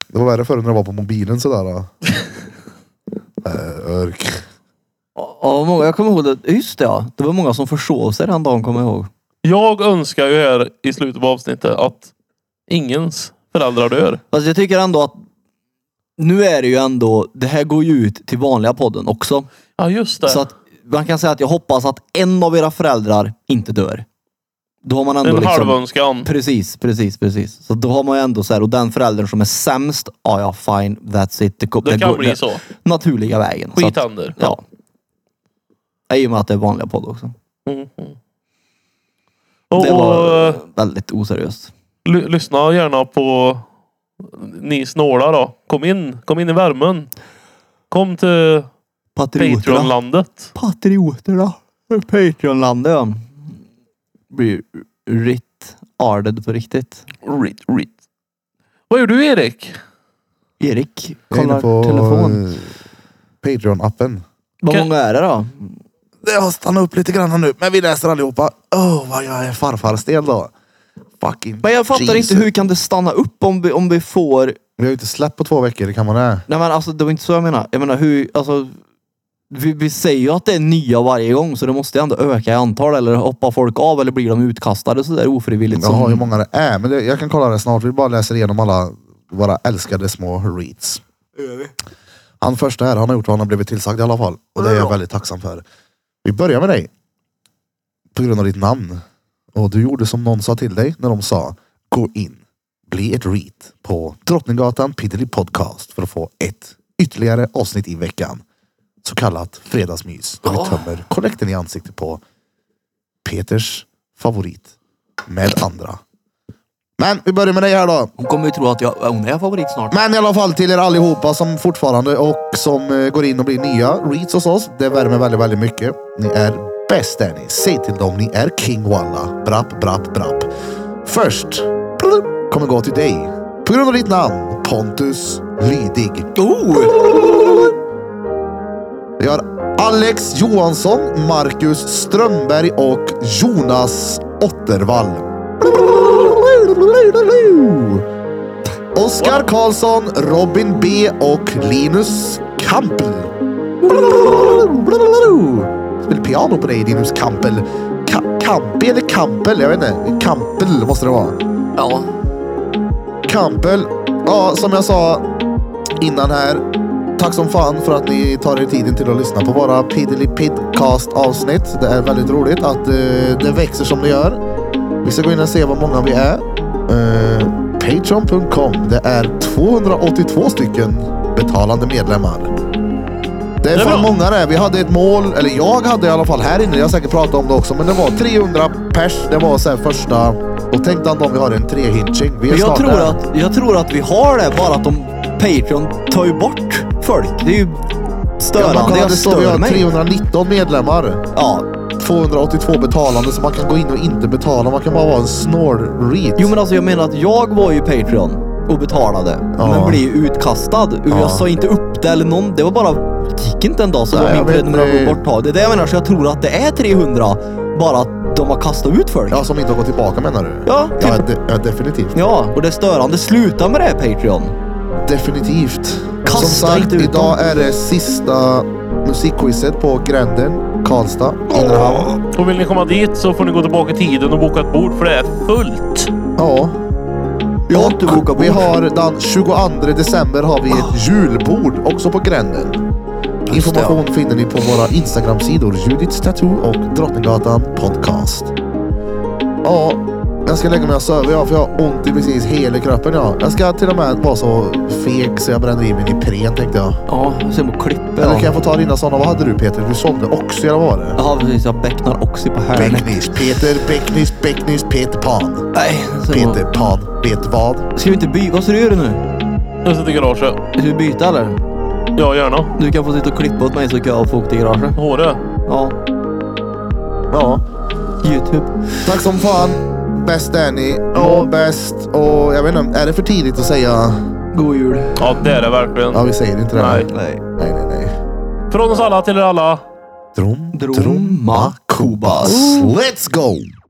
Det var värre förr när det var på mobilen sådär. Då. Äh, örk. Ja, många, jag kommer ihåg det. Just det ja. Det var många som försov sig den dagen kommer jag ihåg. Jag önskar ju här i slutet på avsnittet att ingens föräldrar dör. Fast Alltså, jag tycker ändå att nu är det ju ändå, det här går ju ut till vanliga podden också. Ja, just det. Så att man kan säga att jag hoppas att en av era föräldrar inte dör. Då har man ändå en liksom... halvönskan. Precis, precis, precis. Så då har man ju ändå så här, och den föräldern som är sämst, ja ja fine, that's it. Det, ko- Det går- kan bli så. Naturliga vägen. Så Skit att, händer. ja. Ja, I och med att det är vanliga podd också. Mm. mm. Och, det och, var eh, väldigt oseriöst. ly- lyssna gärna på ni snåla då. Kom in, kom in i värmen. Kom till Patrioterna. Patreon-landet. Patrioterna. Patreon-landet ja. Blir ritt arded på riktigt. Rit, rit. Vad gör du Erik? Erik Jag är inne kollar på telefon. eh, Patreon-appen. Vad kan- många är det då? Det har stannat upp lite grann nu, men vi läser allihopa. Åh, oh, vad jag är farfarstel då. Fucking Men jag fattar Jesus. inte hur kan det stanna upp om vi, om vi får Vi har ju inte släppt på två veckor, det kan man det. Nej men alltså det var inte så jag menar. Jag menar hur, alltså. Vi, vi säger ju att det är nya varje gång så det måste ju ändå öka i antal eller hoppar folk av eller blir de utkastade sådär ofrivilligt? Jag har Mm. hur Som, många det är, men det, jag kan kolla det snart. Vi bara läser igenom alla våra älskade små reads. Han första här, han har gjort vad han har blivit tillsagd i alla fall. Och det är jag väldigt tacksam för. Vi börjar med dig. På grund av ditt namn. Och du gjorde som någon sa till dig när de sa gå in, bli ett read på Drottninggatan Piddly Podcast för att få ett ytterligare avsnitt i veckan. Så kallat fredagsmys. Då vi tömmer kollekten i ansiktet på Peters favorit med andra. Men vi börjar med dig här då. hon kommer ju tro att jag, hon är favorit snart. Men i alla fall till er allihopa som fortfarande och som eh, går in och blir nya reads hos oss. Det värmer väldigt, väldigt mycket. Ni är bäst är ni. Säg till dem, ni är king walla. Brapp, brapp, brapp. Först plupp, kommer gå till dig. På grund av ditt namn, Pontus Lydig. Oh! Vi har Alex Johansson, Marcus Strömberg och Jonas Ottervall. Oskar Karlsson, Robin B och Linus Kampel. Spelar piano på dig Linus Kampel. Ka- Kampe eller Kampel? Jag vet inte. Kampel måste det vara. Ja. Kampel. Ja, som jag sa innan här. Tack som fan för att ni tar er tiden till att lyssna på våra Piddly Pidcast avsnitt. Det är väldigt roligt att eh, det växer som det gör. Vi ska gå in och se vad många vi är. Eh, Patreon.com. Det är 282 stycken betalande medlemmar. Det är Det är fan bra. många det. Vi hade ett mål, eller jag hade i alla fall här inne, jag har säkert pratat om det också, men det var 300 pers. Det var så här första... Och tänk dig om vi har en trehitching. Vi är Men jag snart tror, där. att, jag tror att vi har det bara att de Patreon tar ju bort folk. Det är ju Ja, man störande. kollade jag så vi stör har mig. 319 medlemmar. Ja. 282 betalande så man kan gå in och inte betala. Man kan bara vara en snål-read. Jo men alltså jag menar att jag var ju Patreon och betalade. Ja. Men blev ju utkastad. Ja. Jag sa inte upp det eller någon. Det var bara, det gick inte en dag så Nej, var jag min vet, prenumeration det- borttagen. Det är det jag menar. Så jag tror att det är 300. bara att de har kastat ut folk. Ja, som inte har gått tillbaka menar du? Ja, Ja, typ. de, ja definitivt. ja, och det är störande. Sluta med det här Patreon. Definitivt. Kasta som sagt, inte ut idag dem. är det sista musikquizet på Gränden, Karlstad, Innerhamn. Och vill ni komma dit så får ni gå tillbaka i tiden och boka ett bord för det är fullt. Ja. Jag har Och inte bokat Vi bord. har den 22 december har vi ett julbord också på Gränden. Ah. Just det, ja. Information finner ni på våra Instagram-sidor Judiths Tattoo och Drottninggatan Podcast. Ja, jag ska lägga mig och söva jag för jag har ont i precis hela kroppen. Ja. Jag ska till och med vara så feg så jag bränner i mig Ipren tänkte jag. Ja, sen på klippet. Eller kan jag få ta dina sådana? Vad hade du Peter? Du sålde också eller vad var det? Ja, precis. Jag becknar också på här. Bäcknis, Peter, Bäcknis, Bäcknis, Peter Pan. Nej, så- Peter Pan, vet vad? Ska vi inte byta? Vad ska du göra nu? Jag sitter i garaget. Ska vi byta eller? Ja, gärna. Du kan få sitta och klippa åt mig så kan jag få åka till garaget. Håre. Ja, Ja. Youtube. Tack som fan. Bäst är ni. Må bäst. Och jag vet inte, är det för tidigt att säga? God jul. Ja, det är det verkligen. Ja, vi säger inte det. Nej. Nej. nej, nej. nej. Från oss alla till er alla. Drom, Droma Kubas. Let's go!